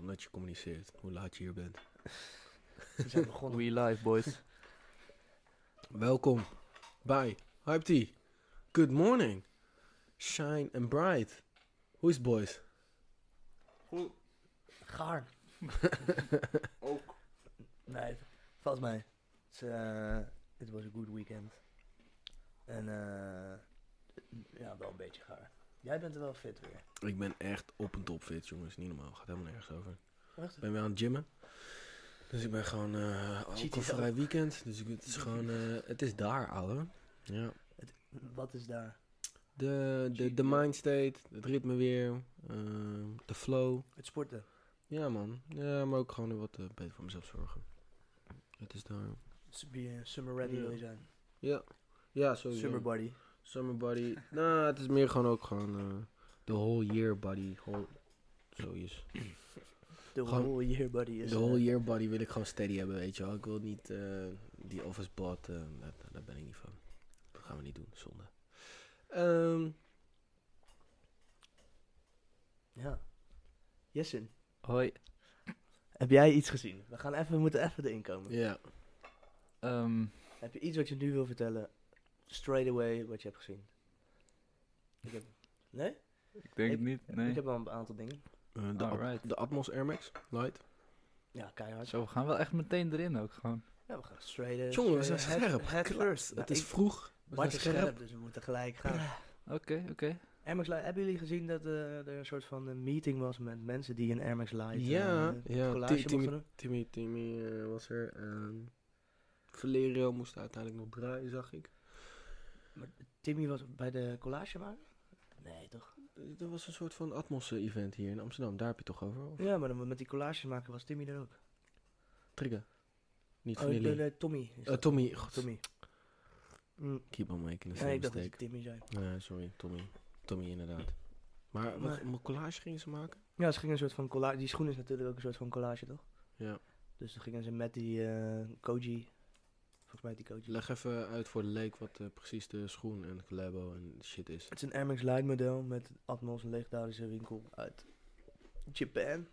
met je communiceert. Hoe laat je hier bent. We zijn begonnen. We live, boys. Welkom bij Hype Tea. Good morning. Shine and bright. Hoe is het, boys? Goed, Gaar. ook. Nee, volgens mij. Het eh, it was a good weekend. En eh, ja, wel een beetje gaar. Jij bent er wel fit weer. Ik ben echt op een topfit, jongens. Niet normaal. Gaat helemaal nergens over. Echt? Ik ben weer aan het gymmen. Dus ik ben gewoon eh alcoholvrij weekend. Dus ik, het is gewoon... eh, het is daar, ouwe. Ja. Wat is daar? De, de, de mindstate, het ritme weer, ehm, de flow. Het sporten. Ja, man. Ja, maar ook gewoon weer wat eh, beter voor mezelf zorgen. Het is daar. S- be, eh, Summer ready Ja. Oh, wil je zijn. Ja, sowieso. Summer body. Summer body. nou, het is meer gewoon ook gewoon eh, de whole year body. Whole, zo is. The Gewoon- whole year body is... De eh, whole year body wil ik gewoon steady hebben, weet je wel. Ik wil niet eh, die office bot, eh, dat, daar ben ik niet van. Dat gaan we niet doen, zonde. Ehm, Ja. Jessen, Hoi. heb jij iets gezien? We gaan even, we moeten even erin komen. ja. Ehm, Heb je iets wat je nu wil vertellen? Straight away wat je hebt gezien. Ik heb... Nee? ik denk het niet. Nee. Ik heb wel een aantal dingen. Eh, de, At- Alright. de Atmos Air Max Light. Ja, keihard. Zo, we gaan wel echt meteen erin ook gewoon. Ja, we gaan straight eh, Jongen, we zijn straight scherp. head- head first. Het Nou, is ik- vroeg. We Bart zijn is scherp. scherp, dus we moeten gelijk gaan. Oké, oké. Air Max Live, hebben jullie gezien dat eh, er een soort van een meeting was met mensen die een Air Max Live Ja, eh, ja, collage Timmy- mochten doen? Timmy, Timmy eh, was er. en Valerio moest uiteindelijk nog draaien, zag ik. Maar Timmy was bij de collage maken? Nee, toch? Eh, Er was een soort van Atmos-event hier in Amsterdam. Daar heb je het toch over? Of Ja, maar dan, met die collages maken was Timmy er ook. Trigger? Niet Oh, van jullie. nee, nee, Tommy. is Eh, dat. Tommy. God, Tommy. Mm, Keep on making the same nee, ik dacht dat mistake. het Timmy zei. Nee, sorry, Tommy. Tommy, inderdaad. Maar Maar- wat, een collage gingen ze maken? Ja, ze gingen een soort van collage. Die schoen is natuurlijk ook een soort van collage, toch? Ja. Dus toen gingen ze met die eh, Koji. Volgens mij heet die Koji. Leg even uit voor de leek wat eh, precies de schoen en collabo en shit is. Het is een Air Max Light model met Atmos, een legendarische winkel uit Japan.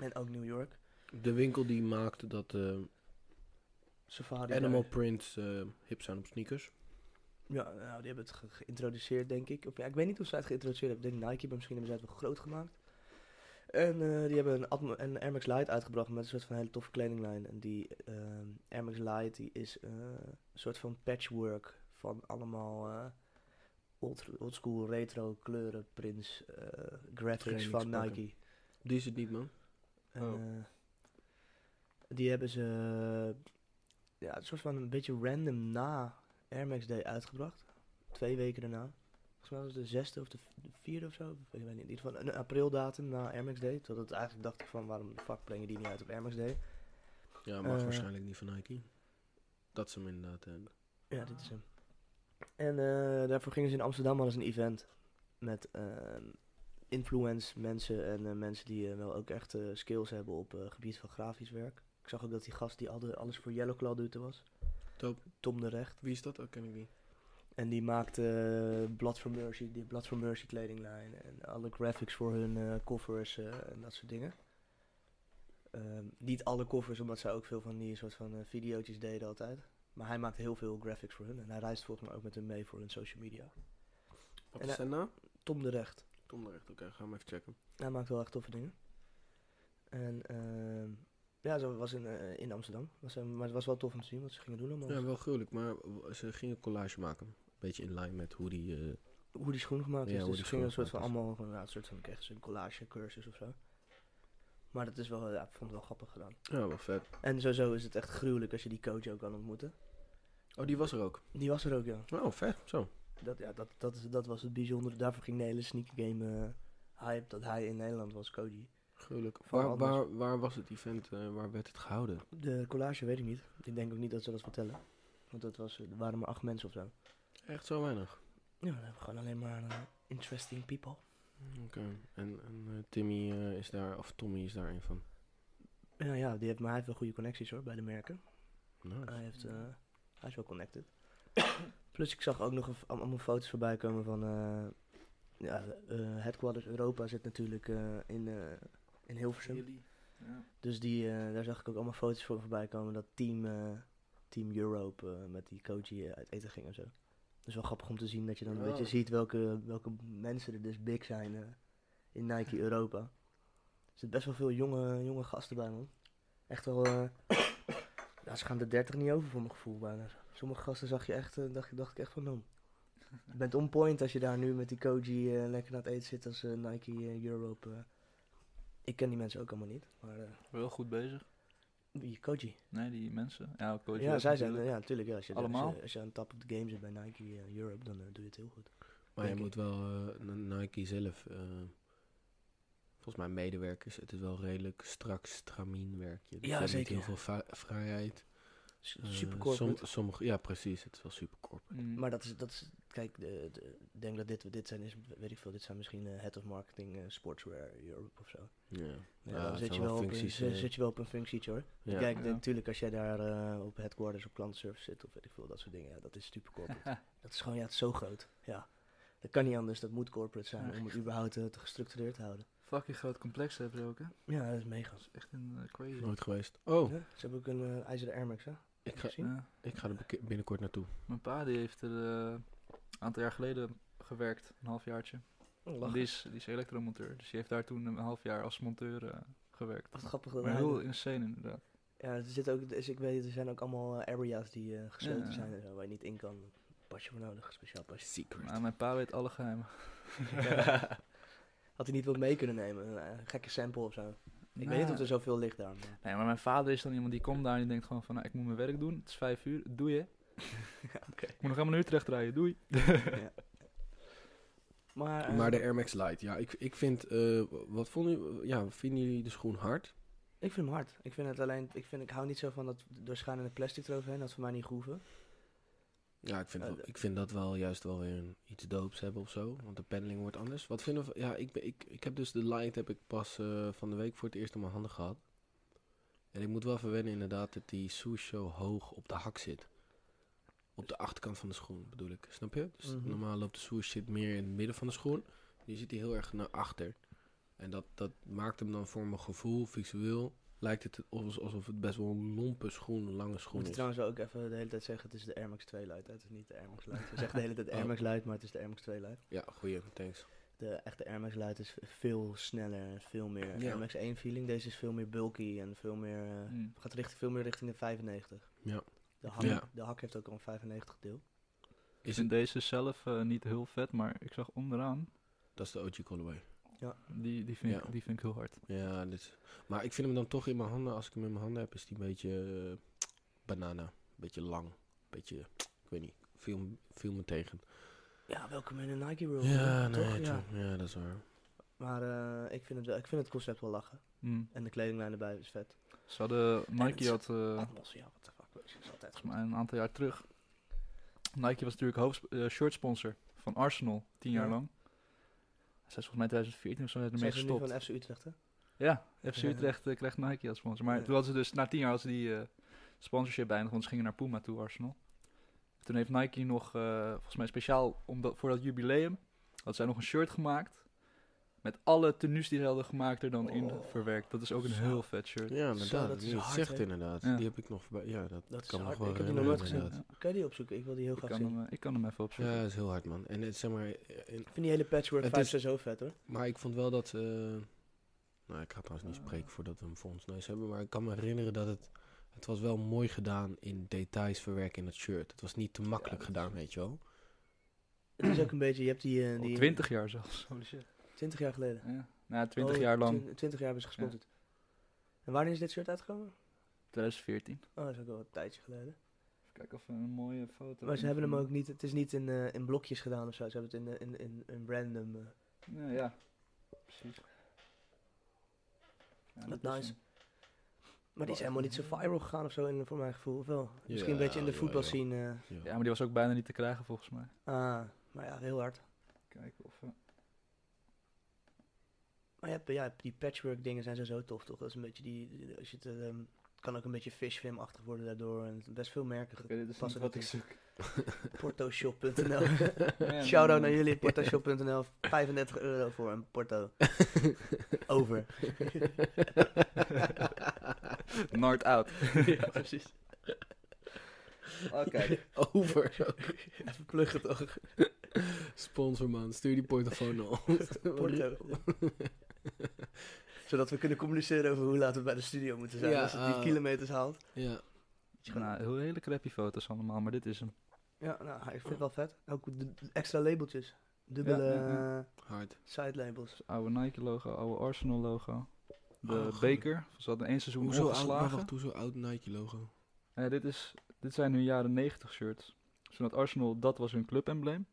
En ook New York. De winkel die maakte dat eh, Safari. animal Ah, daar. prints eh, hip zijn op sneakers. Ja, nou, die hebben het ge- geïntroduceerd, denk ik. Of, ja, ik weet niet of ze het geïntroduceerd hebben. Ik denk Nike, maar misschien hebben ze het wel groot gemaakt. En eh, die hebben een, Atmo- een Air Max Light uitgebracht met een soort van hele toffe kledinglijn. En die ehm Air Max Light die is eh, een soort van patchwork van allemaal eh old, oldschool retro kleuren, prints, eh, graphics van Trainingspakken. Nike. Die is het niet, man. En, Oh. eh, die hebben ze eh, ja, een soort van een beetje random na Air Max Day uitgebracht. Twee weken daarna. Volgens mij was het de zesde of de v- de vierde of zo. Ik weet niet. In ieder geval een aprildatum na Air Max Day. Totdat eigenlijk dacht ik van waarom de fuck breng je die niet uit op Air Max Day. Ja, mag Eh. waarschijnlijk niet van Nike. Dat is hem inderdaad. eh. Ja, dit is hem. En eh, daarvoor gingen ze in Amsterdam al eens een event. Met ehm influence mensen en eh, mensen die eh, wel ook echt eh, skills hebben op eh, gebied van grafisch werk. Ik zag ook dat die gast die al de- alles voor Yellow Claw doet er was. Top. Tom de Recht. Wie is dat? ook ken ik niet. En die maakte eh, Blood for Mercy, die Blood for Mercy kledinglijn. En alle graphics voor hun eh, covers eh, en dat soort dingen. Ehm, niet alle covers, omdat zij ook veel van die soort van eh, videootjes deden altijd. Maar hij maakt heel veel graphics voor hun. En hij reist volgens mij ook met hun mee voor hun social media. Wat En is hij- zijn naam? Tom de Recht. Tom de Recht, oké, ga hem even checken. Hij maakt wel echt toffe dingen. En ehm, ja, zo was in, eh, in Amsterdam. Was, eh, maar het was wel tof om te zien wat ze gingen doen allemaal. Ja, wel gruwelijk, maar w- ze gingen een collage maken. Beetje in lijn met hoe die... eh, hoe die schoen gemaakt Ja, is. hoe dus die ze gingen een schoen soort van gemaakt allemaal, ja, een soort van kregen ze een collage cursus of zo. Maar dat is wel, ja, ik vond het wel grappig gedaan. ja, Oh, wel vet. En sowieso is het echt gruwelijk als je die coach ook kan ontmoeten. Oh, die was er ook. Die was er ook, ja. Oh, vet, zo. Dat, ja, dat, dat, is, dat was het bijzondere. Daarvoor ging de hele sneaker game eh, hype dat hij in Nederland was, Cody. Gruwelijk. Van Waar, anders. waar, waar was het event, eh, waar werd het gehouden? De collage weet ik niet. Ik denk ook niet dat ze dat vertellen. Want dat was, er waren maar acht mensen of zo. Echt zo weinig. Ja, gewoon alleen maar eh, interesting people. Oké, en, en eh, Timmy eh, is daar, of Tommy is daar een van. Ja, ja die heeft, maar hij heeft wel goede connecties hoor, bij de merken. Hij, Nice. heeft, eh, hij is wel connected. Plus ik zag ook nog een f- allemaal allemaal foto's voorbij komen van... eh ja, eh, Headquarters Europa zit natuurlijk eh, in eh, in Hilversum. Jullie. Ja. Dus die, eh, daar zag ik ook allemaal foto's voor voorbij komen. Dat team, eh, team Europe eh, met die coach die eh, uit eten ging en zo. Dus wel grappig om te zien dat je dan een beetje Oh. ziet welke, welke mensen er dus big zijn eh, in Nike Europa. Er zitten best wel veel jonge, jonge gasten bij, man. Echt wel... eh, ja, ze gaan de 30 niet over voor mijn gevoel bijna. Sommige gasten zag je echt, eh, dacht, dacht ik echt van, nou, je bent on point als je daar nu met die Koji eh, lekker aan het eten zit als eh, Nike eh, Europe. eh. Ik ken die mensen ook allemaal niet, maar... eh, Wel goed bezig. wie? Koji. Nee, die mensen. Ja, coach ja, ook zij zijn, eh, natuurlijk. ja, natuurlijk. Ja, als, je, Allemaal? Als, je, als je aan top of the game zit bij Nike eh, Europe, dan eh, doe je het heel goed. Maar je Denk moet wel eh, N- Nike zelf, eh, volgens mij medewerkers, het is wel redelijk strak stramien werkje. Dus Ja, je hebt zeker, Niet ja. heel veel va- vrijheid. S- Eh, Super som- corporate. sommige, ja, precies. Het is wel super corporate. Mm. Maar dat is, dat is kijk, de- de- ik denk dat dit, dit zijn, is, weet ik veel, dit zijn misschien eh, head of marketing eh, sportswear Europe of zo. Ja, Ja, Ja, dan het zit zijn je, wel wel op een, functies, zit- eh. zit je wel op een functietje hoor. ja. Kijk, Ja. natuurlijk als jij daar eh, op headquarters op klantenservice zit of weet ik veel, dat soort dingen, ja, dat is super corporate. dat is gewoon, ja, het is zo groot. Ja, dat kan niet anders, dat moet corporate zijn Ja, om het überhaupt eh, te gestructureerd te houden. Fucking groot complex hebben ze ook, hè? Ja, dat is mega. Dat is echt een eh, crazy. nooit geweest. Oh, Ja, ze hebben ook een eh, ijzeren Air Max, hè? ik ga, gezien? Ja. ik ga er beke- binnenkort naartoe. Mijn pa die heeft er eh, een aantal jaar geleden gewerkt, een halfjaartje. Want Die Dus- is, die is elektromonteur, dus die heeft daar toen een half jaar als monteur eh, gewerkt. Wat grappig dat Maar hij- heel insane inderdaad. Ja, er zitten ook, dus ik weet, er zijn ook allemaal eh, areas die eh, gesloten Ja. zijn en zo, waar je niet in kan. Pasje voor nodig, speciaal pasje. Secret. Maar mijn pa weet alle geheimen. Had hij niet wat mee kunnen nemen, een eh, gekke sample of zo. Ik Nou. weet niet of er zoveel ligt daar. Maar. Nee, maar mijn vader is dan iemand die komt daar en die denkt gewoon van, nou, ik moet mijn werk doen. Het is vijf uur, doe je. Ik moet nog helemaal naar Utrecht rijden, doei. Maar, eh, Maar de Air Max Lite, ja, ik, ik vind, eh, wat vonden jullie, ja, vinden jullie de schoen hard? ik vind hem hard. Ik vind het alleen, ik, vind, ik hou niet zo van dat doorschijnende plastic eroverheen, dat is voor mij niet groeven. Ja, ik vind, Eh, wel- de- ik vind dat wel juist wel weer een, iets doops hebben of zo, want de pendeling wordt anders. Wat vinden we, ja, ik, ben, ik, ik heb dus de Lite heb ik pas eh, van de week voor het eerst in mijn handen gehad. En ik moet wel verwennen inderdaad dat die swoosh zo hoog op de hak zit. Op de achterkant van de schoen bedoel ik, snap je? Dus Mhm. normaal loopt de swoosh zit meer in het midden van de schoen. Nu zit hij heel erg naar achter. En dat, dat maakt hem dan voor mijn gevoel, visueel, lijkt het alsof, alsof het best wel een lompe schoen, een lange Moet schoen je is. trouwens ook even de hele tijd zeggen, het is de Air Max 2 Lite, hè, het is niet de Air Max Lite. Ze zegt de hele tijd Oh. Air Max Lite, maar het is de Air Max 2 Lite. Ja, goeie, thanks. De echte Air Max Lite is veel sneller en veel meer Ja. Air Max 1 feeling. Deze is veel meer bulky en veel meer, eh, Mm. gaat richt, veel meer richting de 95. Ja. De hak, Ja. de hak heeft ook al een 95 deel. Ik Is vind het, deze zelf eh, niet heel vet, maar ik zag onderaan, dat is de OG Colorway. die, die, vind, Ja. ik, die vind ik heel hard. Ja, dit. is- Maar ik vind hem dan toch in mijn handen, als ik hem in mijn handen heb, is die een beetje eh, banana. beetje lang. beetje, ik weet niet, viel, me- viel me tegen. Ja, welkom in de Nike World. Ja, hè, nee, toch? true. Ja. ja. dat is waar. Maar eh, ik, vind het wel, ik vind het concept wel lachen. Mm. En de kledinglijn erbij is vet. Ze hadden, het- Nike had... eh, Atmos, ja, wat de fuck, weet je, is altijd goed. volgens mij een aantal jaar terug. Nike was natuurlijk hoofd, eh, shirtsponsor van Arsenal, tien jaar Ja. lang. Zij is volgens mij 2014 of zo zijn ze Zijn ermee ze nu gestopt. van FC Utrecht, hè? Ja, FC Ja. Utrecht eh, krijgt Nike als sponsor. Maar Ja. toen hadden ze dus, na tien jaar hadden ze die eh, sponsorship beëindigd, want ze gingen naar Puma toe, Arsenal. Toen heeft Nike nog, eh, volgens mij speciaal om dat, voor dat jubileum, had zij nog een shirt gemaakt. Met alle tenues die ze hadden gemaakt er dan in Oh, verwerkt. Dat is ook een zo. heel vet shirt. Ja, Zo, inderdaad. dat is nu je het hard, zegt hè? inderdaad. Ja. Die heb ik nog voorbij. Ja, dat, Dat is kan me hard. nog wel Ik heb herinneren, die nog nooit gezien. inderdaad. Kan je die opzoeken? Ik wil die heel Ik graag kan, zien. hem, eh, ik kan hem even Ja, opzoeken. dat is heel hard, man. En het zeg maar, in- Ik vind die hele patchwork Het 5 is- zo vet, hoor. maar ik vond wel dat. eh, nou, ik ga trouwens niet spreken voordat we hem voor ons neus hebben. Maar ik kan me herinneren dat het. Het was wel mooi gedaan in details verwerken in het shirt. Het was niet te makkelijk dat gedaan, weet je wel. Het is ook een beetje, je hebt die... eh, Al die 20 jaar zelfs. Holy shit. 20 jaar geleden. Ja. Nou, 20 Oh, jaar lang. twin- 20 jaar hebben ze gesponsord. En wanneer is dit shirt uitgekomen? 2014. Oh, dat is ook al een tijdje geleden. Even kijken of we een mooie foto. Maar ze hebben hem vinden. ook niet, het is niet in, eh, in blokjes gedaan of zo. Ze hebben het in, eh, in, in, in random. eh. Ja, ja. precies. Ja, Wat dit is nice. hem. Maar die is helemaal niet zo viral gegaan of zo, in, voor mijn gevoel. Of wel? Misschien een Ja, beetje in de ja, voetbalscene. eh. Mm-hmm. Ja, maar die was ook bijna niet te krijgen volgens mij. ah, maar ja, heel hard. Kijken of. Maar je hebt, ja, die patchwork dingen zijn zo tof, toch? Dat is een beetje die, die- als je het... eh, kan ook een beetje fishfilmachtig worden daardoor. En best veel merken. Oké, dit is Pas er niet wat ik ook zoek. Portoshop.nl. Ja, mm. Shoutout maar- naar jullie, portoshop.nl. 35 euro voor een porto. Over. Nard out. ja, precies. Oké. Over. Even pluggen toch. Sponsor man, stuur die portofoon naar ons. Porto. Zodat we kunnen communiceren over hoe laat we bij de studio moeten zijn. Ja, als het die eh, ah. kilometers haalt. Ja, Nou, heel hele crappy foto's allemaal, maar dit is hem. Ja, nou, ik vind het wel vet. Ook de de extra labeltjes. Dubbele Ja, ja, ja. eh, hard. side labels. Oude Nike logo, oude Arsenal logo. De Oh, goed. beker. Ze hadden één seizoen Hoezo oud, maar ongeslagen. wacht, hoezo oud Nike logo? Eh, dit, is, dit zijn hun jaren 90 shirts. Zodat Arsenal, dat was hun clubembleem.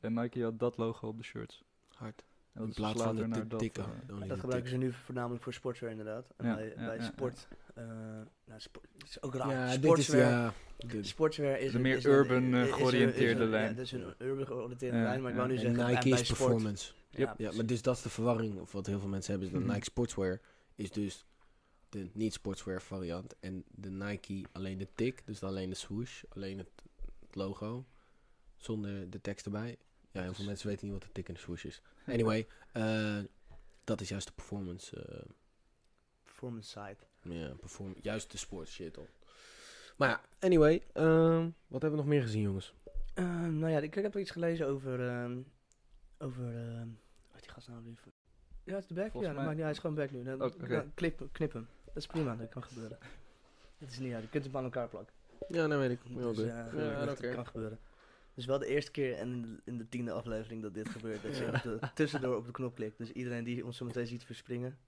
En Nike had dat logo op de shirts. Hard. En dat In is plaats dus van later de naar dik- dat. dikke. eh, oh, niet Dat de gebruiken ze dikke. nu voornamelijk voor sportswear inderdaad. En Ja, bij, ja, bij ja, ja. sport. eh, nou, sport het is ook raar. Ja, dit is, sportswear. ja, dit- Sportswear is De een- meer is een- urban, eh, is een- georiënteerde is een- lijn. Ja, dat is een urban georiënteerde Ja, lijn, maar ik ja. wou nu En en zeggen Nike en bij is sport. performance. Ja, Ja, maar dus dat is de verwarring of wat heel veel mensen hebben. Is dat Mhm. Nike Sportswear is dus de niet-sportswear variant. En de Nike alleen de tik, dus alleen de swoosh, alleen het, het logo. Zonder de tekst erbij. Ja, heel veel mensen weten niet wat de tik en de swoosh is. Anyway, eh, dat is juist de performance. eh, performance side. ja, perform juist de sport shit al. Maar ja, anyway, ehm, wat hebben we nog meer gezien, jongens? Ehm, nou ja, ik, ik heb iets gelezen over... ehm, over ehm, wat heet die gast nou weer? Ja, het is de back. Volgens ja, dat mij- maakt niet uit, hij is gewoon back nu. Dan, Oh, oké. dan knip, knip hem. Dat is prima, dat kan gebeuren. Het is niet uit, je kunt hem aan elkaar plakken. Ja, nou weet ik. Heel Dus, goed. ja, Ja, I dat don't care. kan gebeuren. Dus wel de eerste keer en in de, in de tiende aflevering dat dit gebeurt. Dat je op de- tussendoor op de knop klikt. Dus iedereen die ons zo meteen ziet verspringen,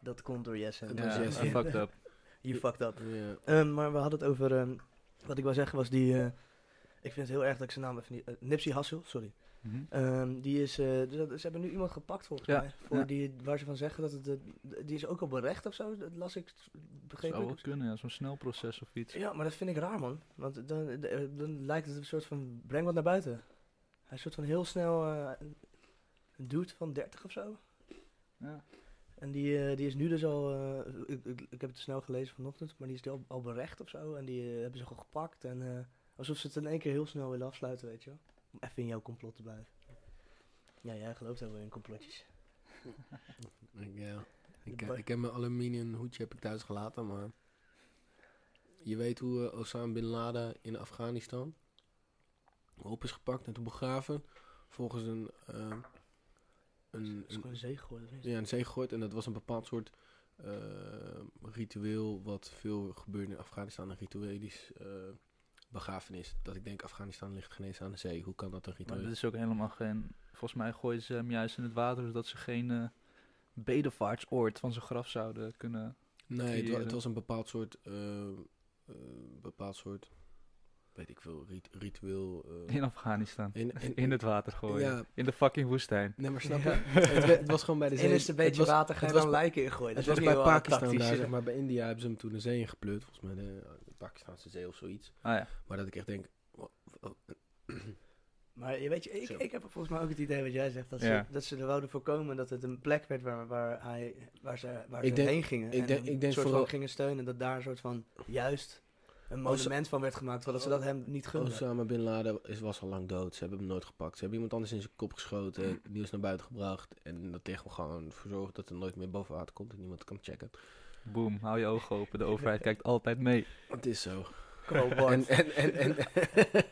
dat komt door Jesse. Dat Ja, was Jesse. eh, fucked up. You fucked up. Ja. Ehm, maar we hadden het over, ehm, wat ik wou zeggen was die, eh, ik vind het heel erg dat ik zijn naam even niet, eh, Nipsey Hassel, sorry. Mhm. Ehm, die is, eh, dus dat- ze hebben nu iemand gepakt volgens Ja, mij. Voor ja. die, waar ze van zeggen dat het, eh, die is ook al berecht of zo, dat las ik, begreep Zou ik. wel kunnen, ja. Zo'n snelproces of iets. Ja, maar dat vind ik raar, man. Want dan, dan, dan lijkt het een soort van, breng wat naar buiten. Hij is een soort van heel snel eh, een een dude van 30 of zo. Ja. En die, eh, die is nu dus al, eh, ik, ik, ik heb het snel gelezen vanochtend, maar die is al, al berecht of zo. En die eh, hebben ze gewoon gepakt. En eh, alsof ze het in één keer heel snel willen afsluiten, weet je wel. Om even in jouw complot te blijven. Ja, jij gelooft helemaal in complotjes. Ik, ja. ik, De eh, bar- ik heb mijn aluminium hoedje heb ik thuis gelaten, maar... Je weet hoe eh, Osama Bin Laden in Afghanistan op is gepakt en toen begraven. Volgens een, ehm, een, Dat is een, gewoon een zee gegooid. of niet? ja, een zee gegooid. En dat was een bepaald soort ehm, ritueel wat veel gebeurde in Afghanistan. Een rituelisch eh, begrafenis. Dat ik denk, Afghanistan ligt geen eens aan de zee. Hoe kan dat een Maar ritueel? dit is ook helemaal geen... Volgens mij gooiden ze hem juist in het water, zodat ze geen eh bedevaartsoord van zijn graf zouden kunnen... Nee, het, wa- creëren. het was een bepaald soort, eh, eh, bepaald soort, weet ik veel, rit- ritueel. eh, In Afghanistan. in, in- In het water gooien. Ja, In de fucking woestijn. nee, maar snap je? het, we- het was gewoon bij de Het zee. enige een beetje het was, water, ga je het dan was- lijken ingooien. het Dat was is bij heel, eh, Pakistan tactisch. daar, zeg maar bij India hebben ze hem toen de zee ingepleurd. Volgens mij de, de Pakistanse zee of zoiets. Ah ja. Maar dat ik echt denk, wa- wa- Maar je weet je, ik, Zo. ik heb volgens mij ook het idee wat jij zegt. Dat, Ja. ze, dat ze er wouden voorkomen dat het een plek werd waar, waar, hij, waar ze, waar Ik ze denk- heen gingen. ik en denk- een ik denk soort vooral- van gingen steunen. Dat daar een soort van juist een Als- monument van werd gemaakt. Terwijl dat ze dat hem niet gunden. Osama Bin Laden is, was al lang dood. Ze hebben hem nooit gepakt. Ze hebben iemand anders in zijn kop geschoten, het nieuws naar buiten gebracht. En dat tegen hem gewoon voor zorgen dat er nooit meer boven water komt en niemand kan checken. Boom. Hou je ogen open. De overheid kijkt altijd mee. Het is zo. Kom op, En, Bart. en, en, en, en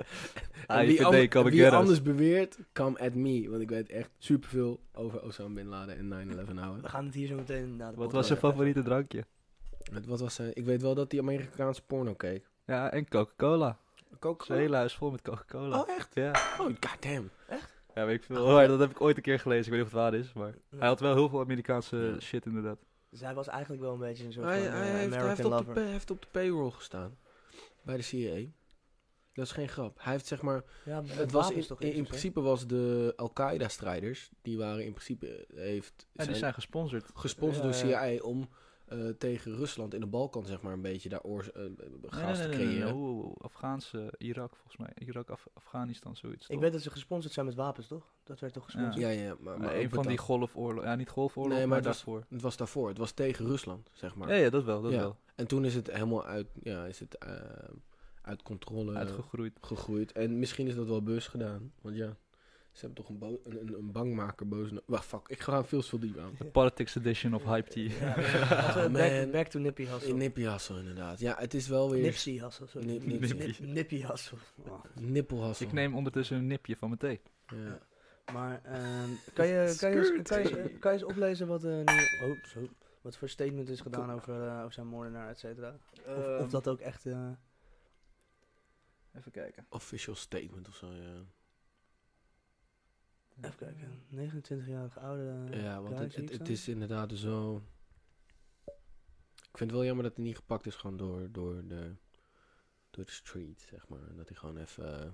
AIVD wie, ander- kan ik wie gerust. anders beweert, come at me. Want ik weet echt superveel over Osama Bin Laden en 9-11 houden. We gaan het hier zo meteen naar de Wat was podcast je hebben. favoriete drankje? Het- Wat was zijn? Ik weet wel dat hij Amerikaanse porno keek. Ja, en Coca-Cola. Zijn Coca-Cola? hele huis vol met Coca-Cola. Oh, echt? Ja. Oh, goddamn. Ja, weet ik veel. Maar dat heb ik ooit een keer gelezen. Ik weet niet of het waar is, maar... Ja. Hij had wel heel veel Amerikaanse Ja. shit inderdaad. Dus hij was eigenlijk wel een beetje een soort Hij, van eh, hij heeft, hij American heeft op de, lover. pay- heeft op de payroll gestaan. Bij de CIA. Dat is geen grap. Hij heeft zeg maar... ja, maar Het was wapens in, toch in, iets in of zo? principe was de Al-Qaeda-strijders... Die waren in principe... eh, Heeft, En die zijn zijn gesponsord. gesponsord door Ja, ja. CIA om... eh, eh, tegen Rusland in de Balkan, zeg maar, een beetje daar oors, eh, gaas te creëren. Oeh, oeh, oeh. Afghaanse Irak, volgens mij. Irak, Af- Afghanistan, zoiets. Ik toch? weet dat ze gesponsord zijn met wapens, toch? Dat werd toch gesponsord? Ja, ja, maar, Maar maar een ook van die betaald. golfoorlogen. Ja, niet golfoorlog, Nee, maar, maar het was- daarvoor. Het was daarvoor, het was tegen Rusland, zeg maar. Ja, ja, dat wel, dat Ja. wel. En toen is het helemaal uit, ja, is het, eh, uit eh, controle Uitgegroeid. gegroeid. En misschien is dat wel bewust gedaan, want ja, ze hebben toch een, bo- een, een, een bangmaker boos... na- Wah, fuck, ik ga veel te diep aan. De Politics Edition of Hype Tea. Ja, laten we back, Oh, man. back to Nippy Hassel. In Nippie Hassel, inderdaad. Ja, het is wel weer... Nipsey Hassel, sorry. Nip- Nipsey. Nip- Nippy Hassel. Oh. Nippelhassel. Ik neem ondertussen een nipje van mijn thee. Ja. Maar ehm, kan, je, kan, je eens, Skirt. kan, je, eens- kan je eens oplezen wat, eh, nu, oh, zo, wat voor statement is gedaan over, eh, over zijn moordenaar, et cetera? Of, of Ehm. dat ook echt... eh, Ehm, Even kijken. Official statement of zo, ja. even kijken. 29-jarige oude... eh, Ja, want guy, het, zie het, ik het staan. is inderdaad zo... Ik vind het wel jammer dat hij niet gepakt is gewoon door, door, de, door de street, zeg maar. En Dat hij gewoon even eh,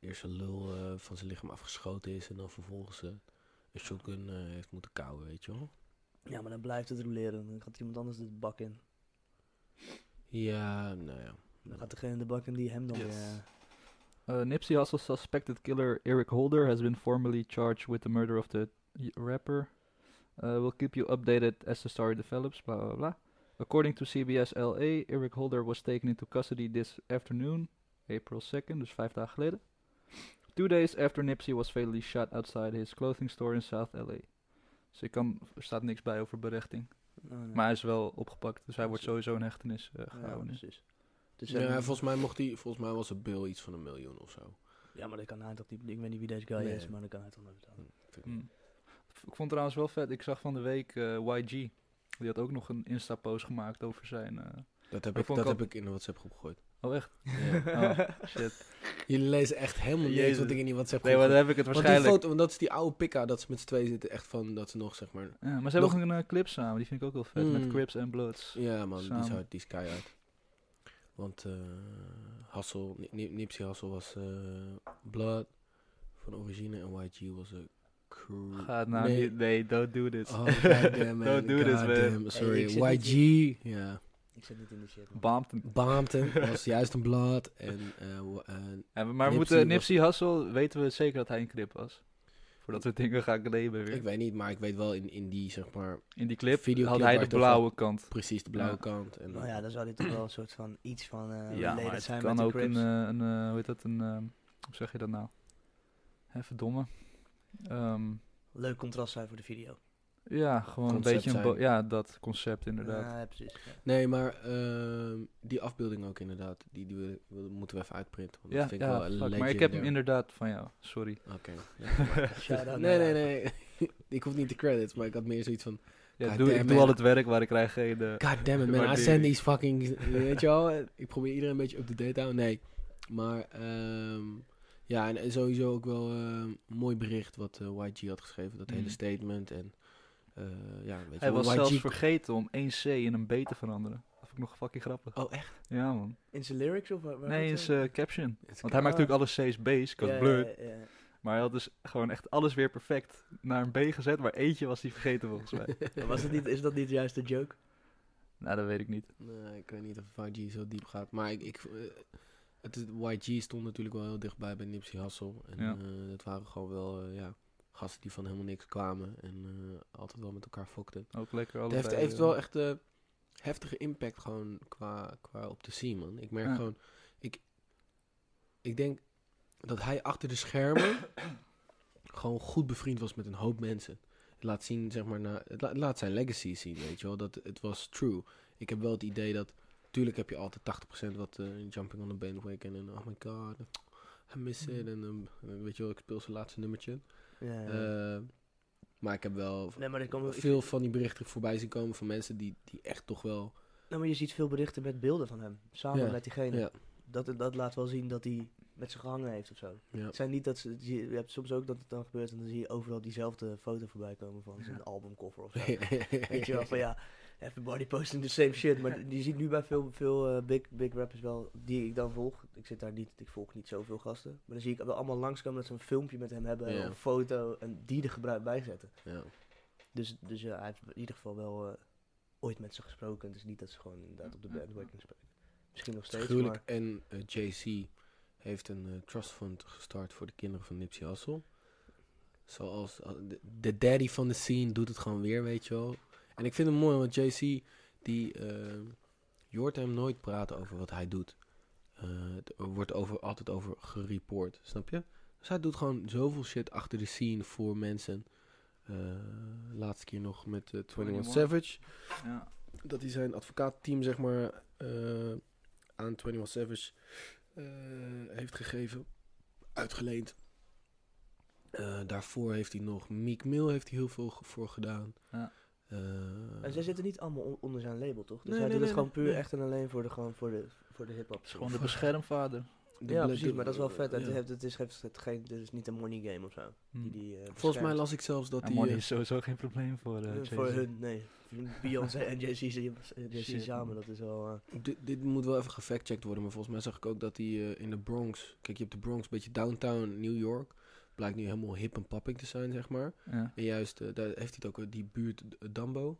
eerst een lul eh, van zijn lichaam afgeschoten is en dan vervolgens eh, een shotgun eh, heeft moeten kauwen, weet je wel. Ja, maar dan blijft het rouleren. Dan gaat iemand anders de bak in. Ja, nou ja. Dan gaat degene de bak in die hem dan Yes. weer... eh, Uh, Nipsey Hussle's suspected killer Eric Holder has been formally charged with the murder of the y- rapper. Uh, we'll keep you updated as the story develops. Blah blah blah. According to CBS LA, Eric Holder was taken into custody this afternoon, April 2nd, dus vijf dagen geleden. Two days after Nipsey was fatally shot outside his clothing store in South LA. Dus ik kan, er staat niks bij over berechting. oh, nee. Maar hij is wel opgepakt, dus hij wordt sowieso in hechtenis eh, gehouden. precies. Dus, Ja, eh, volgens, mij mocht hij, volgens mij was het bill iets van een miljoen of zo. ja, maar dat kan hij toch niet... Ik weet niet wie deze guy Nee. is, maar dat kan hij toch nooit betalen. Mm. Ik vond trouwens wel vet. Ik zag van de week eh, YG. Die had ook nog een Insta-post gemaakt over zijn. eh, Dat heb, Maar ik, vond ik dat al- heb ik in de WhatsApp groep gegooid. Oh, echt? Ja. Oh, shit. Jullie lezen echt helemaal niks Jezus. wat ik in die WhatsApp Nee, groep maar gooi. dan heb ik het Want die waarschijnlijk. foto, want dat is die oude pika, dat ze met z'n twee zitten, echt van dat ze nog zeg maar. Ja, maar ze hebben Nog- ook een eh, clip samen. Die vind ik ook wel vet. Met Mm. Crips en Bloods. Ja, man, die is Samen. hard, die is keihard. Want eh Hassel, Ni- Ni- Nipsey Hassel was eh, Blood van origine en YG was een crew. Gaat nou Mm. Nee. niet. Nee, don't do this. Oh, goddamn, man. Don't do this, man. Goddamn, Hey, ik Sorry, zit niet YG, ja. Ik zit niet in die shit, man. Bombt hem. Baamten was juist een Blood en, eh, wa- en Ja, maar we Nipsey moeten was- Nipsey Hussle weten we zeker dat hij een clip was. Voordat we dingen gaan claimen weer. ik weet niet, maar ik weet wel in, in die zeg maar In die clip Videoclip had hij waar de je toch wel- blauwe kant. precies de blauwe Ja. kant. En Nou ja, dan zou dit toch wel een soort van iets van eh ja, related maar het zijn kan met ook de een, Crips. eh, een eh, hoe heet dat, een, ehm, hoe zeg je dat nou? Hè, verdomme. Ehm, Leuk contrast zijn voor de video. ja, gewoon Concept een beetje een, zijn. bo- ja, dat concept inderdaad. Ja, precies. ja. Nee, maar ehm, die afbeelding ook inderdaad, die, die, wil- wil- moeten we even uitprinten. Want ja, dat vind ik ja, wel fuck, maar ik heb hem legendair. inderdaad van jou, sorry. Oké. Shout-out nee, naar nee, nee. ik hoef niet de credits, maar ik had meer zoiets van... Ja, God doe, ik damn doe it. al het werk waar ik krijg geen... eh, God damn it, man. I Waardering. send these fucking... weet je wel? Ik probeer iedereen een beetje up-to-date te houden. Nee. Maar, ehm, ja, en, en sowieso ook wel ehm, een mooi bericht wat eh, YG had geschreven. Dat Mhm. hele statement en... eh, ja, weet hij je wel, was zelfs YG vergeten om 1C in een B te veranderen. Dat vond ik nog fucking grappig. Oh, echt? Ja man. In zijn lyrics of waar? waar Nee, in was zijn het? caption. Het is Want hij maakt natuurlijk alle C's B's, cause Ja, blur. ja, ja, ja. Maar hij had dus gewoon echt alles weer perfect naar een B gezet, maar eentje was hij vergeten volgens mij. Maar Was dat niet, is dat niet juist de joke? nou, dat weet ik niet. Nee, ik weet niet of YG zo diep gaat. Maar ik, ik, eh, het is, YG stond natuurlijk wel heel dichtbij bij Nipsey Hussle. En Ja. eh, dat waren gewoon wel eh, ja, gasten die van helemaal niks kwamen. En eh, altijd wel met elkaar fokten. Ook lekker Het allebei. heeft, heeft eh, wel echt eh, heftige impact gewoon qua, qua op de scene, man. Ik merk Ja. gewoon... Ik, ik denk dat hij achter de schermen gewoon goed bevriend was met een hoop mensen. Het laat zien, zeg maar, na, het la- het laat zijn legacy zien, weet je wel. Dat het was true. Ik heb wel het idee dat... Tuurlijk heb je altijd 80% wat eh, jumping on the bandwagon en oh my god, I miss it. En eh, weet je wel, ik speel zijn laatste nummertje. Ja, ja. Eh, maar ik heb wel nee, maar, er komen, ik- veel van die berichten voorbij zien komen van mensen die, die echt toch wel... nou, maar je ziet veel berichten met beelden van hem. Samen Ja, met diegene. ja. Dat, dat laat wel zien dat hij met ze gehangen heeft of zo. Ja, Het zijn niet dat ze, je je hebt soms ook dat het dan gebeurt en dan zie je overal diezelfde foto voorbij komen van zijn albumkoffer of zo. Weet je wel, van ja, everybody posting the same shit. Maar je ziet nu bij veel, veel eh, big, big rappers wel, die ik dan volg. Ik zit daar niet, ik volg niet zoveel gasten. Maar dan zie ik wel allemaal langskomen dat ze een filmpje met hem hebben, Ja. of een foto, en die er gebruik bij zetten. ja. Dus, dus ja, hij heeft in ieder geval wel eh, ooit met ze gesproken. Het is niet dat ze gewoon inderdaad op de Ja, ja, bandwagon spreken. Misschien nog steeds, Gruwelijk. maar... En eh, JC heeft een eh, trust fund gestart voor de kinderen van Nipsey Hussle. Zoals eh, de- de daddy van de scene doet het gewoon weer, weet je wel. En ik vind het mooi, want JC, die, eh, je hoort hem nooit praten over wat hij doet. Eh, het- er wordt over, altijd over gereport, snap je? Dus hij doet gewoon zoveel shit achter de scene voor mensen. Eh, laatste keer nog met eh, 21 Savage Ja. dat hij zijn advocaatteam, zeg maar, eh, aan 21 Savage eh, heeft gegeven, uitgeleend. Eh, daarvoor heeft hij nog Meek Mill heeft hij heel veel ge- voor gedaan. Ja. Eh, En zij zitten niet allemaal on- onder zijn label, toch? Dus Nee, hij nee, doet het nee, gewoon puur nee. echt en alleen voor de, gewoon voor de, voor de hip-hop. Gewoon de beschermvader. de ja, Black- precies, de- maar dat is wel vet. Het, ja. heeft- het, is, het, het, geen, dit is niet een money game of zo. Die, Mm. die, eh, Volgens mij beschermt. las ik zelfs dat En hij... money eh, is sowieso geen probleem voor eh, Eh, Jay-Z. Voor hun, nee. Beyoncé en Jay-Z eh, Jay-Z Shit. Mm. samen, dat is wel... eh, Dit, dit moet wel even gefactcheckt worden, maar volgens mij zag ik ook dat hij eh, in de Bronx... Kijk, je hebt de Bronx, een beetje downtown New York. Blijkt nu helemaal hip en popping te zijn, zeg maar. Ja, En juist, eh, daar heeft hij het ook, eh, die buurt eh, Dumbo.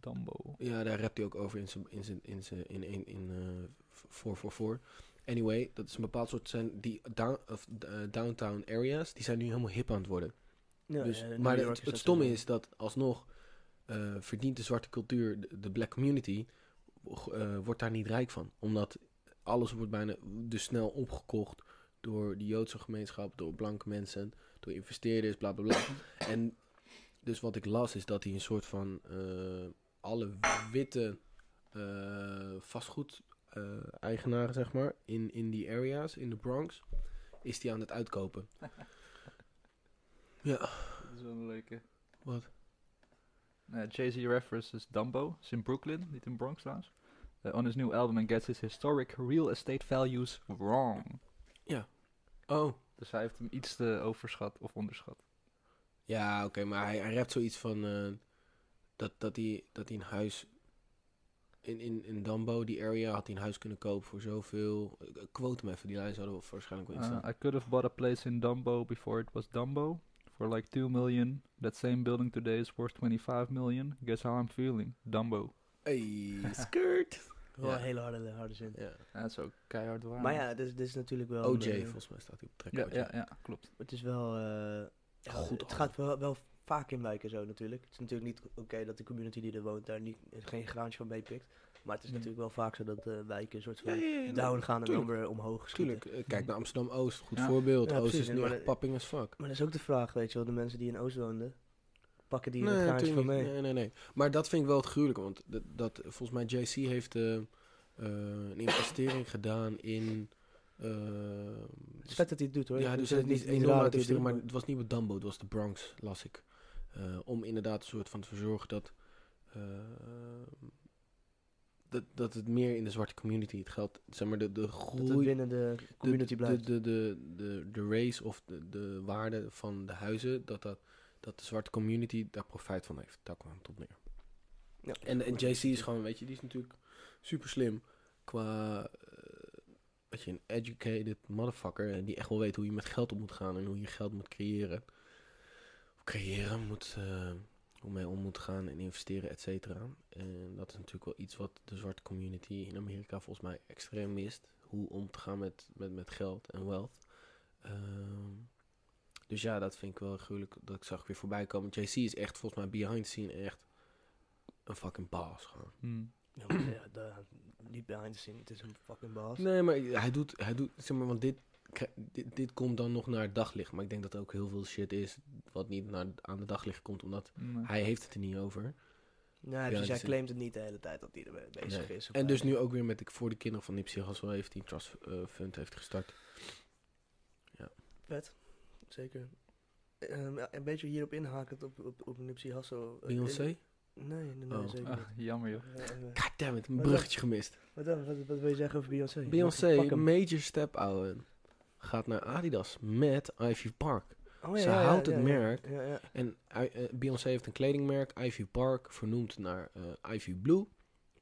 Dumbo. Ja, daar rapt hij ook over in zijn in zijn in zijn in in, in eh, v- voor voor voor. Anyway, dat is een bepaald soort zijn die down, of, eh, downtown areas die zijn nu helemaal hip aan het worden. ja, dus, eh, New maar York het, het dat stomme wel. is dat alsnog eh, verdient de zwarte cultuur, de, de black community, w- eh, wordt daar niet rijk van, omdat alles wordt bijna dus snel opgekocht door de Joodse gemeenschap, door blanke mensen, door investeerders, bla bla bla. en dus wat ik las is dat hij een soort van eh, alle witte eh, vastgoed eh, eigenaren, zeg maar, in, in die areas, in de Bronx, is die aan het uitkopen. ja, Dat is wel een leuke. Wat? Eh, Jay-Z references Dumbo. Is in Brooklyn, niet in Bronx trouwens. Eh, on his new album and gets his historic real estate values wrong. oh. Dus hij heeft hem iets te overschat of onderschat. Ja, oké, maar hij, hij rapt zoiets van eh, dat, dat, hij, dat hij een huis in, in, in Dumbo, die area, had hij een huis kunnen kopen voor zoveel. Ik- ik Quote hem even, die lijn zouden we waarschijnlijk wel in Uh, staan. I could have bought a place in Dumbo before it was Dumbo for like 2 million. That same building today is worth 25 million. Guess how I'm feeling? Dumbo. hey, skirt! Wel Ja. een hele harde, harde zin. Ja. Ja, dat is ook keihard waar. Maar ja, dit is, dit is natuurlijk wel... OJ, eh, volgens mij staat hij op het ja, trekwoordje. ja, ja, klopt. Het is wel... eh, ja, Goed Het al. gaat wel, wel vaak in wijken zo natuurlijk. Het is natuurlijk niet oké dat de community die er woont daar niet, geen graantje van meepikt. Maar het is Hmm. natuurlijk wel vaak zo dat eh, wijken een soort van Ja, ja, ja, down gaan en dan tuurlijk. weer omhoog schieten. Tuurlijk, eh, kijk naar Amsterdam-Oost, goed Ja. voorbeeld. Ja, Oost precies, is nu maar echt dat- papping as fuck. Maar dat is ook de vraag, weet je wel. De mensen die in Oost woonden, pakken die een nee, graantje van natuurlijk mee. niet. Nee, nee, nee. Maar dat vind ik wel het gruwelijke. Want dat, dat, volgens mij JC heeft eh, eh, een investering gedaan in... eh, Het is vet dat hij het doet hoor. ja, Ik dus vind het is niet raar enorm dat hij het doet, investering, maar het was niet met Dumbo, het was de Bronx, las ik. Eh, om inderdaad een soort van te verzorgen dat, eh, dat, dat het meer in de zwarte community het geld, zeg maar de, de Dat het groei binnen de community de, blijft. De, de, de, de race of de, de waarde van de huizen, dat, dat, dat de zwarte community daar profijt van heeft. Daar kwam het op neer. Ja. En, en JC is gewoon, weet je, die is natuurlijk super slim qua, eh, weet je, een educated motherfucker. En die echt wel weet hoe je met geld om moet gaan en hoe je geld moet creëren. Of creëren moet, eh, hoe mee om moet gaan en investeren, et cetera. En dat is natuurlijk wel iets wat de zwarte community in Amerika volgens mij extreem mist. Hoe om te gaan met, met, met geld en wealth. Ehm, dus ja, dat vind ik wel gruwelijk. Dat ik zag weer voorbij komen. JC is echt volgens mij behind the scene echt een fucking baas gewoon. Hmm. Ja, maar ja, daar- niet behind the scene, het is een fucking baas. Nee, maar hij doet, hij doet zeg maar, want dit, kri- dit, dit komt dan nog naar het daglicht. Maar ik denk dat er ook heel veel shit is wat niet naar, aan de daglicht komt, omdat Nee. hij heeft het er niet over. Nee, Behind the precies, hij scene. claimt het niet de hele tijd dat hij ermee bezig Nee. is. En dus nu ook weer met de, voor de kinderen van Nipsey Hussle heeft hij een trust eh, fund heeft gestart. Vet, zeker. Ehm, ja, een beetje hierop inhakend op, op, op Nipsey Hussle. Eh, Beyoncé? in- Nee, nee, nee, Oh. zeker niet. Ah, jammer joh. Ja, en, eh, Goddammit, een Wat bruggetje gemist. Wat dan? Wat, wat wil je zeggen over Beyoncé? Beyoncé, Pak hem. major step ouwe, gaat naar Adidas met Ivy Park. Oh, ze houdt het merk. Ja, ja. En I- eh, Beyoncé heeft een kledingmerk, Ivy Park, vernoemd naar eh, Ivy Blue.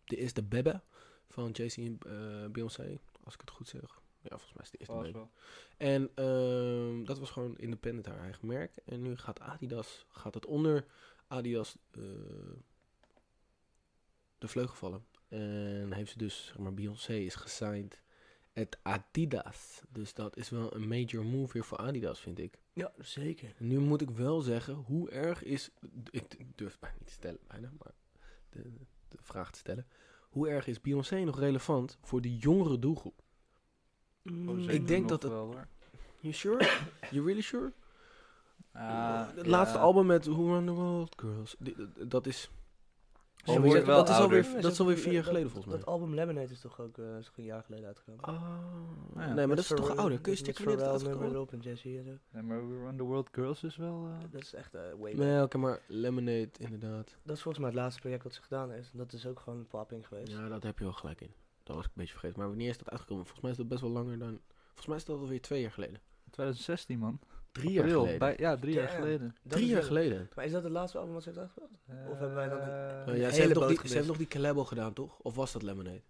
Dit is de bebe van Jay-Z en eh, Beyoncé, als ik het goed zeg. Ja, volgens mij is het de eerste Pas baby. wel. En ehm, dat was gewoon independent haar eigen merk. En nu gaat Adidas, gaat het onder Adidas eh, de vleugel vallen. En heeft ze dus, zeg maar, Beyoncé is gesigned at Adidas. Dus dat is wel een major move weer voor Adidas, vind ik. Ja, zeker. Nu moet ik wel zeggen, hoe erg is... Ik durf het bijna niet te stellen, bijna, maar de, de vraag te stellen. Hoe erg is Beyoncé nog relevant voor de jongere doelgroep? Oh, Mm, zeker Ik denk nog dat het- wel, hoor. You sure? you really sure? Ah, het laatste ja. album met Who Run The World Girls, die- dat- dat is... Ze alweer- wordt wel dat, is ouder. alweer, dat is alweer vier jaar geleden volgens mij. Dat album Lemonade is toch ook eh, is toch een jaar geleden uitgekomen? Ah, ja. nee, maar Met dat is toch Pharrell- ouder? Kun je met stikken wanneer dat Pharrell uitgekomen nummer erop en Jesse en zo. Ja, maar We Run The World Girls is wel... eh, Dat is echt eh, way is? back. Nee, oké, maar Lemonade inderdaad. Dat is volgens mij het laatste project wat ze gedaan heeft. En dat is ook gewoon een popping geweest. Ja, dat heb je wel gelijk in. Dat was ik een beetje vergeten. Maar wanneer is dat uitgekomen? Volgens mij is dat best wel langer dan... Volgens mij is dat alweer twee jaar geleden. 2016, man. Drie jaar April, geleden. bij- ja, drie jaar Damn. geleden. Dat Drie is jaar wel- geleden. Maar is dat het laatste album wat ze heeft uitgebracht? Of hebben wij dan een- Eh, Nou ja, hele ze, heeft nog boot die, ze gemist. heeft nog die collab al gedaan, toch? Of was dat Lemonade?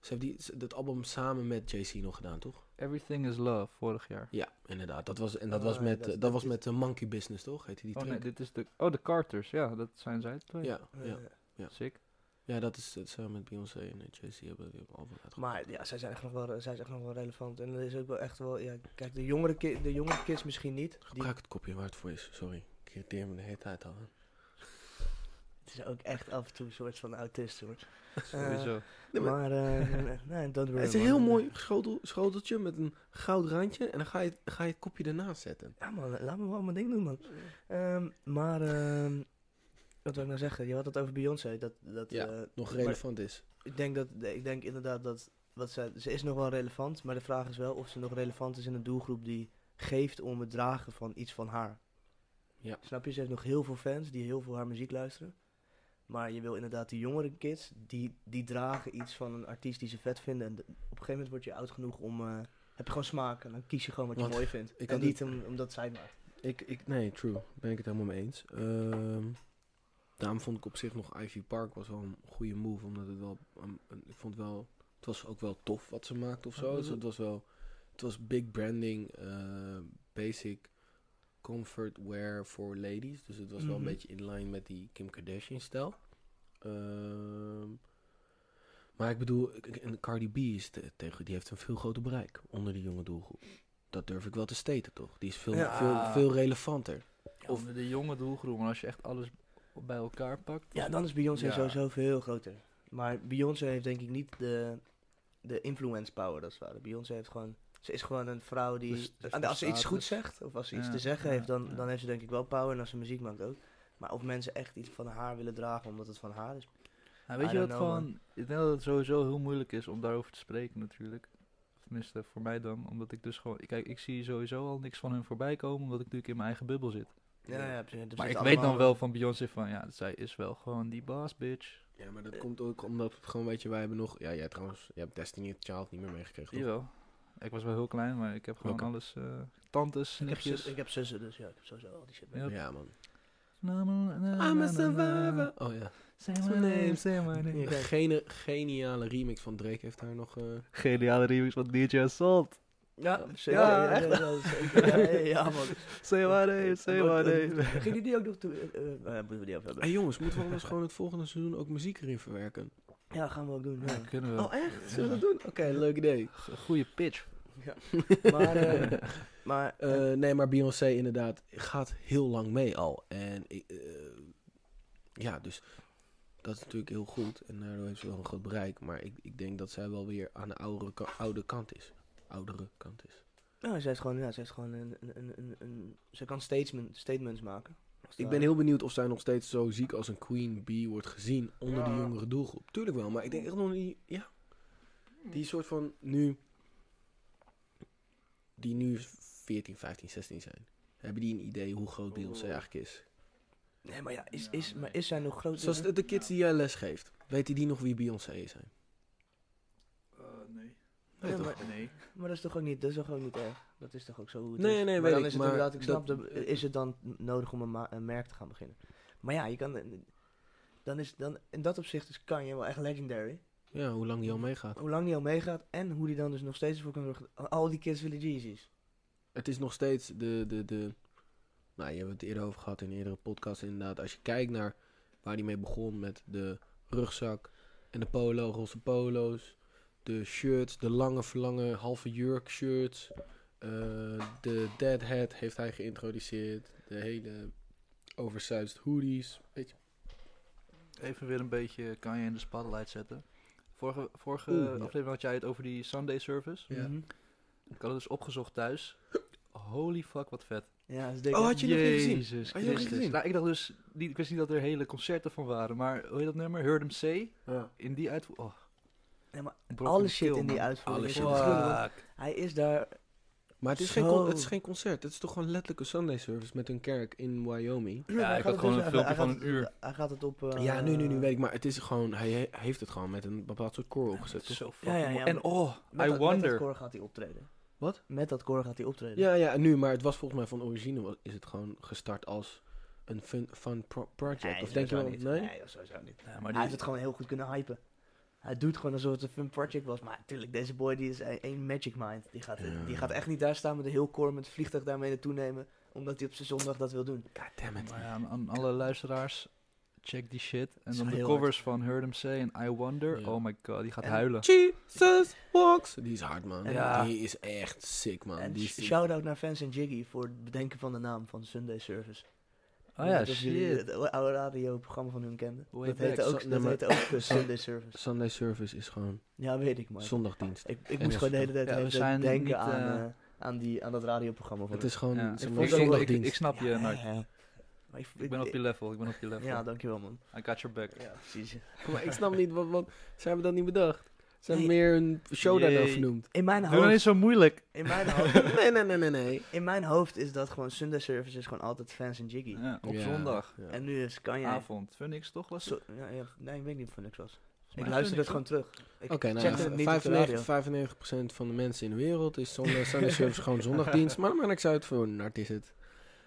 Ze heeft die, ze- dat album samen met JC nog gedaan, toch? Everything is Love, vorig jaar. Ja, inderdaad. Dat was, en dat Ah, was met, dat- eh, dat dat was is- met eh, Monkey Business, toch? Heette die Oh nee, track? dit is de... Oh, de Carters. Ja, dat zijn zij twee. ja, ja. Eh, ja. Sick. ja, dat is het samen met Beyoncé en eh, JC hebben die album uitgebracht. Maar ja, zij zijn, echt nog wel, zij is echt nog wel relevant. En dat is ook wel echt wel... Ja, kijk, de jongere, ki- de jongere kids misschien niet. Die, Gebruik het kopje waar het voor is, sorry. Ik irriteer me de hele tijd al. hè. het is ook echt af en toe een soort van autist, hoor. Sowieso. Nee, maar- maar, eh nee, don't worry. het is een man. heel mooi schotel, schoteltje met een goud randje en dan ga je, ga je het kopje ernaast zetten. Ja man, laat me wel mijn ding doen man. Ehm, maar, ehm, wat wil ik nou zeggen? Je had het over Beyoncé. Dat, dat, Ja, eh, Nog maar relevant is. Ik denk, dat, ik denk inderdaad dat, wat ze, ze is nog wel relevant. Maar de vraag is wel of ze nog relevant is in een doelgroep die geeft om het dragen van iets van haar. Ja. Snap je? Ze heeft nog heel veel fans die heel veel haar muziek luisteren. Maar je wil inderdaad die jongere kids, die, die dragen iets van een artiest die ze vet vinden. En de- op een gegeven moment word je oud genoeg om, eh, heb je gewoon smaak. En dan kies je gewoon wat je Want mooi vindt. ik en had het- niet om- omdat zij maakt. Ik, ik, nee, true. Ben ik het helemaal mee eens. Ehm, daarom vond ik op zich nog Ivy Park was wel een goede move. Omdat het wel... een- een- ik vond wel... Het was ook wel tof wat ze maakte of zo. Mhm. Dus het was wel... Het was big branding, eh, basic comfort wear for ladies. Dus het was wel Mhm. een beetje in line met die Kim Kardashian-stijl. Ehm, maar ik bedoel, ik- ik- en Cardi B is te- tegen, die heeft een veel groter bereik onder de jonge doelgroep. Dat durf ik wel te staten, toch? Die is veel, Ja. veel, veel relevanter. Of de jonge doelgroep, maar als je echt alles bij elkaar pakt... Ja, dan is Beyoncé Ja. sowieso veel groter. Maar Beyoncé heeft denk ik niet de, de influence power, dat is waar. Beyoncé heeft gewoon... Ze is gewoon een vrouw die... Dus- dus en als ze de iets goed status. zegt, of als ze iets Ja, te zeggen ja, heeft, dan, ja. dan heeft ze denk ik wel power. En als ze muziek maakt ook. Maar of mensen echt iets van haar willen dragen omdat het van haar is... Nou, I weet je wat don't know, gewoon... Ik denk dat het sowieso heel moeilijk is om daarover te spreken natuurlijk. Tenminste, voor mij dan. Omdat ik dus gewoon... Kijk, ik zie sowieso al niks van hun voorbij komen, omdat ik natuurlijk in mijn eigen bubbel zit. Ja, ja, precies. Er zitten maar ik weet dan Dus allemaal- wel van Beyoncé van... Ja, zij is wel gewoon die boss, bitch. Ja, maar dat komt ook omdat het gewoon, weet je, wij hebben nog... Ja, jij trouwens, jij hebt Destiny Child niet meer meegekregen, toch? Jawel. Ik was wel heel klein, maar ik heb gewoon Oké. alles... eh, tantes, Ik heb, nichtjes... zus- ik heb zussen, dus ja, ik heb sowieso al die shit mee. Ja. Ja, man. Na, na, na, I'm na, a na, survivor. na. Oh ja. Say What's my my name? name, say my Een name. gene- geniale remix van Drake heeft daar nog... eh, Geniale remix van DJ Assault. Ja, zeker. Ja, Ja, echt? ja, zeker. Ja, ja, ja, man. Say my name, say my name. Ging die die ook nog toe... eh, eh, eh, moeten we die over hebben? hey, jongens, moeten we anders gewoon het volgende seizoen ook muziek erin verwerken? Ja, gaan we ook doen. Ja, Ja. kunnen we. Oh, echt? Zullen we Ja. dat doen? Oké, leuk idee. Go- Goeie pitch. Maar, eh, maar eh, Eh, nee, maar Beyoncé inderdaad gaat heel lang mee al. En ik, eh, ja, dus dat is natuurlijk heel goed. En daardoor heeft ze wel een groot bereik. Maar ik, ik denk dat zij wel weer aan de oudere, ka- oude kant is. Oudere kant is. nou, ze heeft gewoon, ja, ze heeft gewoon een, een, een, een, een- Ze kan statement, statements maken. Als Ik het ben ware. heel benieuwd of zij nog steeds zo ziek als een queen bee wordt gezien onder de Ja. jongere doelgroep. Tuurlijk wel, maar ik denk echt nog niet... Ja, die soort van nu... Die nu 14, 15, 16 zijn. Hebben die een idee hoe groot Beyoncé eigenlijk is? Nee, maar ja, is, Ja, is, maar is zij nog groot? Zoals de, de kids die jij les geeft, weten die nog wie Beyoncé zijn? Eh, nee. Nee, Ja, toch? maar- Nee. Maar dat is toch ook niet, dat is toch ook niet erg? Dat is toch ook zo hoe het Nee, is? nee, maar weet dan ik, is het maar inderdaad, ik snap, dat- dat, is het dan n- nodig om een, ma- een merk te gaan beginnen? Maar ja, je kan... eh, Dan is, dan, in dat opzicht is Kanye wel echt legendary. Ja, hoe lang die al meegaat. Hoe lang die al meegaat en hoe die dan dus nog steeds ervoor kan zorgen... Al die kids willen Jeezy's. Het is nog steeds de, de, de... Nou, je hebt het eerder over gehad in eerdere podcasts inderdaad. Als je kijkt naar waar die mee begon met de rugzak en de polo, roze polo's. De shirts, de lange, verlange, halve jurk shirts. eh, de dead hat heeft hij geïntroduceerd. De hele oversized hoodies. Weet je. Even weer een beetje kan je in de spotlight zetten. Vorige, vorige Oeh, ja. aflevering had jij het over die Sunday service. Ja. Mhm. Ik had het dus opgezocht thuis. Holy fuck, wat vet. Ja, dus denk Oh, ik- had je nog niet gezien? Jezus Had je nog niet Christus. gezien? Nou, ik dacht dus, die, ik wist niet dat er hele concerten van waren. Maar hoe heet dat nummer? Heard 'em Say? In die uitvoering. Oh, Ja, maar brokken alle en shit keel, in die man. uitvoering. Alle is shit. verschillend, want Fuck. Hij is daar Maar het is, Zo. geen con- het is geen concert. Het is toch gewoon letterlijk een Sunday service met een kerk in Wyoming. Ja, maar hij gaat ik had het gewoon dus- een hij- hij filmpje van gaat een het- uur. Hij gaat het op... eh, ja, nu, nu, nu weet ik. Maar het is gewoon, hij he- heeft het gewoon met een bepaald soort koor opgezet. toch? Zo fucking Ja, ja, ja, mooi. En maar- oh, Met, I dat- met dat wonder. koor gaat hij optreden. Wat? Met dat koor gaat hij optreden. Ja, ja, nu, maar het was volgens mij van origine wa- is het gewoon gestart als een fun, fun pro- project. Nee, of denk je wel? sowieso niet. Nee? nee dat sowieso niet. Ja, maar hij die, heeft het gewoon heel goed kunnen hypen. Hij doet gewoon alsof het een fun project was. Maar natuurlijk, deze boy die is e- één magic mind. Die gaat, Ja. die gaat echt niet daar staan met een heel koor met het vliegtuig daarmee naartoe nemen. Omdat hij op zijn zondag dat wil doen. God damn it. Maar Nou ja, aan, aan alle luisteraars, check die shit. En Is dan de heel covers van Heard 'em Say en I Wonder. Ja. Oh my god, die gaat En- huilen. Jesus walks. Die is hard, man. Ja. Die is echt sick, man. en Die is sh- shout-out naar Fans en Jiggy voor het bedenken van de naam van Sunday Service. Oh ja, Dat was jullie shit. Het oude radioprogramma van hun kenden. Way Dat back, heette ook, zo- dat nee, heette ook eh, Sunday Service. Sunday service is gewoon Ja, weet ik maar. zondagdienst. Ik, ik dat moest is- gewoon de hele tijd ja, we de hele tijd zijn denken niet, aan, eh, eh, aan, die, aan dat radioprogramma van Het is gewoon Ja. zeg Ik, maar, ik- ik, ik, zondagdienst. snap je, Nart. ja, ja. Maar ik, Ik ben op je level, ik ben op je level. Ja, dankjewel man. I got your back. Ja, precies. maar ik snap niet, wat, wat, ze hebben dat niet bedacht. Ze hebben Nee. meer een show daarna Jee. vernoemd. In mijn Doe dan hoofd, niet zo moeilijk. in mijn hoofd, Nee, nee, nee, nee, nee. in mijn hoofd is dat gewoon Sunday Service is gewoon altijd fans en Jiggy. Ja, op Ja. zondag, Ja. En nu is kan jij. avond. Phoenix toch? Was het? Zo- ja, ja, nee, ik weet niet of het niks was. Volgens Ik mij luister het Phoenix, gewoon terug. Ik Oké, check nou, het ja, niet op de 95, radio. 95% van de mensen in de wereld is zondag, Sunday Service gewoon zondagdienst. Maar dan maak ik ze uit voor Nart is het.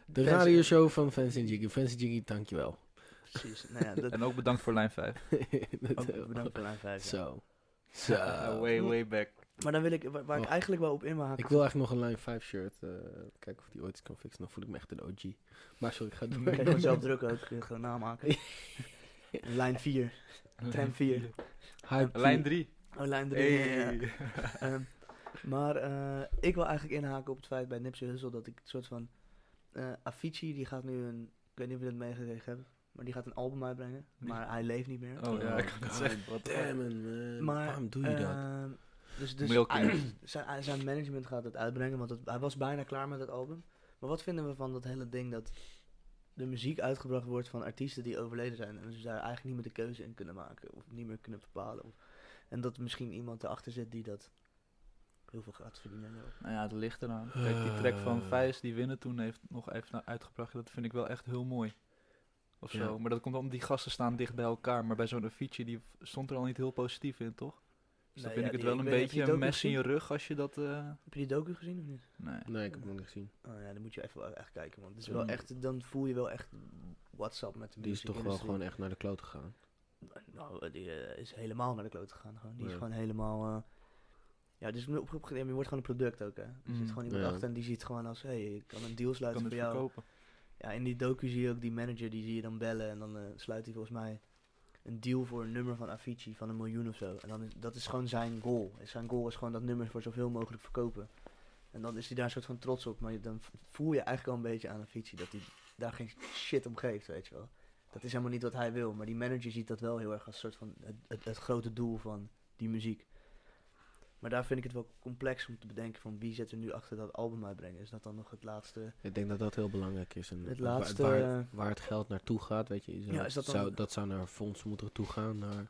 De Fancy- radioshow van Fancy Jiggy. Fancy Jiggy, dankjewel. Precies. Nou ja, toch? dat En ook bedankt voor lijn 5. Dat, eh, ook Oh, bedankt voor lijn 5. ja. Zo. Zo. way, way back. Maar dan wil ik, waar, waar ik Wacht. eigenlijk wel op in wil haken. Ik wil eigenlijk nog een lijn 5 shirt. eh, kijken of die ooit kan fixen. Dan voel ik me echt een OG. Maar sorry, ik ga door. Ik kreeg gewoon zelf druk ook. Ik gewoon namaken. lijn 4. Tram 4. Hype Lijn tea. 3. Oh, lijn 3. Hey. Oh Ehm, maar eh, ik wil eigenlijk inhaken op het feit bij Nipsey Hussle dat ik het soort van... eh Avicii die gaat nu een... Ik weet niet of jullie het meegekregen hebben. Maar die gaat een album uitbrengen. Maar hij leeft niet meer. Oh ja, Oh, ik kan het God zeggen. Wat Damn it, man. Maar, Waarom doe je dat? Ehm, dus dus Milk hij- Milk. zijn, zijn management gaat het uitbrengen. Want het- hij was bijna klaar met het album. Maar wat vinden we van dat hele ding dat de muziek uitgebracht wordt van artiesten die overleden zijn. En ze daar eigenlijk niet meer de keuze in kunnen maken. Of niet meer kunnen bepalen. Of- en dat misschien iemand erachter zit die dat heel veel gaat verdienen. Nou ja, het ligt eraan. Kijk, die track van Eh. Vijs die winnen toen heeft nog even na- uitgebracht. Dat vind ik wel echt heel mooi. Of Ja. zo. Maar dat komt omdat die gasten staan dicht bij elkaar. Maar bij zo'n Avicii, die stond er al niet heel positief in, toch? Dus dan Nee, vind ja, ik het die- wel een ik weet niet of je beetje het een ook mes in hebt je rug als je dat... eh, Heb je die docu gezien of niet? nee. Nee, ik heb hem nog niet gezien. Oh ja, dan moet je even wel echt kijken. Want het is Ja. wel echt, dan voel je wel echt WhatsApp met de Die is toch wel muziekindustrie. gewoon echt naar de kloot gegaan. Nou, die eh, is helemaal naar de kloot gegaan. Gewoon. Die is Ja. gewoon helemaal. eh, ja, dus op, op, je wordt gewoon een product ook, hè. Er Mm. zit gewoon iemand Ja. achter en die ziet gewoon als... Hé, hey, ik kan een deal Ik sluiten kan voor het jou. verkopen. Ja, in die docu zie je ook die manager, die zie je dan bellen. En dan eh, sluit hij volgens mij een deal voor een nummer van Avicii van een miljoen of zo. En dan is, dat is gewoon zijn goal. En Zijn goal is gewoon dat nummer voor zoveel mogelijk verkopen. En dan is hij daar een soort van trots op. Maar je- dan v- voel je eigenlijk al een beetje aan Avicii dat hij daar geen shit om geeft, weet je wel. Dat is helemaal niet wat hij wil. Maar die manager ziet dat wel heel erg als een soort van het, het, het grote doel van die muziek. Maar daar vind ik het wel complex om te bedenken van wie zit er nu achter dat album uitbrengen. Is dat dan nog het laatste Ik denk dat dat heel belangrijk is. En Het wa- wa- laatste, Waar, eh, waar het geld naartoe gaat, weet je. Is Ja, is dat dat, dan- zou, dat zou naar fondsen moeten toegaan. Naar,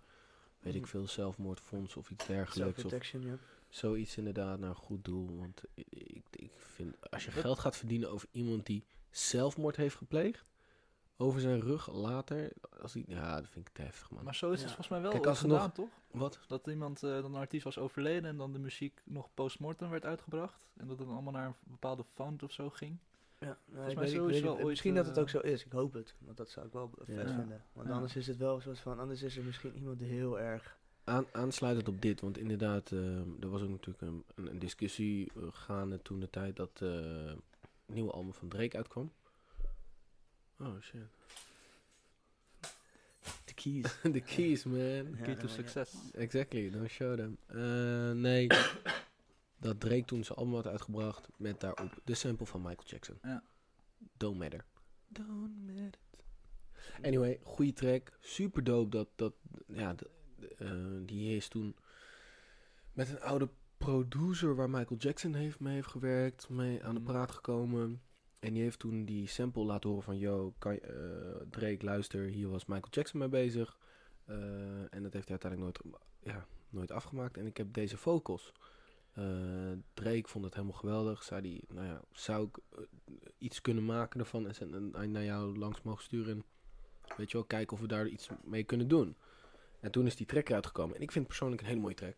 weet ik Mm. veel, zelfmoordfonds of iets dergelijks. Of self-protection, ja? zoiets inderdaad naar een goed doel. Want i- ik, ik vind, als je Dat- geld gaat verdienen over iemand die zelfmoord heeft gepleegd. Over zijn rug later. Als die, ja, dat vind ik te heftig, man. Maar zo is het Ja. volgens mij wel Kijk, ooit als er gedaan, nog- toch? Wat? Dat iemand, eh, dan een artiest was overleden en dan de muziek nog postmortem werd uitgebracht. En dat het dan allemaal naar een bepaalde fund of zo ging. Ja, nou, mij ik weet, zo ik is weet wel het- ooit, misschien dat het eh, ook zo is. Ik hoop het. Want dat zou ik wel vet Ja. vinden. Want Ja. anders is het wel een soort van... Anders is er misschien iemand die heel erg... Aan, aansluitend op dit, want inderdaad, ehm, er was ook natuurlijk een, een, een discussie eh, gaande toen de tijd dat eh, het nieuwe album van Drake uitkwam. Oh shit. De keys. The keys, man. Ja, Key dan to weet je- success. Exactly, don't show them. Eh, nee, dat Drake toen zijn album had uitgebracht met daarop de sample van Michael Jackson. Ja. Don't matter. Don't matter. Anyway, goede track. Super dope dat, dat ja, d- d- eh, die is toen met een oude producer waar Michael Jackson heeft mee heeft gewerkt, mee aan de Mhm. praat gekomen. En die heeft toen die sample laten horen van, yo, kan, je- eh, Drake, luister, hier was Michael Jackson mee bezig. Eh, en dat heeft hij uiteindelijk nooit, ja, nooit afgemaakt. En ik heb deze vocals. Eh, Drake vond het helemaal geweldig. Zei die, nou ja, zou ik eh, iets kunnen maken ervan en zend- en hij naar jou langs mogen sturen. En, weet je wel, kijken of we daar iets mee kunnen doen. En toen is die track uitgekomen. En ik vind het persoonlijk een hele mooie track.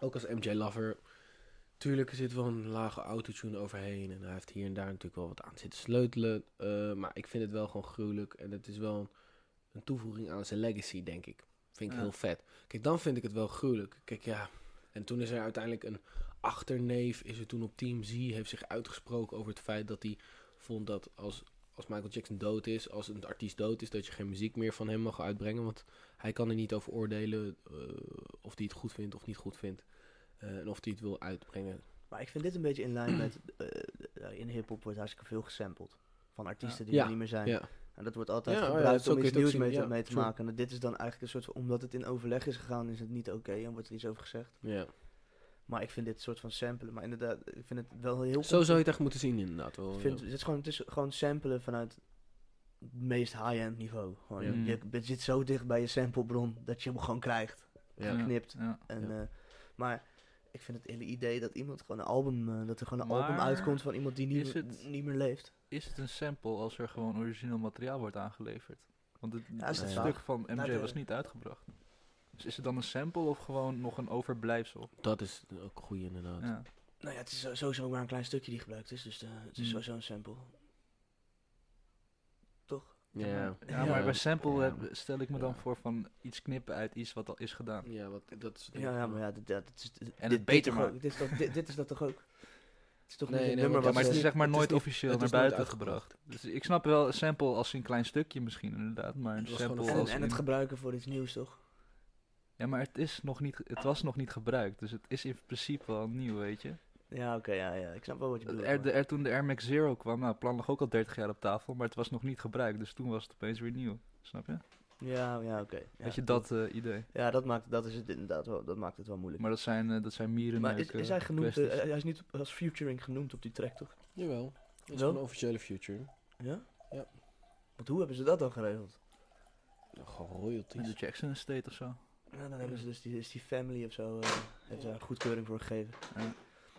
Ook als MJ Lover. Tuurlijk er zit wel een lage autotune overheen. En hij heeft hier en daar natuurlijk wel wat aan zitten sleutelen. Eh, maar ik vind het wel gewoon gruwelijk. En het is wel een, een toevoeging aan zijn legacy, denk ik. Vind ik Ja. heel vet. Kijk, dan vind ik het wel gruwelijk. Kijk, ja. En toen is er uiteindelijk een achterneef. Is er toen op Team Z. Heeft zich uitgesproken over het feit dat hij vond dat als, als Michael Jackson dood is. Als een artiest dood is. Dat je geen muziek meer van hem mag uitbrengen. Want hij kan er niet over oordelen eh, of hij het goed vindt of niet goed vindt. Eh, en of hij het wil uitbrengen. Maar ik vind dit een beetje in lijn met... eh, eh, in hiphop wordt hartstikke veel gesampled. Van artiesten die Ja. er niet meer zijn. Ja, En dat wordt altijd Ja, oh ja, gebruikt zo om kun je iets het ook nieuws zien, mee te, ja, mee te true. maken. En dit is dan eigenlijk een soort van... Omdat het in overleg is gegaan, is het niet oké. en wordt er iets over gezegd. ja. Maar ik vind dit soort van samplen... Maar inderdaad, ik vind het wel heel... Zo zou je het echt moeten zien inderdaad. Wel, Ik vind, ja. het, is gewoon, het is gewoon samplen vanuit het meest high-end niveau. Gewoon, Ja. Mm. je, je zit zo dicht bij je samplebron dat je hem gewoon krijgt. Ja. Geknipt. Ja. En, Ja. eh, maar ik vind het hele idee dat iemand gewoon een album, eh, dat er gewoon een album Maar uitkomt van iemand die niet, is meer- het- niet meer leeft. Is het een sample als er gewoon origineel materiaal wordt aangeleverd? Want het, dat is het de stuk vraag. van MJ Nou, de- was niet uitgebracht. Dus is het dan een sample of gewoon nog een overblijfsel? Dat is ook goed inderdaad. Ja. Nou ja, het is zo- sowieso maar een klein stukje die gebruikt is, dus eh, het is Hmm. sowieso een sample. Toch? Ja, ja. Ja, maar bij sample Ja. heb- stel ik me dan Ja. voor van iets knippen uit iets wat al is gedaan. Ja, wat, dat is... Ja, ja maar ja, dit, dat- dit is, dit, het dit beter toch maken. ook- dit, is toch- dit, dit is dat toch ook? Het is toch Nee, niet een nee, want- nummer wat Ja, maar het is ze- ze- zeg maar het is nooit niet- officieel het naar is nooit buiten uitgebracht. uitgebracht. Dus ik snap wel een sample als een klein stukje misschien inderdaad, maar een Het was gewoon sample een- en, als en het in- gebruiken voor iets nieuws, toch? Ja, maar het, is nog niet, het was nog niet gebruikt, dus het is in principe wel nieuw, weet je. Ja, oké, ja, ja. Ik eh, snap wel wat je bedoelt. Er, maar- de, er, toen de Air Max Zero kwam, nou, het plan lag ook al 30 jaar op tafel, maar het was nog niet gebruikt, dus toen was het opeens weer nieuw. Snap je? Ja, ja, oké. Ja, Weet je dat eh, idee? Ja, dat maakt, dat is het inderdaad wel, dat maakt het wel moeilijk. Maar dat zijn, eh, dat zijn mieren. Maar is, is hij genoemd, eh, hij is niet op- als featuring genoemd op die track, toch? Jawel. Dat is Wel? gewoon een officiële future. Ja? Ja. Want hoe hebben ze dat dan geregeld? Gewoon royalties. de Jackson Estate of zo? Nou, dan hebben ze dus die, is die family of zo, eh heeft daar goedkeuring voor gegeven. Ja.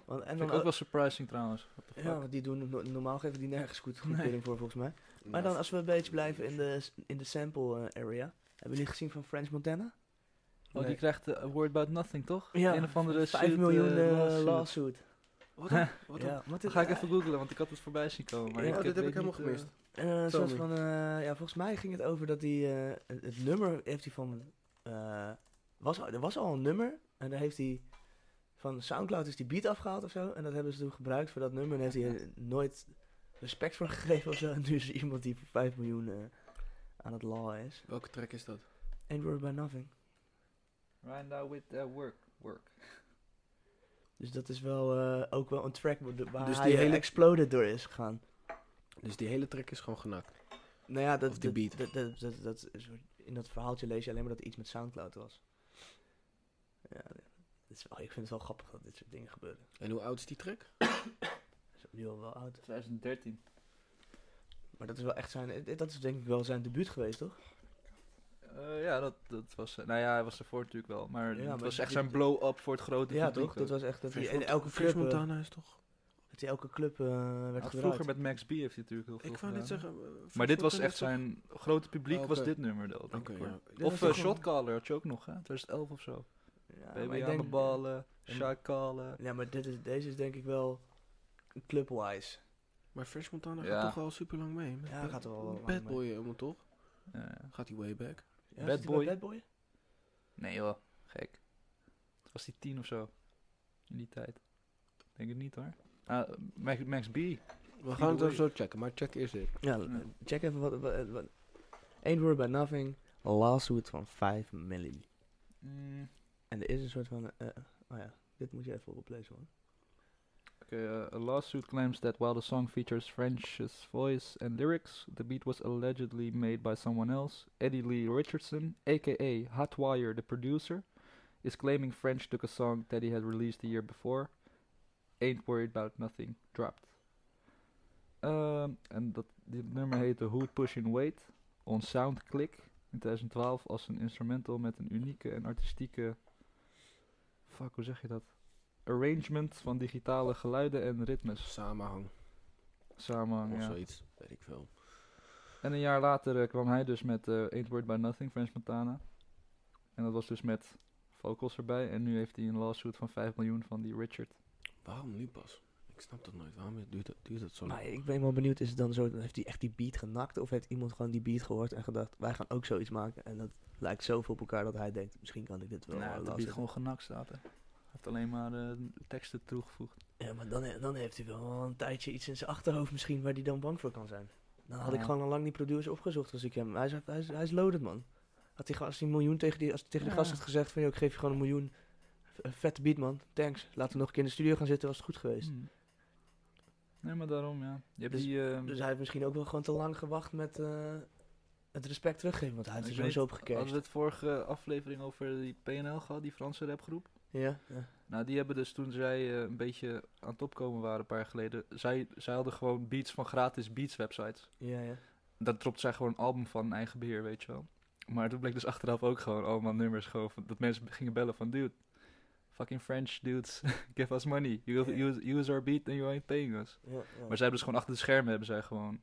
Want, en Vind dan, eh, ik ook wel surprising trouwens. What the fuck? ja, want die doen, no- normaal geven die nergens goed goedkeuring voor, volgens mij. Nou, Maar dan, als we een beetje blijven in de, s- in de sample eh, area. Hebben jullie gezien van French Montana? Oh, Nee. die krijgt de Award About Nothing, toch? Een of andere 5 suit, miljoen eh, eh, lawsuit. lawsuit. Wat dan? Wat dan? Ja, wat Dan is- ga ik eh, even googlen, want ik had het voorbij zien komen. Maar Ja, ik oh, dit heb weet ik helemaal niet, eh, gemist. En een Tell soort me. van, eh, ja, volgens mij ging het over dat hij, eh, het, het nummer heeft hij van, eh, was, al- er was al een nummer en daar heeft hij van Soundcloud is die beat afgehaald of zo en dat hebben ze toen gebruikt voor dat nummer en heeft hij er nooit respect voor gegeven of zo en nu is er iemand die voor 5 miljoen eh, aan het law is. Welke track is dat? And we're by nothing. Right now with eh, work, work. Dus dat is wel eh, ook wel een track wa- waar Dus die dus hij die hele- hele exploded door is gegaan. Dus die hele track is gewoon genakt. Nou ja, dat, Of die beat. Dat, dat, dat, dat is- in dat verhaaltje lees je alleen maar dat er iets met Soundcloud was. Ja, dit is wel, ik vind het wel grappig dat dit soort dingen gebeuren. En hoe oud is die track? Dat is nu al wel oud. 2013. Maar dat is wel echt zijn, eh, dat is denk ik wel zijn debuut geweest, toch? Eh, ja, dat, dat was... eh, nou ja, hij was ervoor natuurlijk wel. Maar Ja, het maar was die- echt zijn die- blow-up voor het grote ja, publiek toch? Dat ook. eh, was echt dat hij French in Mont- elke French club, eh, Montana is toch... dat hij elke club eh, werd Had gebruikt. vroeger met Max B heeft hij natuurlijk heel veel Ik wou net gedaan. zeggen... eh, French Maar dit was Montana echt is toch- zijn grote publiek, Oh, oké. was dit nummer dan. denk Oké, ik, hoor. ja. Dit was Of eh, toch gewoon- Shotcaller had je ook nog, hè? 2011 of zo. Ja, maar Baby ik aan de eh. denk- ballen, Ja. Shark callen. Ja, maar dit is, deze is denk ik wel clubwise. Maar Fresh Montana Ja. gaat toch al super lang mee? Met Ja, Bad- gaat er wel lang Bad mee. Boy helemaal toch? Ja, ja. Gaat hij way back? Ja, Bad zit hij bij Boy. Bad Boy? Nee joh, gek. Het was die tien of zo. In die tijd. Denk het niet hoor. Ah, Max, Max B. We gaan het zo checken, maar check eerst dit. Ja, Ja. check even wat... wat, wat- Ain't Worried About Nothing, lawsuit van 5 miljoen. Mm, En er is een soort van... eh oh ja, dit moet je even oplezen hoor. Okay, uh, a lawsuit claims that while the song features French's voice and lyrics, the beat was allegedly made by someone else. Eddie Lee Richardson, aka Hotwire, the producer, is claiming French took a song that he had released the year before, Ain't Worried About Nothing, dropped. Um, en dat, dit nummer heette Who Pushing Weight on Soundclick in 2012 als een instrumental met een unieke en artistieke... Fuck, hoe zeg je dat? arrangement van digitale geluiden en ritmes. Samenhang Samen, of ja. zoiets. Weet ik veel. En een jaar later eh, kwam hij dus met eh Ain't Word By Nothing, French Montana. En dat was dus met vocals erbij. En nu heeft hij een lawsuit van 5 miljoen van die Richard. Waarom nu pas? Ik snap dat nooit. Waarom duurt dat, duurt dat zo lang? Maar ik ben wel benieuwd, is het dan zo, heeft hij echt die beat genakt? Of heeft iemand gewoon die beat gehoord en gedacht, wij gaan ook zoiets maken? En dat lijkt zoveel op elkaar dat hij denkt, misschien kan ik dit Nou, wel. eh, laten zitten. genakt staat. Hij heeft alleen maar eh, teksten toegevoegd. Ja, maar dan, he- dan heeft hij wel een tijdje iets in zijn achterhoofd misschien waar hij dan bang voor kan zijn. Dan had ik Ja. gewoon al lang die producer opgezocht als ik hem... Hij is, hij is, hij is loaded, man. Had hij, gewoon- als hij een miljoen tegen die, als hij tegen die Ja. gast had gezegd van... Yo, ik geef je gewoon een miljoen. V- een Vette beat, man. Thanks. Laten we nog een keer in de studio gaan zitten, was het goed geweest. Hmm. Nee, maar daarom, ja. Je hebt Dus- die... ehm, Dus hij heeft misschien ook wel gewoon te lang gewacht met eh, het respect teruggeven. Want hij heeft ik er weet- sowieso op Hadden we gecashed. het vorige aflevering over die PNL gehad, die Franse rapgroep? Ja, ja. Nou, die hebben dus toen zij eh, een beetje aan het opkomen waren een paar jaar geleden, zij, zij hadden gewoon beats van gratis beats websites. Ja, ja. Daar dropte zij gewoon een album van in eigen beheer, weet je wel. Maar toen bleek dus achteraf ook gewoon allemaal nummers, gewoon van- dat mensen gingen bellen van, dude, fucking French dudes, give us money. You Ja. use, use our beat and you ain't paying us. ja, ja. Maar zij hebben dus gewoon achter de schermen, hebben zij gewoon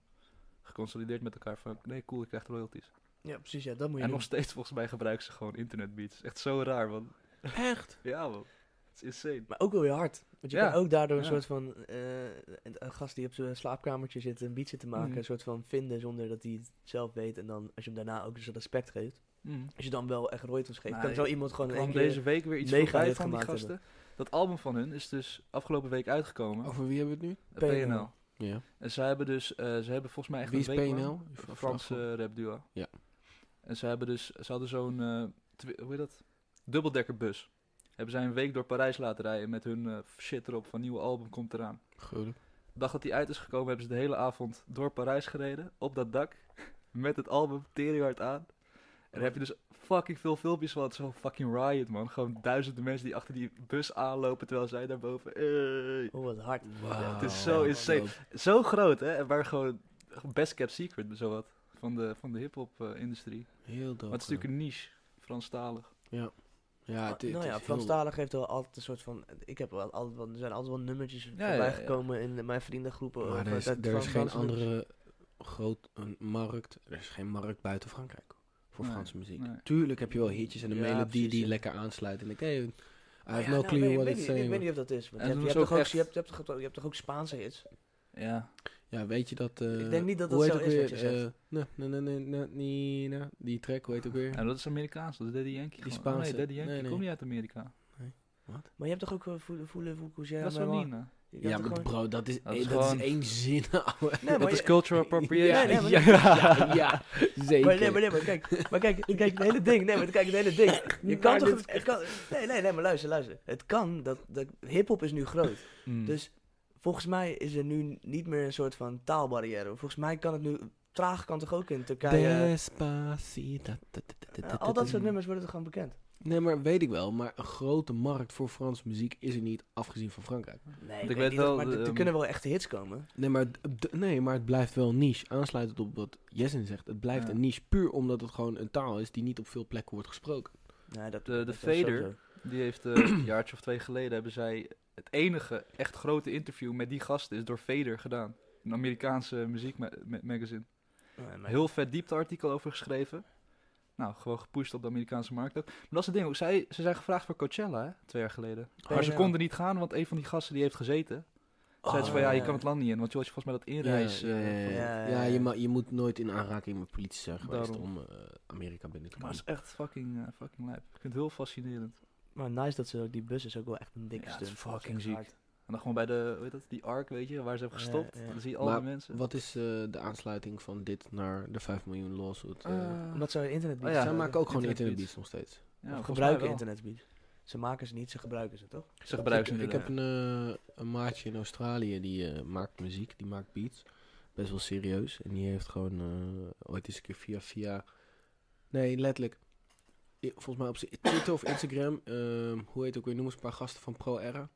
geconsolideerd met elkaar van, nee cool, ik krijg royalties. ja, precies. Ja, dat moet je En doen. nog steeds volgens mij gebruiken ze gewoon internetbeats. Echt zo raar, man. Echt? Ja, man. Het is insane. Maar ook wel weer hard. Want je Ja, kan ook daardoor een ja. soort van... eh, een een gast die op zijn slaapkamertje zit een beat zit te maken... Mhm. een soort van vinden zonder dat hij het zelf weet. En dan als je hem daarna ook dus respect geeft... Mm. als je dan wel echt royalties geeft... Nou, kan zo iemand gewoon in één kwam keer... deze week weer iets mega voorbij hit van die gemaakt gasten. Dat album van hun is dus afgelopen week uitgekomen. Over wie hebben we het eh, PNL. PNL. nu? Ja. En zij hebben dus, eh, ze hebben volgens mij echt Wie is een week lang- PNL? Een Franse rap duo. Ja. En ze hebben dus, ze hadden zo'n, eh, twi- hoe heet dat? Dubbeldekkerbus. Hebben zij een week door Parijs laten rijden met hun eh, shit erop van nieuwe album komt eraan. Geulen. De dag dat die uit is gekomen hebben ze de hele avond door Parijs gereden. Op dat dak. Met het album Teringhard aan. En daar heb je dus fucking veel filmpjes van. Het is Zo'n fucking riot man. Gewoon duizenden mensen die achter die bus aanlopen terwijl zij daarboven... eh, Hey. Oh, wat hard. Wauw. Het is zo insane. Zo groot hè. En waar gewoon best kept secret zowat. Van de, van de hiphop eh, industrie. Heel dood. Maar het is natuurlijk een niche. Franstalig. Ja, het, het nou ja, is Franstalig heeft wel altijd een soort van... Ik heb wel altijd wel, er zijn altijd wel nummertjes ja, voorbij ja. gekomen in mijn vriendengroepen. heel- of Maar er eh, uit is, er is Franstalige geen nummers. andere groot een markt. Er is geen markt buiten Frankrijk voor Nee, Franse muziek. nee. Tuurlijk heb je wel hitjes en een Ja, melodie precies, die ja. lekker aansluit. En ik, hey, I Ah, have ja, no nou, clue weet- what weet it's niet- Ik saying. weet niet of dat is. Want En je hebt- doen je ze hebt ook toch ook- echt- je hebt- je hebt toch ook- je hebt toch ook Spaanse hits? Ja. Ja, weet je dat... eh, Ik denk niet dat hoe dat heet zo ook is weer, wat je zegt. eh, na, na, na, na, na, ni- na, die track, hoe heet ook weer? En dat is Amerikaans. Dat is Daddy Yankee. Die gewoon. Oh, Spaanse- Nee, Daddy Yankee nee, nee. komt niet uit Amerika. Maar je hebt toch ook eh, Voelen, Voelen, Voelen, dat is wel Nina. Ja, maar bro, dat is, Dat eh, is dat is gewoon- één zin, ouwe. Nee, Dat maar is je- cultural appropriation. nee, maar- ja, ja, ja, zeker. Maar nee, maar nee, maar kijk, maar kijk, kijk, het hele ding, nee, maar kijk, het hele ding. Je kan Maar toch, dit het, kan, nee, nee, nee, maar luister, luister. Het kan, dat, dat hip-hop is nu groot. Mm. Dus volgens mij is er nu niet meer een soort van taalbarrière. Volgens mij kan het nu, traag kan toch ook in Turkije. Despacito. Ja, al dat soort nummers worden toch gewoon bekend. Nee, maar weet ik wel. Maar een grote markt voor Franse muziek is er niet, afgezien van Frankrijk. Nee, ik weet niet of- wel, maar de, er- er ehm, kunnen wel echte hits komen. Nee maar, d- d- nee, maar het blijft wel niche. Aansluitend op wat Jessen zegt. Het blijft Ja. een niche puur omdat het gewoon een taal is die niet op veel plekken wordt gesproken. Nee, dat, De- de dat is Vader. sowieso. Die heeft eh, een jaartje of twee geleden hebben zij het enige echt grote interview met die gasten is door Vader gedaan. Een Amerikaanse muziekmagazine. Nee, maar- Heel vet diepteartikel over geschreven. Nou, gewoon gepusht op de Amerikaanse markt ook. Maar dat is het ding. ook. Zij, ze zijn gevraagd voor Coachella, hè, twee jaar geleden. Maar ze PNL. konden niet gaan, want een van die gasten die heeft gezeten. Oh, Zeiden ze van, ja, Eh, je kan het land niet in. Want je was volgens mij dat inreis... ja, eh, ja, ja, van- ja. ja, Ja, ja. je, ma- je moet nooit in aanraking met politie zijn geweest Daarom. om eh, Amerika binnen te Maar komen. het is echt fucking, eh, fucking lijp. Ik vind het heel fascinerend. Maar nice dat ze ook die bus is ook wel echt een dikke Ja, het stunt. is fucking Dat is echt ziek. hard. En dan gewoon bij de, hoe heet dat, die ark, weet je, waar ze hebben Ja, gestopt. ja. Dan zie je al Maar die mensen. Wat is eh, de aansluiting van dit naar de 5 miljoen lawsuit? eh? Eh, Omdat ze internet Oh ja. Zij eh, maken ook gewoon internetbeats. internetbeats nog steeds. ja, Of volgens mij gebruiken wel. internetbeats. Ze maken ze niet, ze gebruiken ze toch? Ze gebruiken ze ik, ik inderdaad. heb een, eh, een maatje in Australië die eh, maakt muziek, die maakt beats. Best wel serieus. En die heeft gewoon eh, ooit eens een keer via via. Nee, letterlijk. I- Volgens mij op z'n Twitter of Instagram. ehm, hoe heet ook weer? Noem eens een paar gasten van Pro Era.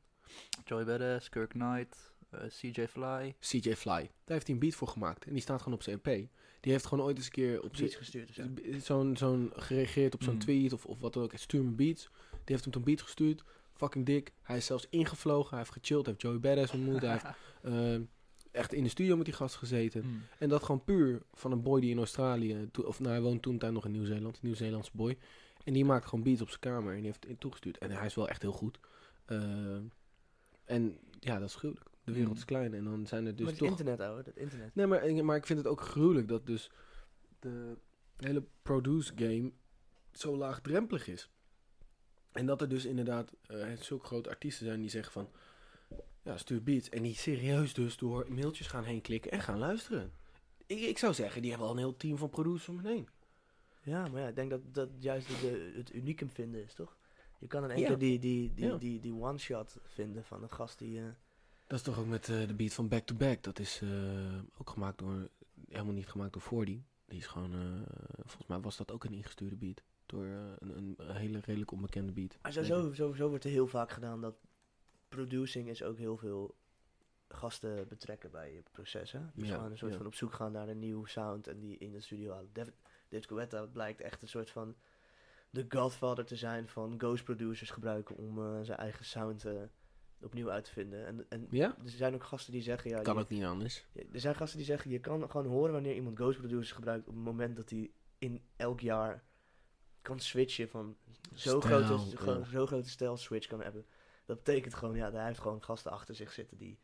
Joy Badass, Kirk Knight, eh, CJ Fly. CJ Fly. Daar heeft hij een beat voor gemaakt. En die staat gewoon op zijn EP. Die heeft gewoon ooit eens een keer op zijn Beats gestuurd. Dus ja. B- Zo'n zo'n gereageerd op zo'n Mm. tweet of, of wat dan ook. Stuur me beats. Die heeft hem toen beat gestuurd. Fucking dik. Hij is zelfs ingevlogen. Hij heeft gechilled. Hij heeft Joey Badass ontmoet. hij heeft eh, echt in de studio met die gast gezeten. Hmm. En dat gewoon puur van een boy die in Australië... toe- of nou, hij woont toen tijd nog in Nieuw-Zeeland. Een Nieuw-Zeelandse boy. En die maakt gewoon beats op zijn kamer. En die heeft het toegestuurd. En hij is wel echt heel goed. Eh, en ja, dat is gruwelijk. De wereld Mm. is klein. En dan zijn er dus maar het toch... internet, ouwe, dat internet. Nee, maar, ik- maar ik vind het ook gruwelijk dat dus de hele produce game zo laagdrempelig is. En dat er dus inderdaad eh, zulke grote artiesten zijn die zeggen van... Ja, stuur beats. En die serieus dus door mailtjes gaan heen klikken en gaan luisteren. Ik, ik zou zeggen, die hebben al een heel team van producers om hen heen. Ja, maar ja, ik denk dat dat juist de, het unicum vinden is, toch? Je kan in één Ja. keer die, die, die, Ja. die, die one-shot vinden van een gast die... eh, Dat is toch ook met eh, de beat van Back to Back. Dat is eh, ook gemaakt door... Helemaal niet gemaakt door Fordy. Die is gewoon... eh, volgens mij was dat ook een ingestuurde beat. Door eh, een, een hele redelijk onbekende beat. Maar zo, zo, zo, zo wordt er heel vaak gedaan dat producing is ook heel veel gasten betrekken bij je proces. Hè? Dus Ja, gewoon een soort ja. van op zoek gaan naar een nieuwe sound en die in de studio halen. David, David Guetta blijkt echt een soort van de godfather te zijn van ghost producers gebruiken om eh, zijn eigen sound eh, opnieuw uit te vinden. En, en Ja? er zijn ook gasten die zeggen, ja, Kan je- ook niet anders. ja, er zijn gasten die zeggen, je kan gewoon horen wanneer iemand Ghost Producers gebruikt op het moment dat hij in elk jaar kan switchen van zo'n Stijl, grote, ja. gewoon zo'n grote stijl switch kan hebben. Dat betekent gewoon, ja, hij heeft gewoon gasten achter zich zitten die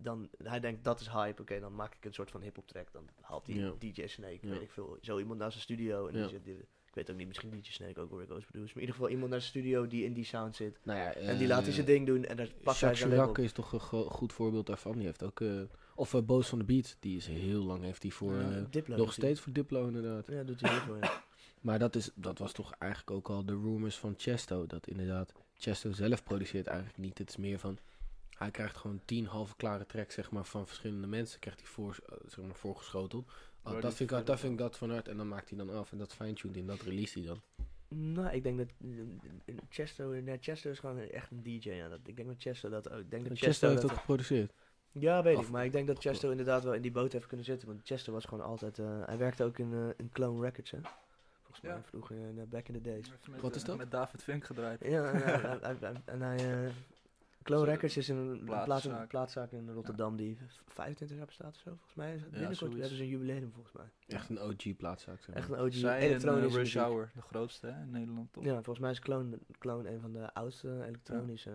dan, hij denkt dat is hype, oké, dan maak ik een soort van hip-hop track, dan haalt hij Ja. DJ Snake, Ja. weet ik veel, zo iemand naar zijn studio en Ja. die zit, die- ik weet ook niet, misschien DJ Snake ook hoor, Ghost Producers, maar in ieder geval iemand naar zijn studio die in die sound zit Nou ja, en die laat hij zijn ding doen en daar pakt hij Jacques zijn label Chirac is toch een go- goed voorbeeld daarvan. Die heeft ook... eh, of eh, Boos van de Beat. Die is heel lang heeft hij voor... Ja, eh, Diplo nog doet hij. steeds voor Diplo inderdaad. Ja, doet hij heel veel, ja. Maar dat, is, dat was toch eigenlijk ook al de rumors van Chesto. Dat inderdaad... Chesto zelf produceert eigenlijk niet. Het is meer van... Hij krijgt gewoon tien halve klare tracks zeg maar, van verschillende mensen. Krijgt hij voor, eh, zeg maar, voorgeschoteld. Oh, Waar dat, die vind ik, dat, verder- vind ik dat vanuit. En dan maakt hij dan af. En dat fine-tuned in. Dat release hij dan. Nou, ik denk dat eh, Chesto, nee, Chesto is gewoon echt een DJ. Ja. Dat, ik denk dat Chesto dat ook. Ik denk dat Chesto, Chesto, heeft dat, dat geproduceerd. ja, weet ik. Af- Maar ik denk dat Chesto inderdaad wel in die boot heeft kunnen zitten. Want Chesto was gewoon altijd. eh, hij werkte ook in, eh, in Clone Records, hè? Volgens mij Ja. vroeger eh, back in the days. Even met, Wat eh, is dat? Met David Funk gedraaid. Ja, en, hij- hij- hij- en hij. eh, Clone Zo'n Records is een, een plaats, een plaatszaak. plaatszaak in Rotterdam die v- 25 jaar bestaat of zo, volgens mij. Is het Binnenkort zoiets. hebben ze een jubileum, volgens mij. Echt een OG plaats zou ik zeggen. Echt een OG Zij en eh, elektronische Rush muziek. Hour, de grootste hè, in Nederland toch? Ja, volgens mij is Clone, Clone een van de oudste elektronische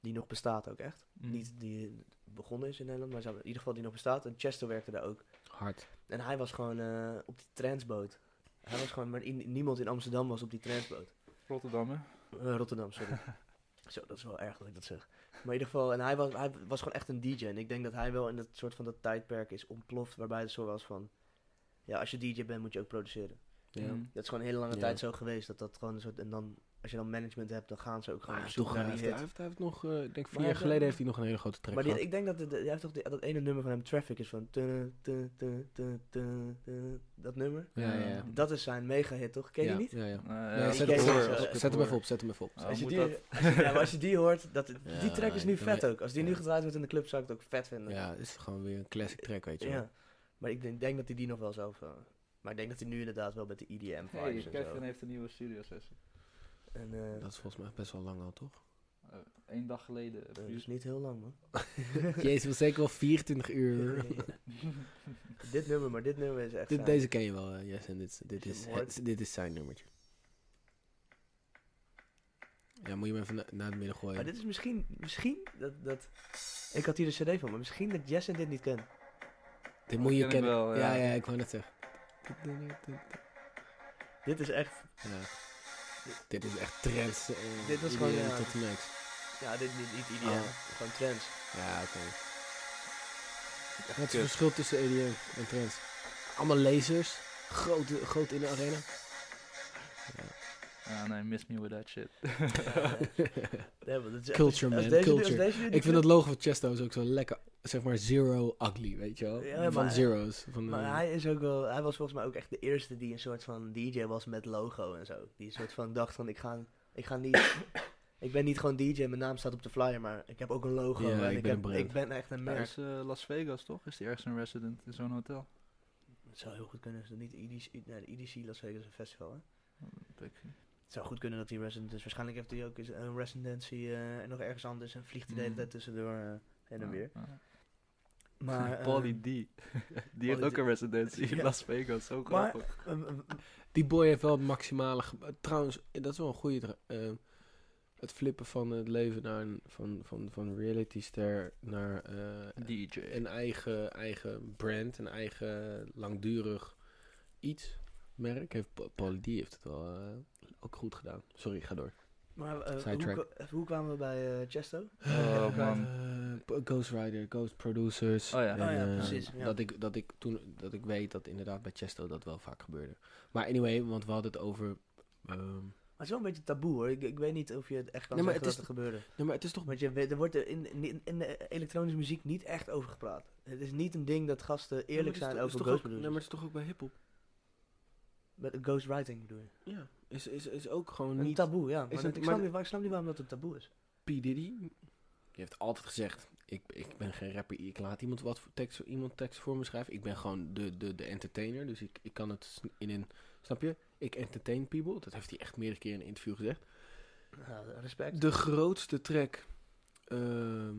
die nog bestaat ook echt. Mm. Niet die begonnen is in Nederland, maar ze hebben in ieder geval die nog bestaat. En Chester werkte daar ook. Hard. En hij was gewoon eh, op die transboot. Hij was gewoon, maar in- niemand in Amsterdam was op die transboot. Rotterdam hè? Eh, Rotterdam, sorry. Zo, dat is wel erg dat ik dat zeg. Maar in ieder geval, en hij was, hij was gewoon echt een DJ. En ik denk dat hij wel in dat soort van dat tijdperk is ontploft, waarbij het zo was van... Ja, als je DJ bent, moet je ook produceren. Ja. Mm. Dat is gewoon een hele lange Ja. tijd zo geweest. Dat dat gewoon een soort. En dan, als je dan management hebt, dan gaan ze ook gewoon Maar op hij, zoek heeft Ah, toch- hij naar die heeft- hit. hij heeft- hij heeft nog, eh, ik denk vier Maar jaar hij- geleden heeft hij nog een hele grote track Maar die, gehad. ik denk dat. het- Jij heeft toch die- dat ene nummer van hem, Traffic, is van. tu- tu- tu- tu- tu- tu- Dat nummer. ja, ja, ja. Mm. Dat is zijn mega-hit, toch? ehm, Ken je ja, die niet? Ja, ja. Eh, Nee, zet, ja, ik hem ken Ah, voor, ze, zet- eh, ik zet hem hoor. even op, zet hem even op. Ja, als, je moet die, dat- als, je, ja, maar als je die hoort, dat, die Ja, track is nu ik vet weet- ook. Als die nu ja. gedraaid wordt in de club, zou ik het ook vet vinden. Ja, is gewoon weer een classic track, weet je wel. Ja. Maar ik denk, denk dat hij die nog wel zelf. eh, maar ik denk dat hij nu inderdaad wel met de EDM vibes Hey, en zo. Kevin heeft een nieuwe studio sessie. En, eh, Dat is volgens mij best wel lang al, toch? Eén Eh, dag geleden. dat is dus- niet heel lang, man. Jezus, wel zeker wel 24 uur. dit nummer, maar dit nummer is echt. dit, zijn- deze ken je wel, eh, Jess, en dit, dit, Als is, je hem hoort. het- dit is zijn nummertje. Ja, moet je hem even na, naar het midden gooien. Maar Ah, dit is misschien, misschien dat, dat... Ik had hier de cd van, maar misschien dat Jesse dit niet kent. Dit moet je ken ik kennen. wel, ja. ja. ja, ik wou net zeggen. Dit is echt... Ja. Dit is echt trends. eh, Dit was gewoon, iedereen ja. tot de max. Ja, dit niet, niet IDM. Oh. Gewoon trends. Ja, oké. Wat is kut. het verschil tussen EDM en trends? Allemaal lasers. Groot, groot in de arena. Ah, nee, miss me with that shit. Nee, maar dat is echt- Culture, als man, deze nu- culture. als deze nu Ik niet vind het logo van Chesto's ook zo lekker. Zeg maar zero ugly, weet je wel? Ja, van maar- zeros. Van eh, de- Maar hij is ook wel, hij was volgens mij ook echt de eerste die een soort van DJ was met logo en zo. Die een soort van dacht van ik ga, ik ga niet, ik ben niet gewoon DJ, mijn naam staat op de flyer, maar ik heb ook een logo Ja, en ik ik, ben een heb, brand. ik ben echt een Hij merk. is eh, Las Vegas, toch? Is die ergens een resident in zo'n hotel? Het zou heel goed kunnen, is dat niet EDC, nee, de EDC Las Vegas een festival hè? Dat weet ik niet. Het zou goed kunnen dat hij resident is. Waarschijnlijk heeft hij ook eens een residentie eh, en nog ergens anders en vliegt hij de hele Mm. tijd tussendoor eh, heen en Ah, weer. ah. Maar, eh, Pauly D. die heeft ook D. een residentie in Ja. Las Vegas. Zo Maar- grappig. een- een- Die boy heeft wel het maximale... ge- eh, Trouwens, eh, dat is wel een goede... dra- eh, het flippen van het leven naar een, van, van, van reality ster naar eh, DJ. een eigen, eigen brand, een eigen langdurig iets, merk. Heeft, Pa- Pauly D heeft het wel eh, ook goed gedaan. Sorry, ga door. maar eh, hoe, Sidetrack. ko- hoe kwamen we bij eh Chesto? Oh, man. Eh, Ghost Rider, Ghost Producers. Oh ja. En, Oh ja, eh, precies, ja. Dat, ik, dat, ik toen, dat ik weet dat inderdaad bij Chesto dat wel vaak gebeurde. Maar anyway, want we hadden het over... ehm, Maar het is wel een beetje taboe hoor. Ik, ik weet niet of je het echt kan Nee, maar zeggen het dat er gebeurde. nee, maar het is toch... Want je, weet- er wordt er in, in, in de elektronische muziek niet echt over gepraat. Het is niet een ding dat gasten eerlijk Nee, maar het is zijn toch- is over toch ghost ook- Nee, maar het is toch ook bij hiphop? Met een ghostwriting bedoel je. Ja. Is, is, is ook gewoon Een niet... taboe, ja. Maar het- dat- ik, maar snap de- niet, waar- ik snap niet waarom dat een taboe is. P. Diddy, die heeft altijd gezegd, ik, ik ben geen rapper, ik laat iemand wat voor tekst, iemand tekst voor me schrijven. Ik ben gewoon de, de, de entertainer, dus ik, ik kan het sn- in een, snap je? Ik entertain people, dat heeft hij echt meerdere keer in een interview gezegd. Nou, respect. De grootste track, ehm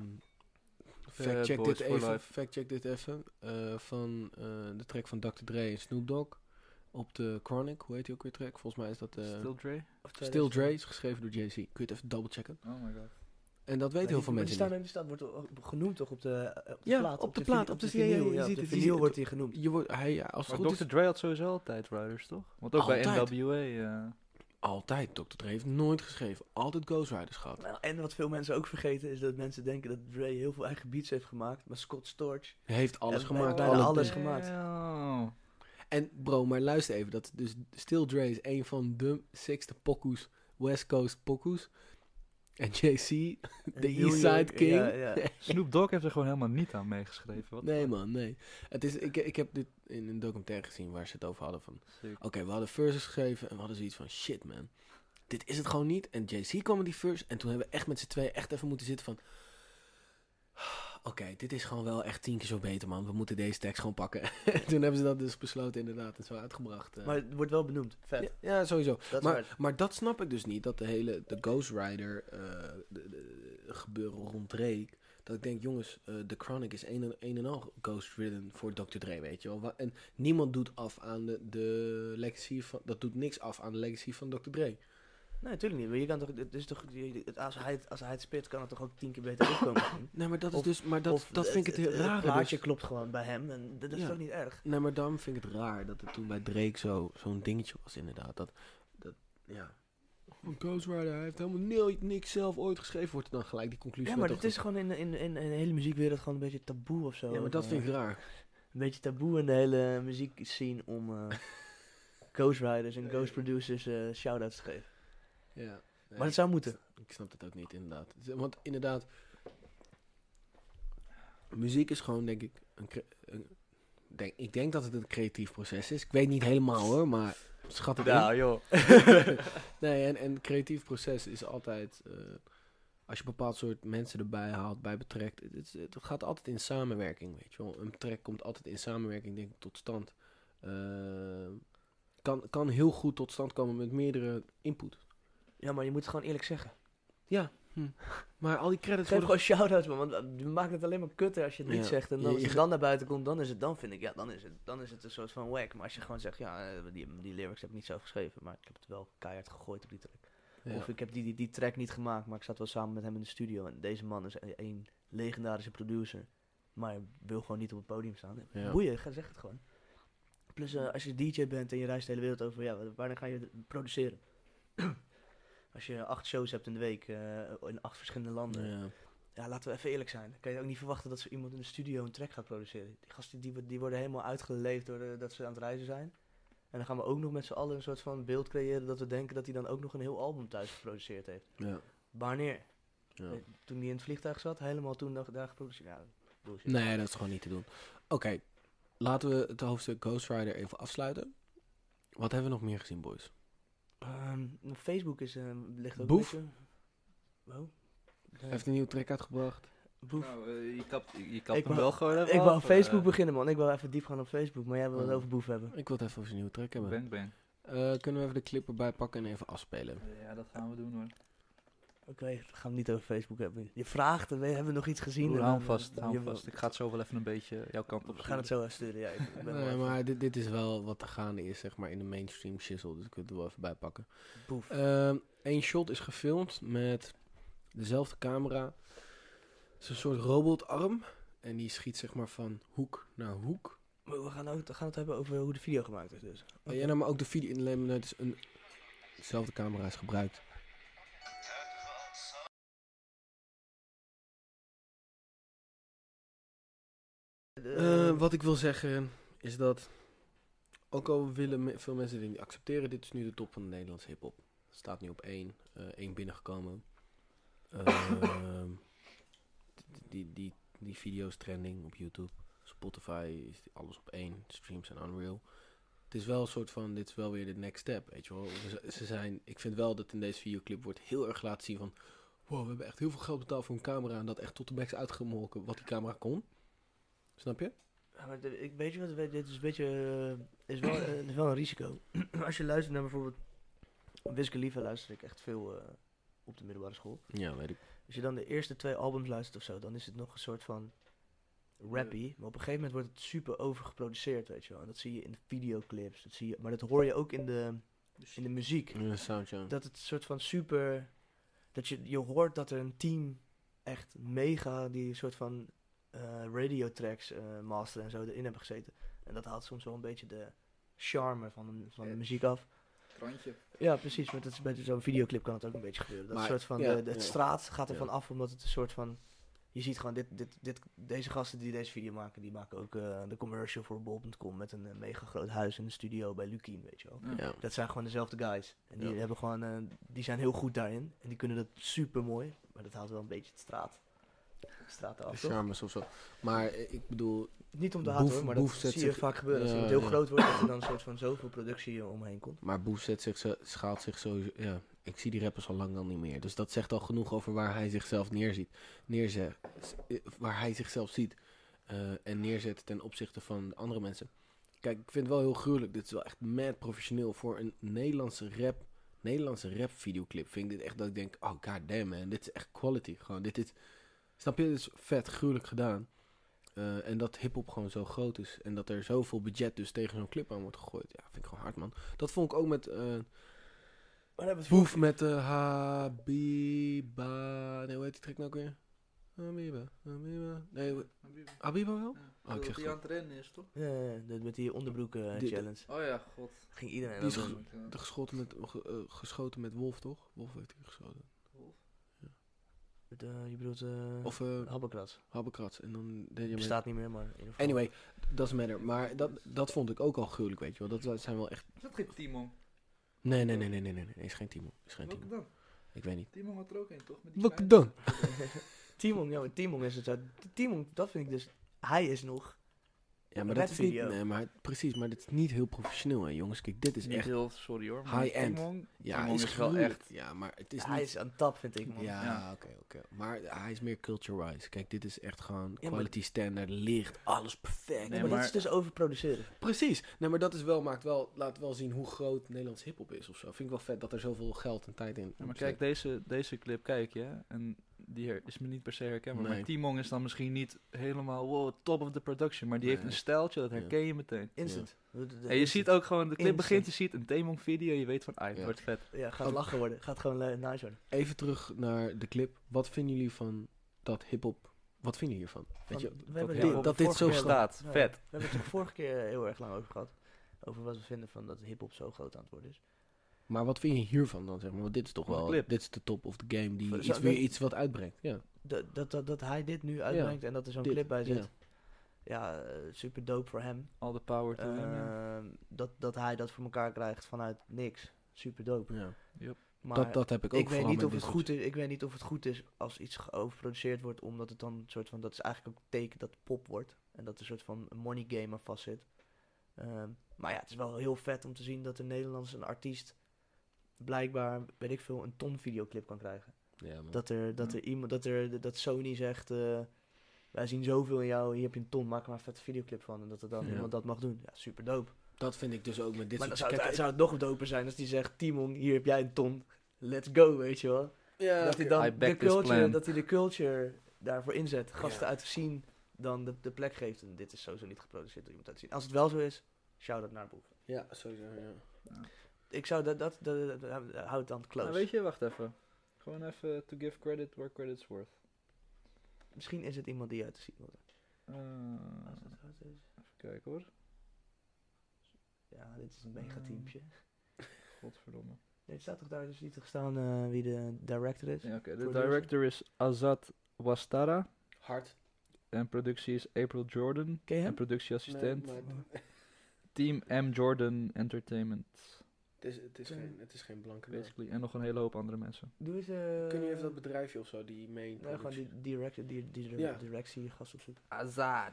fact, check Boys dit for even, Life. fact check dit even, eh, van eh, de track van Dr. Dre en Snoop Dogg. Op de Chronic, hoe heet die ook weer track? Volgens mij is dat eh, Still Dre? Of twee- Still Dre, is geschreven door Jay-Z. Kun je het even double checken? Oh my god. En dat weten Maar heel die- veel maar mensen Die niet. staat, die staat wordt ook genoemd toch op de, eh, op de Ja, plaat? op de plaat, op de- ja, ja, vinyl, je ja, op ziet de het, je vinyl ziet wordt hij genoemd. Je wordt, hij, ja, als het Maar goed Dr. is, Dre had sowieso altijd riders, toch? Want ook Altijd. bij NWA. eh, altijd. Dr. Dre heeft nooit geschreven. Altijd Ghost Riders gehad. Nou, en wat veel mensen ook vergeten is dat mensen denken dat Dre heel veel eigen beats heeft gemaakt. Maar Scott Storch, Hij heeft alles En gemaakt. bijna alle alles dingen. gemaakt. Damn. En bro, maar luister even. Dat, dus Still Dre is een van de sixte pokoes. West Coast pokoes. En JC. en De New East Side York- King. Ja, ja. Snoop Dogg heeft er gewoon helemaal niet aan meegeschreven. Wat Nee man, nee. Het is, ik, ik heb dit in een documentaire gezien waar ze het over hadden van... Oké, we hadden verses geschreven en we hadden zoiets van... Shit man, dit is het gewoon niet. En JC kwam met die verse en toen hebben we echt met z'n tweeën echt even moeten zitten van... Oké, dit is gewoon wel echt tien keer zo beter man. We moeten deze tekst gewoon pakken. toen hebben ze dat dus besloten inderdaad en zo uitgebracht. eh. Maar het wordt wel benoemd. Vet. ja, ja, sowieso. dat is Maar, maar dat snap ik dus niet. Dat de hele de Ghost Rider eh, de- de- de gebeuren rond Drake. Dat ik denk, jongens, eh The Chronic is een en, een en al Ghost Ridden voor Dr. Dre, weet je wel. Wa- En niemand doet af aan de, de legacy van... Dat doet niks af aan de legacy van Dr. Dre. Nee, natuurlijk niet. Maar je kan toch, het is toch, je- je- het- als, hij het, als hij het spit, kan het toch ook tien keer beter uitkomen. Nee, maar dat is Of- dus... Maar dat, Of dat vind ik het heel raar. dus- Het plaatje klopt gewoon bij hem en dat, Ja. dat is toch niet erg. Nee, maar daarom vind ik het raar dat het toen bij Drake zo, zo'n dingetje was, inderdaad. Dat, dat ja... Ghost Rider, hij heeft helemaal ni- niks zelf ooit geschreven. Wordt er dan gelijk die conclusie Ja, van maar toch het is gewoon in, in, in, in de hele muziekwereld gewoon een beetje taboe of zo. Ja, maar dat Of, vind eh, ik raar. Een beetje taboe in de hele muziekscene om eh, ghostwriters en ghost producers eh shout-outs te geven. Ja. Maar het zou moeten. Ik snap het ook niet, inderdaad. Z- Want inderdaad, muziek is gewoon, denk ik, een, cre- een- denk, ik denk dat het een creatief proces is. Ik weet niet helemaal hoor, maar schat het in. Nou joh. Nee, en, en creatief proces is altijd, eh, als je een bepaald soort mensen erbij haalt, bij betrekt, het, het, het gaat altijd in samenwerking, weet je wel. Een track komt altijd in samenwerking, denk ik, tot stand. Eh, kan, kan heel goed tot stand komen met meerdere input. Ja, maar je moet het gewoon eerlijk zeggen. Maar al die credits Geef worden gewoon shout-outs, man. Want eh, je maakt het alleen maar kutter als je het niet Ja. zegt. En Je- dan, als je het ge- dan naar buiten komt, dan is het dan, vind ik, ja, dan is het, dan is het een soort van whack. Maar als je gewoon zegt, ja, eh, die, die lyrics heb ik niet zelf geschreven, maar ik heb het wel keihard gegooid op die track. Ja. Of ik heb die, die, die track niet gemaakt, maar ik zat wel samen met hem in de studio. En deze man is een, een legendarische producer, maar wil gewoon niet op het podium staan. Ja. Boeien, ga- zeg het gewoon. Plus, eh, als je DJ bent en je reist de hele wereld over, ja, wa- wanneer ga je het produceren? Als je acht shows hebt in de week eh, in acht verschillende landen. Ja. Ja. laten we even eerlijk zijn. Dan kan je ook niet verwachten dat zo iemand in de studio een track gaat produceren. Die gasten die, wo- die worden helemaal uitgeleefd door eh, dat ze aan het reizen zijn. En dan gaan we ook nog met z'n allen een soort van beeld creëren dat we denken dat hij dan ook nog een heel album thuis geproduceerd heeft. Ja. Wanneer? ja. Eh, Toen hij in het vliegtuig zat, helemaal toen nog daar geproduceerd. Ja, bullshit. Nee, dat is gewoon niet te doen. Oké, laten we het hoofdstuk Ghost Rider even afsluiten. Wat hebben we nog meer gezien, boys? Ehm, Facebook is, eh, ligt ook Boef? een beetje... Wow. Nee. Hij heeft een nieuwe track uitgebracht. Boef. Nou, eh, je kapt, je kapt Ik hem wou- wel gewoon even Ik af, wou op eh, Facebook beginnen, man. Ik wou even diep gaan op Facebook, maar jij wil het Oh. over boef hebben. Ik wil het even over zijn nieuwe track hebben. Bang bang. Eh, kunnen we even de clip erbij pakken en even afspelen? Ja, dat gaan we doen hoor. Oké, we gaan het niet over Facebook hebben. Je vraagt, we hebben we nog iets gezien. Broer, En hou dan, hem vast, eh, hou hem je- vast. Ik ga het zo wel even een beetje jouw kant op We gaan het zo even sturen, ja. Ik ik ben wel Nee, even- maar dit, dit is wel wat er gaande is, zeg maar, in de mainstream shizzle. Dus ik wil het er wel even bij pakken. Boef. Eén shot is gefilmd met dezelfde camera. Het is een soort robotarm. En die schiet, zeg maar, van hoek naar hoek. Maar we gaan, ook, we gaan het hebben over hoe de video gemaakt is, dus. Oh, ja, nou, maar ook de video in Lemon, het is een... Dezelfde camera is gebruikt. Eh, Eh, wat ik wil zeggen is dat... Ook al willen me- veel mensen dit niet accepteren, dit is nu de top van de Nederlandse hiphop. Staat nu op één. eh één binnengekomen. Ehm, d- d- die, die, die video's trending op YouTube. Spotify is die- alles op één. Streams zijn unreal. Het is wel een soort van, dit is wel weer de next step, weet je wel. Ze- Ze zijn, ik vind wel dat in deze videoclip wordt heel erg laten zien van... Wow, we hebben echt heel veel geld betaald voor een camera en dat echt tot de max uitgemolken wat die camera kon. Snap je? Ja, maar de- ik, weet je wat, we- dit is een beetje, eh, is wel, eh, is wel een risico. Als je luistert naar bijvoorbeeld, Wiz Khalifa luister ik echt veel eh, op de middelbare school. Ja, weet ik. Als je dan de eerste twee albums luistert of zo, dan is het nog een soort van rappy. Maar op een gegeven moment wordt het super overgeproduceerd, weet je wel. En dat zie je in de videoclips, dat zie je, maar dat hoor je ook in de, Dus in de muziek. Ja, soundje. Dat het een soort van super, dat je, je hoort dat er een team echt mega die soort van eh radio tracks eh masteren en zo erin hebben gezeten. En dat haalt soms wel een beetje de charme van de, van de Ja. muziek af. Krantje. Ja, precies. Maar dat is bij zo'n videoclip kan het ook een beetje gebeuren. Dat Maar- soort van ja, de, de- het ja. straat gaat ervan Ja. af, omdat het een soort van... Je ziet gewoon, dit, dit, dit, deze gasten die deze video maken, die maken ook eh, de commercial voor bol.com met een eh, mega groot huis in de studio bij Lukien, weet je wel. Ja. Dat zijn gewoon dezelfde guys. En die, Ja. hebben gewoon, eh, die zijn heel goed daarin. En die kunnen dat super mooi. Maar dat haalt wel een beetje het straat. straat De af, toch? charmes of zo. Maar eh, ik bedoel, Niet om te Boef- haten hoor, maar Boef dat zet zie je zich- vaak gebeuren. Als Ja, iemand heel ja. groot wordt, dat er dan een soort van zoveel productie eh, omheen komt. maar Boef zet zich, zo- schaalt zich zo. Ja, ik zie die rappers al lang al niet meer. Dus dat zegt al genoeg over waar hij zichzelf neerziet. Neerzet, waar hij zichzelf ziet. eh, en neerzet ten opzichte van andere mensen. Kijk, ik vind het wel heel gruwelijk. Dit is wel echt mad professioneel voor een Nederlandse rap. Nederlandse rap videoclip. Vind ik dit echt dat ik denk, oh god damn man, dit is echt quality. Gewoon, dit is. Snap je, dit is vet gruwelijk gedaan. Eh, en dat hip-hop gewoon zo groot is. En dat er zoveel budget dus tegen zo'n clip aan wordt gegooid. Ja, vind ik gewoon hard, man. Dat vond ik ook met. eh, Maar hebben we het Boef met de Habiba. Nee, hoe heet die track nou ook weer? Habiba. Habiba. Nee, hoe- Habiba wel? Oh, ik zeg die het aan het rennen is, toch? Ja, ja, ja, dat met die onderbroeken eh, Dit- challenge. Oh ja, god. Ging iedereen Die is dat ge- doen. De geschoten met, ge- eh, geschoten met Wolf, toch? Wolf heeft hij geschoten. Met, eh, je bedoelt eh Of eh Habbekrat. Habbekrats. En dan deed je met... Bestaat niet meer, maar in ieder geval. Anyway, doesn't matter. Maar dat, dat vond ik ook al gruwelijk, weet je wel. Dat zijn wel echt... Is dat geen Timon? Nee, nee, nee, nee, nee, nee. nee. Is geen Timo. Is geen Welke Timo. dan? Ik weet niet. Timon had er ook een, toch? Met die Wat kleine- dan? Timon, ja, maar Timon is het zo. Timon, dat vind ik dus. Hij is nog. Ja, maar dat is niet... Rapvideo. Nee, maar precies. Maar dit is niet heel professioneel, hè, jongens. Kijk, dit is Niet echt... heel, sorry hoor. maar High-end. Timon- Ja, Timon is, is wel gruwelijk. echt- Ja, maar het is niet... hij is aan tap, vind ik. Man. Ja, Ja. oké, oké. Maar hij is meer culture-wise. Kijk, dit is echt gewoon maar- quality standaard, licht, alles perfect. Nee, Nee, maar, dat maar- is dus overproduceren. Precies. Nee, maar dat is wel, maakt wel, laat wel zien hoe groot Nederlands hiphop is of zo. Vind ik wel vet dat er zoveel geld en tijd in Ja, maar kijk, deze, deze clip kijk je. En die her- is me niet per se herkenbaar. Nee. Maar Timon is dan misschien niet helemaal wow, top of the production. Maar die heeft Nee. een stijltje, dat Ja. herken je meteen. Instant. De- de- En je instant. ziet ook gewoon, de clip Instant. begint, je ziet een Timon video. Je weet van, ah, het Ja. wordt vet. Ja, gaat Oh. lachen worden. Gaat gewoon eh, nice worden. Even terug naar de clip. Wat vinden jullie van dat hiphop? Wat vinden jullie hiervan? Weet Want je, we hebben dit- het er dat dit vorige zo keer- staat. Ja, Vet. We hebben het er vorige keer heel erg lang over gehad. Over wat we vinden van dat hip-hop zo groot aan het worden is. Maar wat vind je hiervan dan, zeg maar? Want dit is toch Van de wel, clip. dit is de top of the game die Van- iets, zo- weer dat- iets wat uitbrengt. Ja, Dat, dat, dat, dat hij dit nu uitbrengt en dat er zo'n dit, clip bij zit. ja. Ja, eh, super dope voor hem. All the power to him, ja. Nou, Ehm, dat, dat hij dat voor elkaar krijgt vanuit niks. Super dope. ja. Maar Dat, dat heb ik ook ik weet vooral niet met of het dit goed is. Ik weet niet of het goed is als iets geoverproduceerd wordt, omdat het dan een soort van dat is eigenlijk ook een teken dat het pop wordt en dat er een soort van money game aan vast zit. Ehm, maar ja, het is wel heel vet om te zien dat een Nederlandse een artiest blijkbaar, weet ik veel, een ton videoclip kan krijgen. soort- Ja, man. Dat er dat Ja. er iemand dat er dat Sony zegt. eh, wij zien zoveel in jou, hier heb je een ton, maak er maar een vette videoclip van. En dat er dan Ja. iemand dat mag doen. Ja, super dope. Dat vind ik dus ook met dit maar dan soort... zou het, kijk, zou het nog doper zijn als die zegt, Timon, hier heb jij een ton, let's go, weet je wel. ja, Dat hij oké. dan I de back this culture, plan. dat hij de culture daarvoor inzet. Gasten Ja. uit te zien dan de, de plek geeft. En dit is sowieso niet geproduceerd door iemand uit te zien. Als het wel zo is, shout-out naar Boef. Ja, sowieso, ja. Ik zou dat, dat, dat, dat- dat- hou het dan close. Nou, weet je, wacht even. Gewoon even to give credit where credit's worth. Misschien is het iemand die uit te zien wordt. Eh, Als het goed is. even kijken hoor. Ja, dit is een mega teampje. Godverdomme. Nee, het staat toch daar dus niet te staan eh, wie de director is? Ja, oké. De Producer. director is Azad Wastara. Hard. En productie is April Jordan. Ken je En hem? productieassistent. Nee, maar- Team M. Jordan Entertainment. Het is, het is, Eh. geen, het is geen blanke naam. Basically. En nog een hele hoop andere mensen. Doe eens... eh Kun je even dat bedrijfje of zo, die mee... Nee, gewoon die, director, die, die, die Ja. directie gast opzoeken. Azad.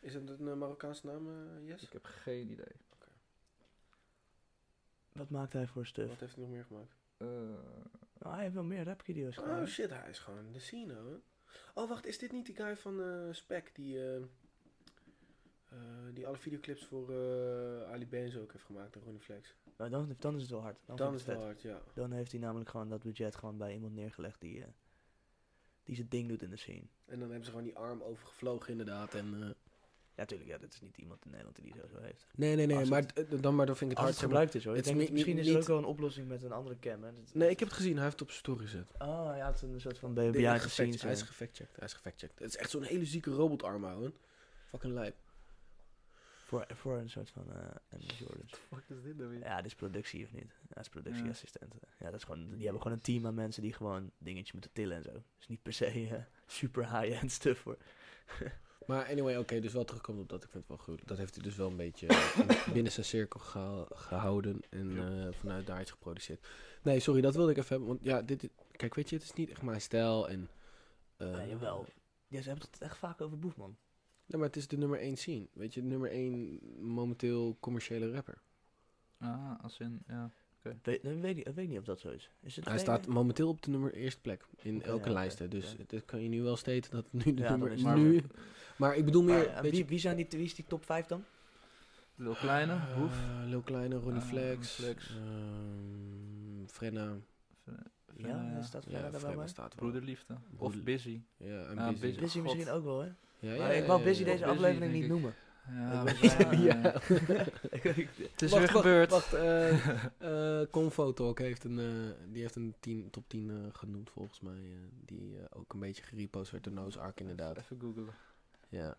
Is dat een eh, Marokkaanse naam, eh, Yes? Ik heb geen idee. Wat maakt hij voor stuff? Wat heeft hij nog meer gemaakt? Eh, Nou, hij heeft wel meer rapvideo's Oh gemaakt. shit, hij is gewoon de scene, hoor. Oh, wacht, is dit niet die guy van eh, Spec die, eh, eh, die alle videoclips voor eh, Ali B en zo ook heeft gemaakt en Ronnie Flex? Nou, dan, dan is het wel hard. Dan, Dan is vind ik het wel hard, ja. Dan heeft hij namelijk gewoon dat budget gewoon bij iemand neergelegd die, eh, die zijn ding doet in de scene. En dan hebben ze gewoon die arm overgevlogen, inderdaad. En, eh, Ja, tuurlijk. Ja, dat is niet iemand in Nederland die die zo heeft. nee, nee, nee, Als maar, het- d- dan, maar dan vind ik Als het hard. het zeg maar. gebruikt is hoor. Ik het is denk dat niet- misschien niet- is er ook niet- wel een oplossing met een andere cam. Hè. Dat- Nee, ik heb het gezien, hij heeft het op zijn story gezet. Oh ja, het is een soort van Nee, behind the gefact- scenes. Hij is eh. gefactcheckt, hij is gefactcheckt. Het is echt zo'n hele zieke robotarm, houden. Fucking lijp. Voor, voor een soort van eh Emma Jordan. Wat is dit nou weer? Ja, dit is productie of niet? Ja, het is Ja. productieassistenten. Ja, dat is gewoon, die hebben gewoon een team aan mensen die gewoon dingetjes moeten tillen en zo. Dus niet per se eh, super high-end stuff hoor. Maar anyway, oké, dus wel terugkomt op dat. Ik vind het wel goed. Dat heeft hij dus wel een beetje eh, binnen zijn cirkel geha- gehouden. En eh, vanuit daar iets geproduceerd. Nee, sorry, dat wilde ik even hebben. Want ja, dit, kijk, weet je, het is niet echt mijn stijl. En, eh, Ja, jawel. Ja, ze hebben het echt vaak over Boefman. Nee, maar het is de nummer 1 scene. Weet je, de nummer 1 momenteel commerciële rapper. Ah, als in, ja. Weet, nee, weet, niet- ik weet niet of dat zo is. is het Hij alleen- staat momenteel op de nummer eerste plek in Oké, elke ja, lijst. Hè. oké, Dus ja. dat kan je nu wel steeds dat het nu de Ja, nummer dan is. is het Nu. wel. Maar ik bedoel Maar, meer, eh, weet wie, je, wie, zijn die, wie is die top 5 dan? Lil Kleine, Hoef. eh, Lil Kleine, Ronnie Ah, Flex, Ronnie Flex. ehm, Frenna. Frenna, ja, ja. is staat Ja, verder wel Frenna bij. staat wel. Broederliefde. Broeder- Of Busy. Ja, en Ah, Busy. Busy. Busy God. misschien ook wel, hè? Ja, maar ik wou ja, Busy ja, deze ja. Busy, aflevering denk niet ik. noemen. Ja, weet we het zijn, niet. eh, Het is weer gebeurd. Wacht, eh eh Convo Talk heeft een, eh, die heeft een tien, top 10 eh, genoemd volgens mij. eh, die eh, ook een beetje gerepost werd door Noozark inderdaad. Even googlen. Ja.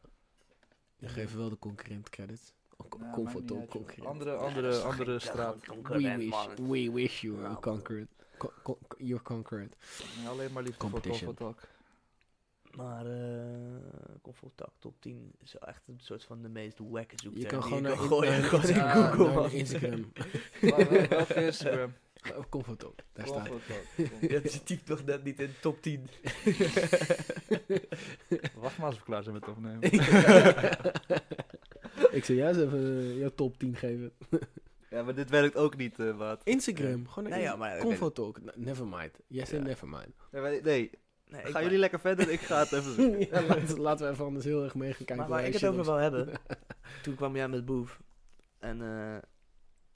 Die geven wel de concurrent credits. Ook Nou, maakt Convo niet Talk uit, joh. concurrent. Andere, andere, andere straat. We wish, we wish you Nou, were conquered. Co- co- you're conquered. Nee, alleen maar liefde voor Competition. Comfortalk. Maar eh Comfortak top 10 is wel echt een soort van de meest wacke zoekterm Je kan die gewoon je naar, in- gooien. naar gewoon in Insta- Ja, Google. naar man. Instagram. Welke Instagram? Eh, Convo Talk, daar staat het. Comfortalk. Ja, dus je typt toch net niet in top 10. Wacht maar als we klaar zijn met opnemen. Ik zou juist even eh, jouw top 10 geven. Ja, maar dit werkt ook niet, eh Waat. Instagram, gewoon Nee, naar ja, Instagram. maar, oké. Convo Talk, N- never mind. Jij zei Ja. never mind. Nee, maar- nee. Nee, ik gaan maar- jullie lekker verder. Ik ga het even zoeken. Ja, laten, laten we even anders heel erg mee gaan kijken. Maar waar hij ik het shit over op- wil hebben, toen kwam jij met Boef. En eh,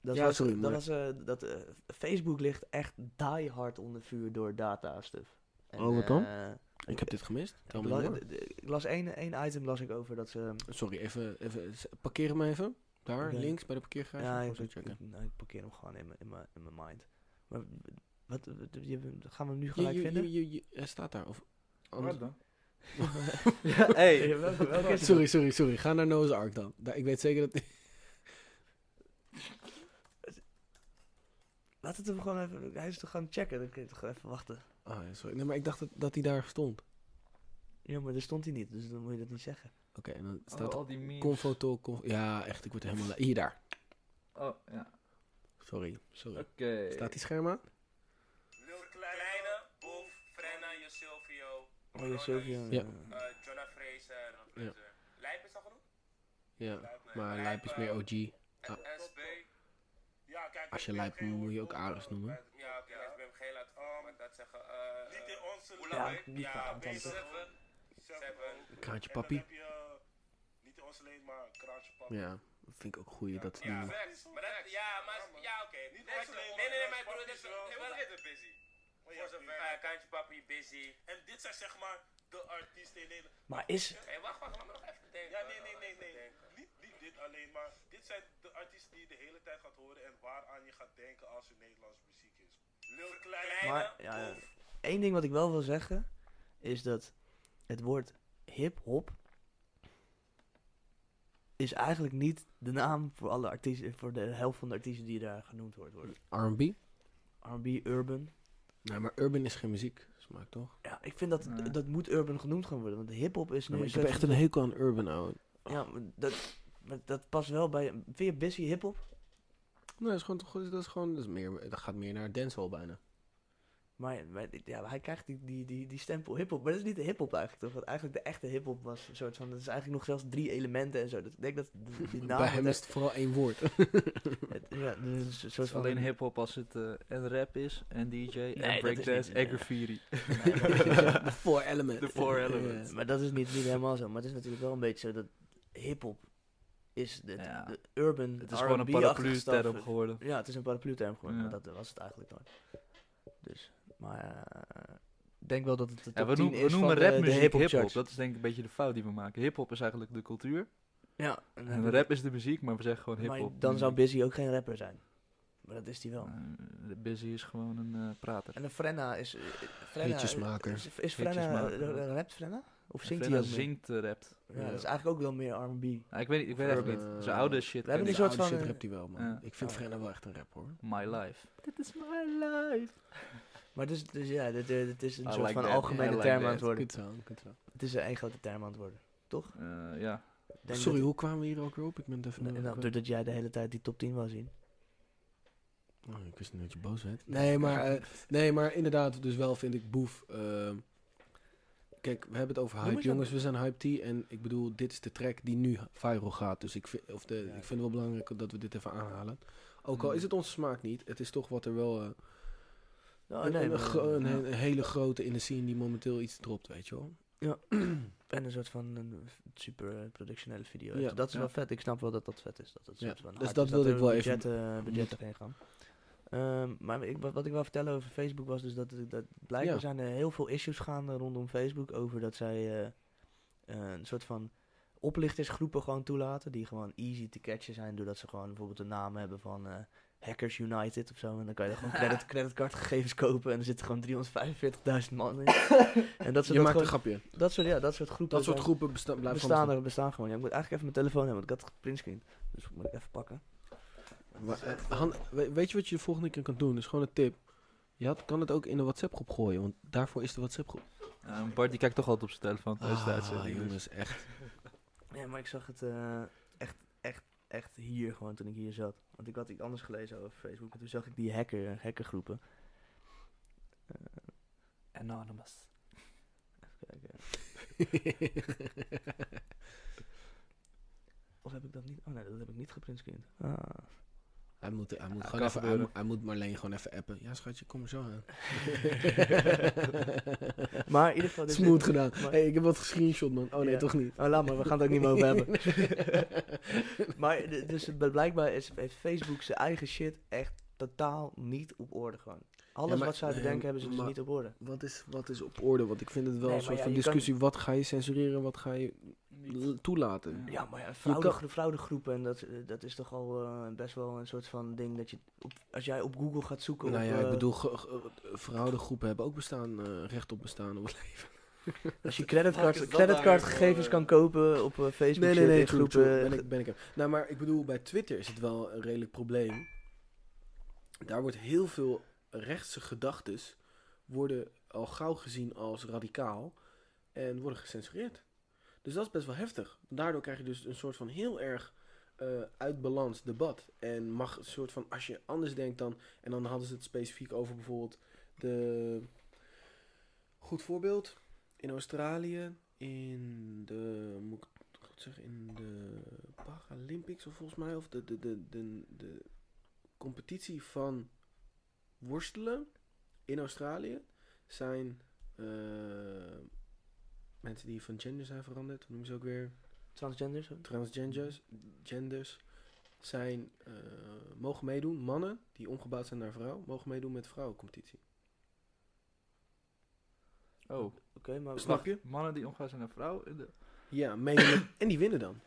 dat Ja, was, sorry, dat maar- was eh, dat eh, Facebook ligt echt die hard onder vuur door data stuff. En, Oh, wat dan? eh, Ik heb dit gemist. Tel ik, me las, door. d- d- ik las één, één item las ik over dat ze. Sorry, even, even s- parkeer hem even. Daar, Oké. links bij de parkeergarage. Ja, Gewoon ik, zo ik, checken. ik- nou, ik parkeer hem gewoon in mijn- in mijn in mijn mind. Maar wat, wat- je- gaan we hem nu Je- gelijk je- vinden? je- je- je- Hij staat daar. Of anders- dan? Ja, hey. Eh, welke- welke is het? Sorry, sorry, sorry. Ga naar Noah's Ark dan. Daar, ik weet zeker dat... Laat het hem gewoon even... Hij is toch gaan checken. Dan kun je toch even wachten. Ah, ja, sorry. Nee, maar ik dacht dat, dat hij daar stond. Ja, maar daar stond hij niet. Dus dan moet je dat niet zeggen. Oké, en dan Oh, staat al die memes. Confotol. Conf ja, echt, ik word er helemaal... Hier, daar. Oh, ja. Sorry, sorry. Oké. Staat die scherm aan? Lil Kleine, Boef, Frenna, Josilvio, Oh, je Sylvia. Ja. eh Jonah Fraser. Ja. Fraser. Lijp is al genoemd? Ja, Lijp, eh, nee. maar Lijp is meer OG. En SB. Ja, kijk, Als je Lijp noemt, moet je ook Ares noemen. Ja, oké, SBMG laat ik maar dat zeggen. eh niet in onze Ja, niet qua Ja, aantal, B7. toch? 7. Kraantje Papi. eh, Niet in onze leen, maar kraantje papi. Ja, dat vind ik ook goed. Dat is Ja, niet... facts. Maar dat, ja, maar, ja, oké. Niet Nee, nee, nee, nee, mijn broer, dat is wel... Nee, we zitten busy. Voor zover. Uh, Kantje papi, busy. En dit zijn zeg maar de artiesten in Nederland. Maar is... Hé, wacht, wacht, laat me nog even denken. Ja, nee, nee, nee, nee. Niet, niet dit alleen, maar dit zijn de artiesten die je de hele tijd gaat horen en waaraan je gaat denken als je Nederlandse muziek is. Lil Kleine, Maar, ja, ja. Eén ding wat ik wel wil zeggen, is dat het woord hip-hop is eigenlijk niet de naam voor alle artiesten, voor de helft van de artiesten die daar genoemd wordt- worden. R&B? R&B, urban. Nee, maar urban is geen muziek. Smaak toch? Ja, ik vind dat Nee. dat moet urban genoemd gaan worden, want hip-hop is nu. Nee, maar ik een heb echt soort een hekel aan urban, ouwe. van- Ja, maar dat, maar dat past wel bij. Vind je busy hip-hop? Nee, dat is gewoon, toch- dat is gewoon, dat is meer, dat gaat meer naar dancehall bijna. Maar, maar ja, hij krijgt die, die, die, die stempel hip-hop. Maar dat is niet de hip-hop eigenlijk toch? Want eigenlijk de echte hip-hop was een soort van. Dat is eigenlijk nog zelfs drie elementen en zo. Dat, ik denk dat die- die naam. Bij hem Nou, dat- is het vooral één woord. Het- Ja, dus een soort Het is van- alleen hip-hop als het eh, en rap is, en DJ, dat en is breakdance, niet- en nee. graffiti. De four element. The four element. Maar dat is niet, niet helemaal zo. Maar het is natuurlijk wel een beetje zo dat hip-hop is de, Ja. de urban. Het is gewoon een paraplu-term geworden. Ja, het is een paraplu-term geworden. Ja. Maar dat was het eigenlijk nooit. Dus, maar eh, ik denk wel dat het de Ja, top we 10 noemen, we is van noemen de- de rapmuziek hip-hop hip-hop. charts. Dat is denk ik een beetje de fout die we maken. Hip-hop is eigenlijk de cultuur. Ja, En rap is de muziek, maar we zeggen gewoon Maar hip-hop. dan zou muziek. Busy ook geen rapper zijn. Maar dat is hij wel. Eh, Busy is gewoon een eh, prater. En de Frenna is... eh, Frenna, Hitjesmaker. Is, is Frenna... Hitjesmaker. eh, Rapt Frenna? Of zingt Frenna hij ook meer? zingt eh, rapt. Ja, dus dat is eigenlijk ook wel meer R&B. Ja, ik weet, niet- ik weet echt Urban. niet. Zijn oude shit. We hebben ken een ik. soort oude van, shit eh, rapt hij wel, man. ja. Ik vind Oh. Frenna wel echt een rap, hoor. My life. Dit is my life. Maar dus, dus ja, dit, eh, dit is een I soort like van that, algemene I like term that. aan het worden. Kut zo, kut zo. Het is een één grote term aan het worden. Eh, ja. Ik denk Sorry, dat- hoe kwamen we hier ook weer op? Ik ben het even... Nee, nou, doordat jij de hele tijd die top 10 wil zien. Oh, ik wist niet dat je boos werd. Nee, maar, eh, nee, maar inderdaad, dus wel vind ik Boef... ehm, kijk, we hebben het over Noem hype, eens aan- jongens. We zijn Hype T en ik bedoel, dit is de track die nu viral gaat. Dus ik vind, of de, Ja, ik ik- vind het wel belangrijk dat we dit even aanhalen. Ook al Mm. is het onze smaak niet, het is toch wat er wel... eh, Nou, een, nee, een maar- gro- een, he- een hele grote in de scene die momenteel iets dropt, weet je wel. en een soort van een super eh, productionele video. Ja, Dus dat is ja. wel vet. Ik snap wel dat dat vet is. Dat het Ja, soort van dus hard dat is, wilde er ik wel even budgetten, eh, budgetten heen gaan. Ehm, maar ik, wat, wat ik wil vertellen over Facebook was dus dat, dat blijkbaar Ja. zijn er heel veel issues gaande rondom Facebook over dat zij eh, een soort van oplichtersgroepen gewoon toelaten die gewoon easy te catchen zijn doordat ze gewoon bijvoorbeeld een naam hebben van eh, Hackers United of zo en dan kan je daar gewoon credit, creditcardgegevens kopen en er zitten gewoon 345.000 man in. en dat ze Je dat maakt een gewoon- grapje. dat soort, ja, dat soort groepen. Dat soort zijn- groepen besta blijven gewoon bestaan er bestaan gewoon. Ja, ik moet eigenlijk even mijn telefoon hebben, want ik had printscreen. Dus moet ik even pakken. bestaan. Maar, eh, Han, we- weet je wat je de volgende keer kan doen? Dat is gewoon een tip. Je had, kan het ook in de WhatsApp-groep gooien, want daarvoor is de WhatsApp-groep. Eh, Bart die kijkt toch altijd op zijn telefoon tijdens de Ah, uitzending. dus- jongens, echt. Ja, maar ik zag het eh, echt, echt, echt hier gewoon toen ik hier zat. Want ik had iets anders gelezen over Facebook en toen zag ik die hacker, hackergroepen. Eh, Anonymous. Kijk, eh, of heb ik dat niet? Oh nee, dat heb ik niet geprintscreend. Ah. hij, moet, hij, moet Ja, gewoon kan even, hij, gebeuren. moet- hij moet Marleen gewoon even appen. Ja, schatje, kom er zo aan. Maar in ieder geval... dus Smooth dit- gedaan. maar- hey, ik heb wat gescreenshot, man. Oh nee, Ja. toch niet. Oh, laat maar, we gaan het ook niet meer over hebben. maar d- dus het- blijkbaar is, heeft Facebook zijn eigen shit echt totaal niet op orde gewoon. Alles Ja, maar- wat zij nee, bedenken hebben ze dus maar- niet op orde. Wat is, wat is op orde? Want ik vind het wel Nee, een maar soort ja, van je kan- discussie. Wat ga je censureren, wat ga je l- toelaten? Ja. Ja, maar ja, kan- fraude, gro- fraudegroepen, en dat, eh, dat is toch al eh, best wel een soort van ding dat je, op, als jij op Google gaat zoeken Nou op, ja, ik eh, bedoel, ge- ge- fraudegroepen hebben ook bestaan, eh, recht op bestaan. Op leven. als je Fuck, creditcard, is dat daar creditcardgegevens weer kan kopen op eh, Facebook, nee, groepen. eh, eh, Ben ik, ben ik er. Nou, maar ik bedoel, bij Twitter is het wel een redelijk probleem. daar wordt heel veel rechtse gedachtes worden al gauw gezien als radicaal en worden gecensureerd. Dus dat is best wel heftig. Daardoor krijg je dus een soort van heel erg eh uit balans debat. En mag een soort van, als je anders denkt dan... En dan hadden ze het specifiek over bijvoorbeeld de... Goed voorbeeld. In Australië, in de... Moet ik het goed zeggen? In de Paralympics of volgens mij. Of de, de, de, de, de competitie van worstelen in Australië zijn eh, mensen die van gender zijn veranderd. Hoe noemen ze ook weer? Transgenders? transgenders genders zijn, eh, mogen meedoen. Mannen die omgebouwd zijn naar vrouw, mogen meedoen met vrouwencompetitie. Oh, Oké, maar Snap je? mannen die omgaan zijn naar vrouw. eh, de- Ja, meedoen. met- en die winnen dan.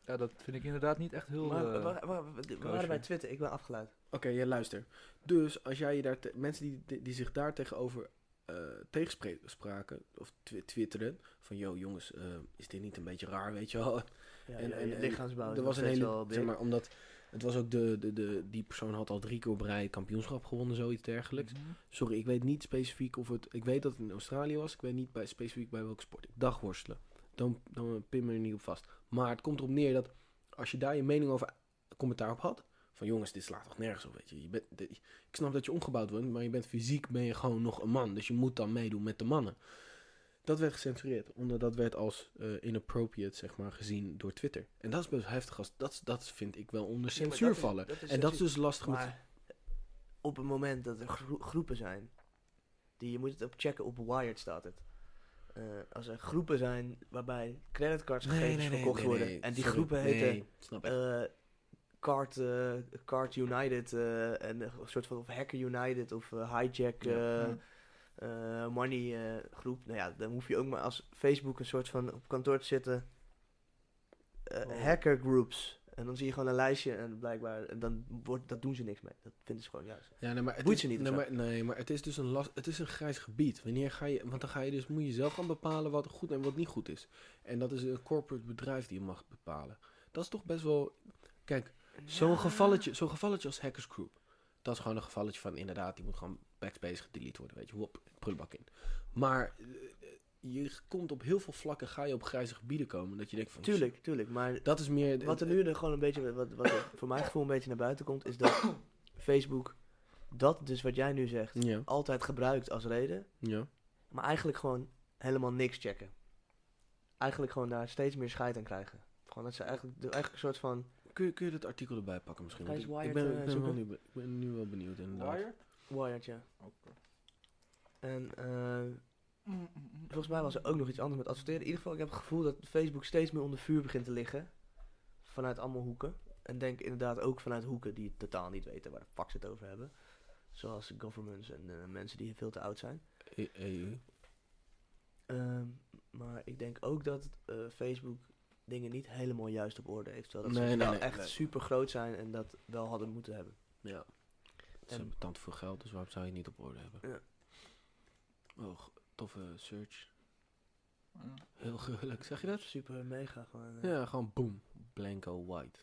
Oké, Ja, dat vind ik inderdaad niet echt heel... Maar, wa- eh, wa- wa- we koosje. waren bij Twitter, ik ben afgeleid. ja, luister. Dus als jij je daar... te- mensen die, die, die zich daar tegenover eh, tegenspraken of twi- twitteren... van, yo jongens, eh, is dit niet een beetje raar, weet je wel? Ja, En- ja, en- ja, en lichaamsbouw. Er is was nog een steeds hele, wel zeg maar, omdat het was ook de, de, de, die persoon had al drie keer op rij kampioenschap gewonnen, zoiets dergelijks. mhm. Sorry, ik weet niet specifiek of het, ik weet dat het in Australië was, ik weet niet bij, specifiek bij welke sport. Ik dacht worstelen, dan, dan eh, pin me er niet op vast. Maar het komt erop neer dat als je daar je mening over, commentaar op had, van jongens, dit slaat toch nergens op, weet je. je bent, dit- ik snap dat je omgebouwd wordt, maar je bent fysiek ben je gewoon nog een man, dus je moet dan meedoen met de mannen. Dat werd gecensureerd, omdat dat werd als eh, inappropriate, zeg maar, gezien door Twitter. En dat is best heftig, als, dat, dat vind ik wel onder Ja, maar censuur dat is- vallen. dat is en dat is censuur. dus lastig met Maar op het moment dat er gro- groepen zijn, die je moet het op checken, op Wired staat het. Eh, als er groepen zijn waarbij creditcards gegevens verkocht worden en die sorry, groepen nee, heten snap ik. eh, Card, eh, Card United eh, en een soort van of Hacker United of eh, Hijack eh, Hm. eh, Money eh, groep. Nou ja, dan hoef je ook maar als Facebook een soort van op kantoor te zitten. eh, Oh. Hacker groups. En dan zie je gewoon een lijstje en blijkbaar, en dan wordt, dat doen ze niks mee. Dat vinden ze gewoon juist. Ja, nee, maar het boeit is, je niet of Nee zo. maar, nee, maar het is dus een, last, het is een grijs gebied. Wanneer ga je, want dan ga je dus, moet je zelf gaan bepalen wat goed en wat niet goed is. En dat is een corporate bedrijf die je mag bepalen. Dat is toch best wel. Kijk, zo'n gevalletje, zo'n gevalletje als Hackers Group. Dat is gewoon een gevalletje van inderdaad, die moet gewoon backspace gedelete worden. Weet je, hop, prullenbak in. Maar eh, je komt op heel veel vlakken, ga je op grijze gebieden komen. Dat je denkt van. Tuurlijk, tuurlijk. Maar Dat is meer. eh, wat er nu er gewoon een beetje, wat, wat er voor mijn gevoel een beetje naar buiten komt, is dat Facebook dat dus wat jij nu zegt, Ja, altijd gebruikt als reden ja. Maar eigenlijk gewoon helemaal niks checken. Eigenlijk gewoon daar steeds meer scheid aan krijgen. Gewoon dat ze eigenlijk, de- eigenlijk een soort van... Kun je, kun je dat artikel erbij pakken misschien? Ga Want eens Ik, Wired, ik, ben, eh, ik, ben wel zoeken. nu, ik ben nu wel benieuwd inderdaad. Wired, ja. Oké. En eh, mm. volgens mij was er ook nog iets anders met adverteren. In ieder geval, ik heb het gevoel dat Facebook steeds meer onder vuur begint te liggen. Vanuit allemaal hoeken. En denk inderdaad ook vanuit hoeken die het totaal niet weten waar de fuck ze het over hebben. Zoals governments en eh, mensen die veel te oud zijn. E- EU. Ehm, maar ik denk ook dat eh, Facebook dingen niet helemaal juist op orde heeft. Terwijl dat Nee, ze dus nee, wel nee, echt nee. super groot zijn en dat wel hadden moeten hebben. Ja. Ze En- hebben tand voor geld, dus waarom zou je het niet op orde hebben? Ja. Oh, g- toffe search. Ja. Heel gelukkig, zeg je dat? Super mega gewoon. eh. Ja, gewoon boom. Blanco white.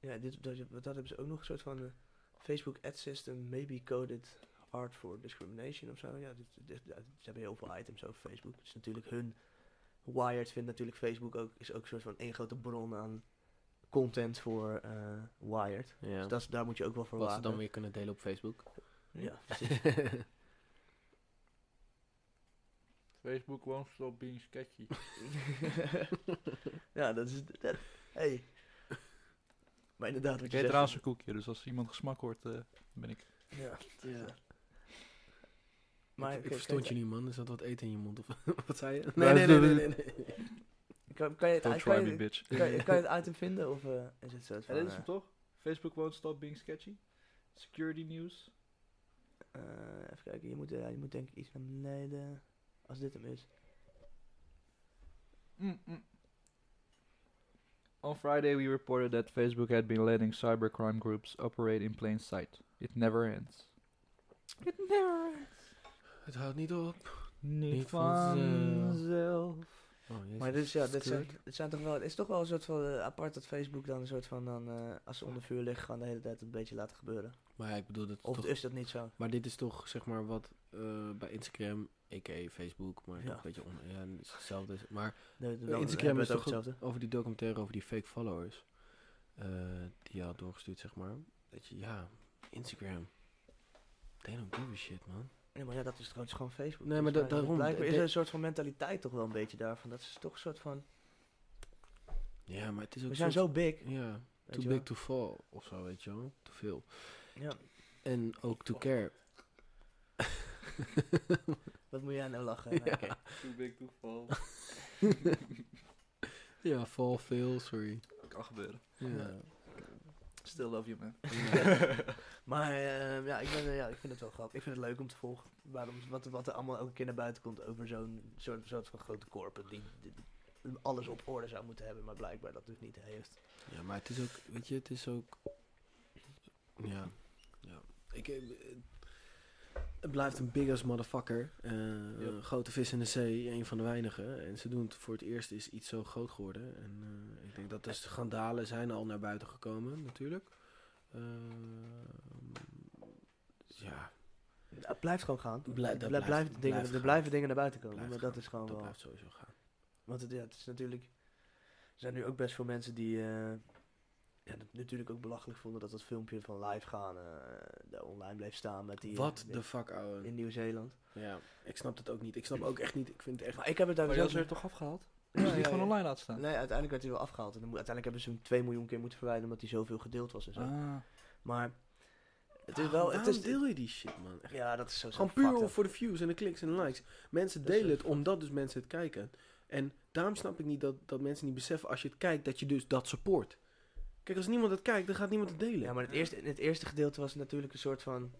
Ja, dit, dat, dat hebben ze ook nog een soort van eh, Facebook ad system maybe coded hard for discrimination of zo. Ja, dit, dit- ja, ze hebben heel veel items over Facebook. Het is natuurlijk hun. Wired vindt natuurlijk Facebook ook, is ook een soort van één grote bron aan content voor eh, Wired. Ja. Dus dat, is- daar moet je ook wel voor Wat ze waken. dan weer kunnen delen op Facebook. Ja, Facebook won't stop being sketchy. ja, dat is. Dat, hey. Maar inderdaad, wat ik je eet zegt. trouwens een koekje, dus als iemand gesmak hoort, eh, ben ik... Ja. ja. Maar ik, ik kijk, verstond kijk, je niet, man. Er zat wat eten in je mond. Of, wat zei je? Nee, nee, nee, nee, Kan, kan, je het, Don't kan, try je, me, bitch. kan je- kan je het item vinden? Of eh, is het zo? Ja, dit is hem toch? Facebook won't stop being sketchy. Security news. even kijken, je moet, eh, je moet denk ik iets naar beneden. Als dit hem is. Mm, On Friday, we reported that Facebook had been letting cybercrime groups operate in plain sight. It never ends. It never ends. Het houdt niet op. Niet vanzelf. vanzelf. Oh, jezus. Maar dit, is, ja, dit, zijn, Skirt. dit zijn toch wel, het is toch wel een soort van eh, apart dat Facebook dan een soort van, dan, eh, als ze onder vuur liggen, gaan de hele tijd een beetje laten gebeuren. Maar ja, ik bedoel, dat is Of toch- is dat niet zo? maar dit is toch zeg maar wat eh, bij Instagram, a.k.a. Facebook, maar Ja. een beetje on, ja, het is hetzelfde. Maar Nee, Eh, dan Instagram hebben we is het ook toch hetzelfde. over die documentaire over die fake followers. eh, die je had doorgestuurd, zeg maar. Dat je, ja, Instagram. They don't give a shit, man. Nee, maar ja, dat is trouwens gewoon Facebook. Nee, maar Volgens da- mij daarom- Blijkbaar is de- er een soort van mentaliteit toch wel een beetje daarvan. Dat is toch een soort van, Ja, maar het is ook we zijn soort- zo big. Ja, weet je too wel. big to fall of zo, weet je wel. Te veel. Ja. En ook to care. Wat moet jij nou lachen? Nou, oké. Too big to fall. Ja, fall, veel, sorry. Kan gebeuren. Ja. Still love you, man. Maar eh, ja, ik ben, eh, ja, ik vind het wel grappig. Ik vind het leuk om te volgen. Waarom, wat, wat er allemaal elke keer naar buiten komt over zo'n soort, soort van grote korpen die, die alles op orde zou moeten hebben, maar blijkbaar dat dus niet heeft. ja, maar het is ook, weet je, het is ook... Ja, ja. Ik, eh, het blijft een big ass motherfucker. eh, een Grote vis in de zee, een van de weinigen. En ze doen het voor het eerst is iets zo groot geworden. En eh, ik denk dat de schandalen zijn al naar buiten gekomen, natuurlijk. Eh, ja, Het Nou, blijft gewoon gaan. Blij- dat Er blij- blijft- blijven dingen, blijft er gaan. blijven dingen naar buiten komen, Blijft maar dat is gewoon dat wel... blijft sowieso gaan. Want het, ja, het is natuurlijk. Er zijn nu ook best veel mensen die. eh, ja, dat natuurlijk ook belachelijk vonden dat dat filmpje van live gaan. eh, daar online bleef staan met die. Wat eh, de fuck, ouwe. In Nieuw-Zeeland. Ja, ik snap het ook niet. Ik snap ook echt niet. Ik vind het echt... Maar ik heb het daar dus Maar zelf dat is Oh, er toch afgehaald? Ja, Dus die ja, gewoon ja. online laten staan. Nee, uiteindelijk werd hij wel afgehaald. En dan moet- uiteindelijk hebben ze hem 2 miljoen keer moeten verwijderen omdat hij zoveel gedeeld was en zo. Ah. Maar het is wel. Het Waarom is, deel je die shit, man? Echt. ja, dat is zo. Gewoon zo fucked puur up. voor de views en de kliks en de likes. Mensen Dat is delen zo. het omdat dus mensen het kijken. En daarom snap ik niet dat, dat mensen niet beseffen als je het kijkt dat je dus dat support. Kijk, als niemand het kijkt, dan gaat niemand het delen. Ja, maar het eerste, het eerste gedeelte was natuurlijk een soort van.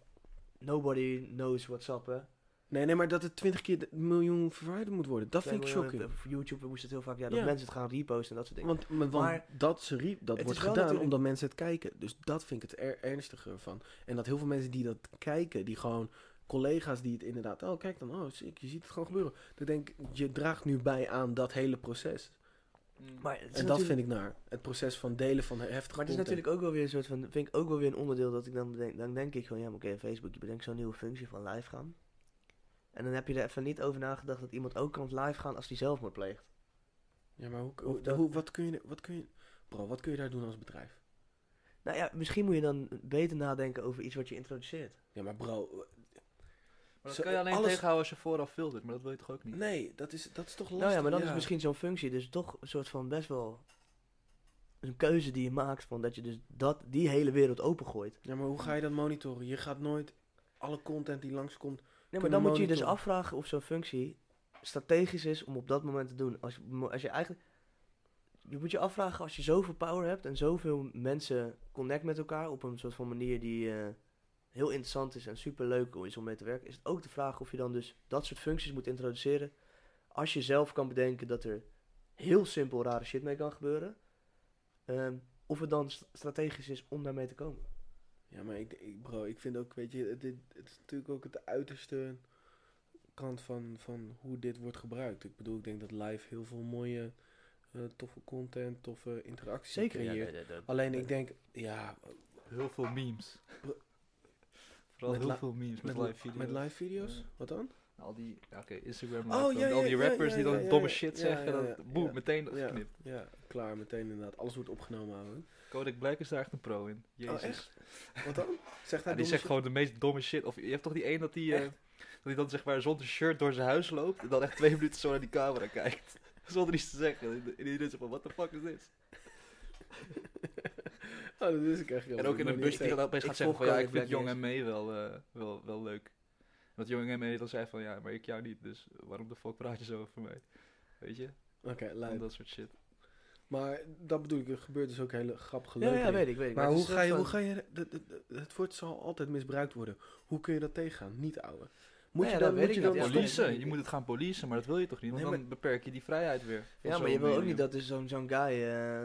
Nobody knows what's up, hè? Nee, nee, maar dat het 20 keer de- miljoen verwijderd moet worden. Dat Twee vind ik miljoen- shocking. Op YouTube moest het heel vaak. Ja, dat Ja. mensen het gaan reposten en dat soort dingen. Want, want Maar- dat, ze riep, dat Het wordt is wel gedaan natuurlijk- omdat mensen het kijken. Dus dat vind ik het er ernstiger van. En dat heel veel mensen die dat kijken, die gewoon collega's die het inderdaad... Oh, kijk dan, oh, sick, je ziet het gewoon gebeuren. Dan denk ik, je draagt nu bij aan dat hele proces. Maar het is En dat natuurlijk- vind ik naar. Het proces van delen van heftige Maar het is content. natuurlijk ook wel weer een soort van, vind ik ook wel weer een onderdeel dat ik dan bedenk, dan denk ik gewoon, ja maar oké, Facebook, je bedenkt zo'n nieuwe functie van live gaan. En dan heb je er even niet over nagedacht dat iemand ook kan live gaan als die zelfmoord pleegt. Ja, maar hoe, hoe- dat- hoe- wat, kun je, wat kun je... Bro, wat kun je daar doen als bedrijf? Nou ja, misschien moet je dan beter nadenken over iets wat je introduceert. Ja, maar bro... eh, Maar dat Zo- kan je alleen alles- tegenhouden als je vooraf filtert, maar dat wil je toch ook niet? Nee, dat is, dat is toch lastig. nou ja, maar dan is misschien zo'n functie dus toch een soort van best wel een keuze die je maakt van dat je dus dat, die hele wereld opengooit. Ja, maar hoe ga je dat monitoren? Je gaat nooit alle content die langskomt... Nee, Kunnen maar dan moet je je dus monitoren. afvragen of zo'n functie strategisch is om op dat moment te doen. Als, je- mo- als je eigenlijk. Je moet je afvragen als je zoveel power hebt en zoveel mensen connect met elkaar op een soort van manier die eh, heel interessant is en super leuk is om mee te werken. Is het ook de vraag of je dan dus dat soort functies moet introduceren. Als je zelf kan bedenken dat er heel simpel rare shit mee kan gebeuren. ehm, of het dan st- strategisch is om daarmee te komen. Ja, maar ik, ik- bro, ik vind ook, weet je, het, dit- het is natuurlijk ook het uiterste kant van, van hoe dit wordt gebruikt. Ik bedoel, ik denk dat live heel veel mooie, eh, toffe content, toffe interacties ja, creëert. nee, nee, dat- Alleen ik denk, ja, Heel veel memes. Vooral Met heel li- veel memes met, met, live video's. met live video's? Ja. Wat dan? Al die, ja, oké, Instagram Oh, live, dan ja, ja, al die ja, rappers ja, die dan ja, ja, domme ja, shit ja, zeggen, ja, ja, dat boem, ja. meteen Ja. geknipt. Ja, klaar, meteen inderdaad. Alles wordt opgenomen, ouwe. Kodak Black is daar echt een pro in. Jezus. Oh, echt? Wat dan? Zegt hij Ja, die zegt gewoon de meest domme shit. Of je hebt toch die een dat die, eh, dat die dan zeg maar zonder shirt door zijn huis loopt en dan echt twee minuten zo naar die camera kijkt. Zonder iets te zeggen. En iedereen zegt van, what the fuck is dit? Oh, dat is ik echt heel En ook in een bus die dan opeens ik gaat zeggen volg van ja, Kodak ik vind Black Jong en May wel, eh, wel, wel leuk. Want Jong en May dan zei van ja, maar ik jou niet, dus waarom de fuck praat je zo over mij? Weet je? Oké, Van lijp. dat soort shit. Maar dat bedoel ik, er gebeurt dus ook hele grappige Ja, leuke ja, dingen. weet ik, weet ik. Maar het hoe is een ga, je, soort hoe van- ga je... dat- dat- dat- Het woord zal altijd misbruikt worden. Hoe kun je dat tegengaan? Niet, ouwe. Moet Nee, je dat dan... weet Moet je ik dan niet. Ja, Policen, nee. je moet het gaan policen, maar dat wil je toch niet? Want Nee, dan beperk je die vrijheid weer. Ja, Van maar zo'n je wil ook medium. niet dat er zo'n zo'n guy eh,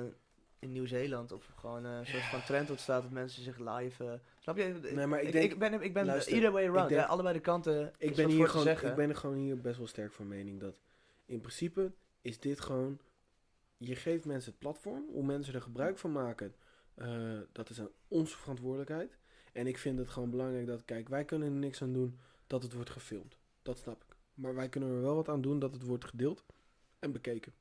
in Nieuw-Zeeland of gewoon eh, een soort van trend ontstaat dat mensen zich live... eh, snap je? Nee, maar ik ik, denk- ik ben, ik ben luister, either way ik around. denk- ja, allebei de kanten Ik is ben, wat hier voor te gewoon, zeggen. ik ben er gewoon hier best wel sterk van mening dat in principe is dit gewoon... Je geeft mensen het platform, hoe mensen er gebruik van maken, eh, dat is aan onze verantwoordelijkheid. En ik vind het gewoon belangrijk dat, kijk, wij kunnen er niks aan doen dat het wordt gefilmd. Dat snap ik. Maar wij kunnen er wel wat aan doen dat het wordt gedeeld en bekeken.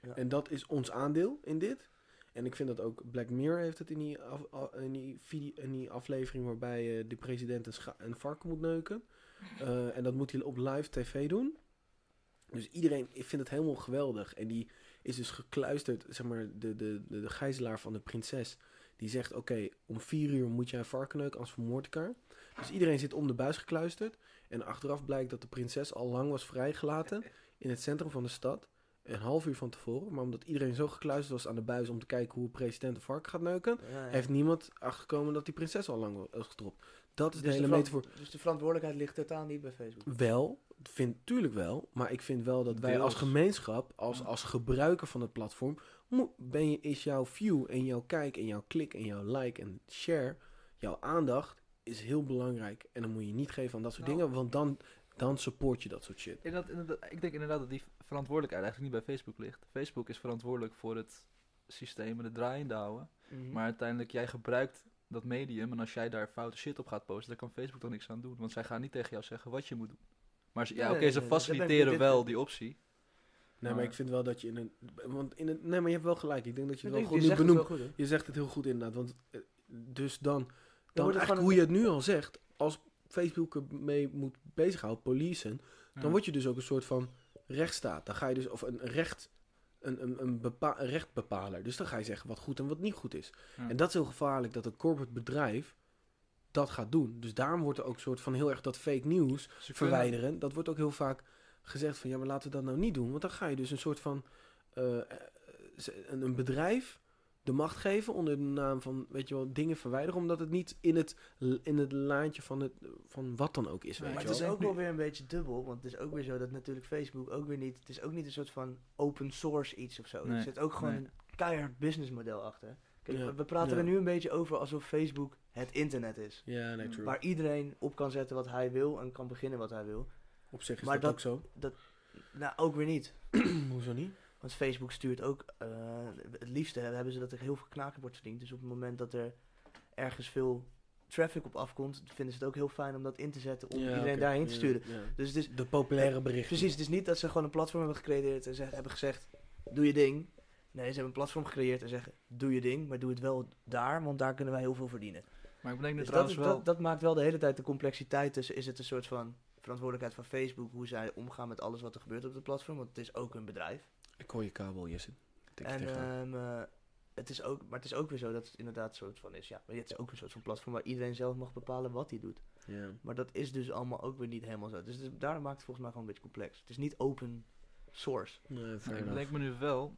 Ja. En dat is ons aandeel in dit. En ik vind dat ook Black Mirror heeft het in die, af- a- in die, video, in die aflevering waarbij eh, de president een, scha- een varken moet neuken. Eh, en dat moet hij op live tv doen. Dus iedereen ik vind het helemaal geweldig. En die is dus gekluisterd, zeg maar, de, de, de, de gijzelaar van de prinses. Die zegt, oké, om vier uur moet jij een varken neuken, anders vermoord ik haar. Dus iedereen zit om de buis gekluisterd. En achteraf blijkt dat de prinses al lang was vrijgelaten in het centrum van de stad. Een half uur van tevoren. Maar omdat iedereen zo gekluisterd was aan de buis om te kijken hoe de president een varken gaat neuken... Ja, ja. heeft niemand achterkomen dat die prinses al lang was gedropt. Dat is Dus de hele veran- metafoor. Dus de verantwoordelijkheid ligt totaal niet bij Facebook. Wel, vind tuurlijk wel, maar ik vind wel dat wij als Deels. gemeenschap, als, als gebruiker van het platform, mo- ben je, is jouw view en jouw kijk en jouw klik en jouw like en share, jouw aandacht is heel belangrijk. En dan moet je niet geven aan dat soort Nou. dingen, want dan, dan support je dat soort shit. Inderdaad, inderdaad, ik denk inderdaad dat die verantwoordelijkheid eigenlijk niet bij Facebook ligt. Facebook is verantwoordelijk voor het systeem en het draaiende houden. Mhm. Maar uiteindelijk, jij gebruikt dat medium en als jij daar foute shit op gaat posten, daar kan Facebook dan niks aan doen. Want zij gaan niet tegen jou zeggen wat je moet doen. Maar ze- ja, Nee, oké, nee, ze nee, dat ben ik- faciliteren dit- wel die optie. Nee, maar Maar- ik vind wel dat je in een. Want in een nee, maar je hebt wel gelijk. Ik denk dat je Ik het wel goed denk, je nu zegt het benoemt. wel goed, hè? Je zegt het heel goed inderdaad, want eh, dus dan, Dan dan wordt eigenlijk het gewoon hoe je het nu al zegt, als Facebook ermee moet bezighouden, policen, Ja. dan word je dus ook een soort van rechtsstaat. Dan ga je dus, of een recht, een, een, een, bepa- een rechtbepaler. Dus dan ga je zeggen wat goed en wat niet goed is. Ja. En dat is heel gevaarlijk dat een corporate bedrijf dat gaat doen. Dus daarom wordt er ook een soort van heel erg dat fake nieuws Ze kunnen- verwijderen. Dat wordt ook heel vaak gezegd van ja, maar laten we dat nou niet doen. Want dan ga je dus een soort van eh, eh, ze- een een bedrijf de macht geven onder de naam van, weet je wel, dingen verwijderen. Omdat het niet in het, in het laantje van, het, van wat dan ook is, weet Nee, Maar je wel. het is wel? ook wel weer een beetje dubbel, want het is ook weer zo dat natuurlijk Facebook ook weer niet... Het is ook niet een soort van open source iets of zo. Nee, Er zit ook gewoon nee. een keihard businessmodel achter. Kijk, Ja, we- we praten ja. er nu een beetje over alsof Facebook het internet is. Ja, nee, true. Waar iedereen op kan zetten wat hij wil en kan beginnen wat hij wil. Op zich is maar dat, dat- ook zo. Nou, ook weer niet. Hoezo niet? Want Facebook stuurt ook... eh, het liefste hebben ze dat er heel veel knaken wordt verdiend. Dus op het moment dat er ergens veel traffic op afkomt... vinden ze het ook heel fijn om dat in te zetten om Ja, iedereen oké. daarheen te Ja, sturen. ja. Dus het is De populaire berichten. Precies, het is niet dat ze gewoon een platform hebben gecreëerd en ze hebben gezegd, doe je ding. Nee, ze hebben een platform gecreëerd en zeggen, doe je ding, maar doe het wel daar, want daar kunnen wij heel veel verdienen. Maar ik bedenk nu Dus dat, trouwens is, wel... dat, dat maakt wel de hele tijd de complexiteit tussen, is het een soort van verantwoordelijkheid van Facebook, hoe zij omgaan met alles wat er gebeurt op het platform, want het is ook een bedrijf. Ik hoor je kabel, Jesse. Tik je en, tegenaan. ehm, eh, het is ook, maar het is ook weer zo dat het inderdaad een soort van is, ja, maar het is ook een soort van platform waar iedereen zelf mag bepalen wat hij doet. Ja. Maar dat is dus allemaal ook weer niet helemaal zo. Dus het is- daarom maakt het volgens mij gewoon een beetje complex. Het is niet open source. Nee, fair Maar ik enough. bedenk me nu wel,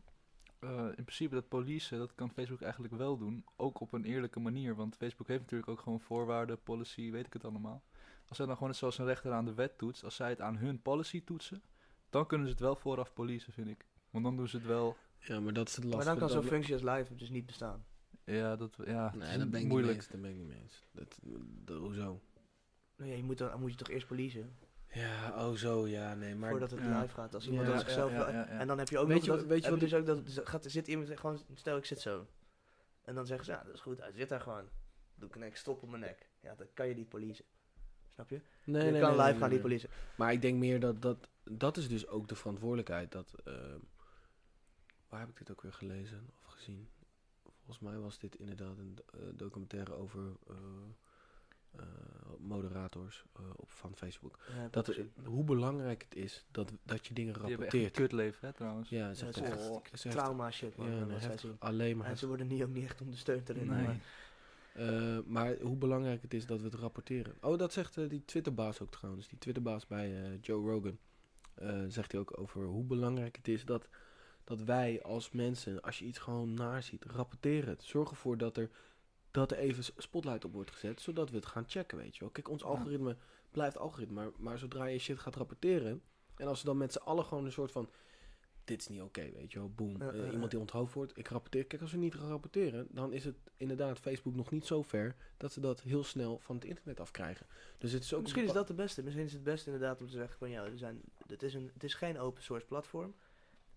eh, in principe dat police, dat kan Facebook eigenlijk wel doen, ook op een eerlijke manier. Want Facebook heeft natuurlijk ook gewoon voorwaarden, policy, weet ik het allemaal. Als zij dan gewoon net zoals een rechter aan de wet toetst, als zij het aan hun policy toetsen, dan kunnen ze het wel vooraf policen, vind ik. Want dan doen ze het wel, Ja, maar dat is het lastige. Maar dan kan Dat- zo'n functie als live dus niet bestaan. ja, dat, ja, het is Nee, dat ben ik niet mee moeilijk. eens. Dat ben ik niet mee eens. Dat, dat, hoezo? Nou ja, je moet dan, dan moet je toch eerst polisen Ja, oh zo, ja, nee, maar... voordat het ja. live gaat. Als Ja, iemand ja, aan zichzelf ja, ja, ja. En dan heb je ook Weet nog je- dat, weet je hebben wat dus ook dat dus gaat, zit iemand gewoon stel ik zit zo. En dan zeggen ze ja, dat is goed, hij zit daar gewoon. Doe ik een stop op mijn nek. Ja, dan kan je niet polisen. Snap je? nee, je kan live gaan die niet polisen. Maar ik denk meer dat, dat... Dat is dus ook de verantwoordelijkheid dat... ehm, waar heb ik dit ook weer gelezen of gezien? Volgens mij was dit inderdaad een do- eh, documentaire over eh, eh, moderators eh, op, van Facebook. Ja, Dat, precies. er- hoe belangrijk het is dat, dat je dingen Die hebben echt een rapporteert. kutleven, hè, trouwens. Ja, Ja, ze het echt is echt heftig. Het is heftig. trauma shit man. Ja, wat nee, zij heftig. zien. Alleen maar En ze worden niet ook niet echt ondersteund erin. Nee. maar- Eh, maar hoe belangrijk het is dat we het rapporteren. Oh, dat zegt eh, die Twitterbaas ook trouwens. Die Twitterbaas bij eh, Joe Rogan. eh, zegt hij ook over hoe belangrijk het is dat, dat wij als mensen, als je iets gewoon naar ziet, rapporteren het. Zorg ervoor dat er, dat er even s- spotlight op wordt gezet, zodat we het gaan checken, weet je wel. Kijk, ons algoritme blijft algoritme, maar, maar zodra je shit gaat rapporteren... en als ze dan met z'n allen gewoon een soort van... dit is niet oké, weet je wel, boom. Ja, Eh, ja, ja. iemand die onthoofd wordt, ik rapporteer. Kijk, als we niet gaan rapporteren, dan is het inderdaad Facebook nog niet zo ver... dat ze dat heel snel van het internet afkrijgen. Dus het is ook... Misschien is dat de beste. Misschien is het beste inderdaad om te zeggen van ja, er zijn, het, is een, het is geen open source platform.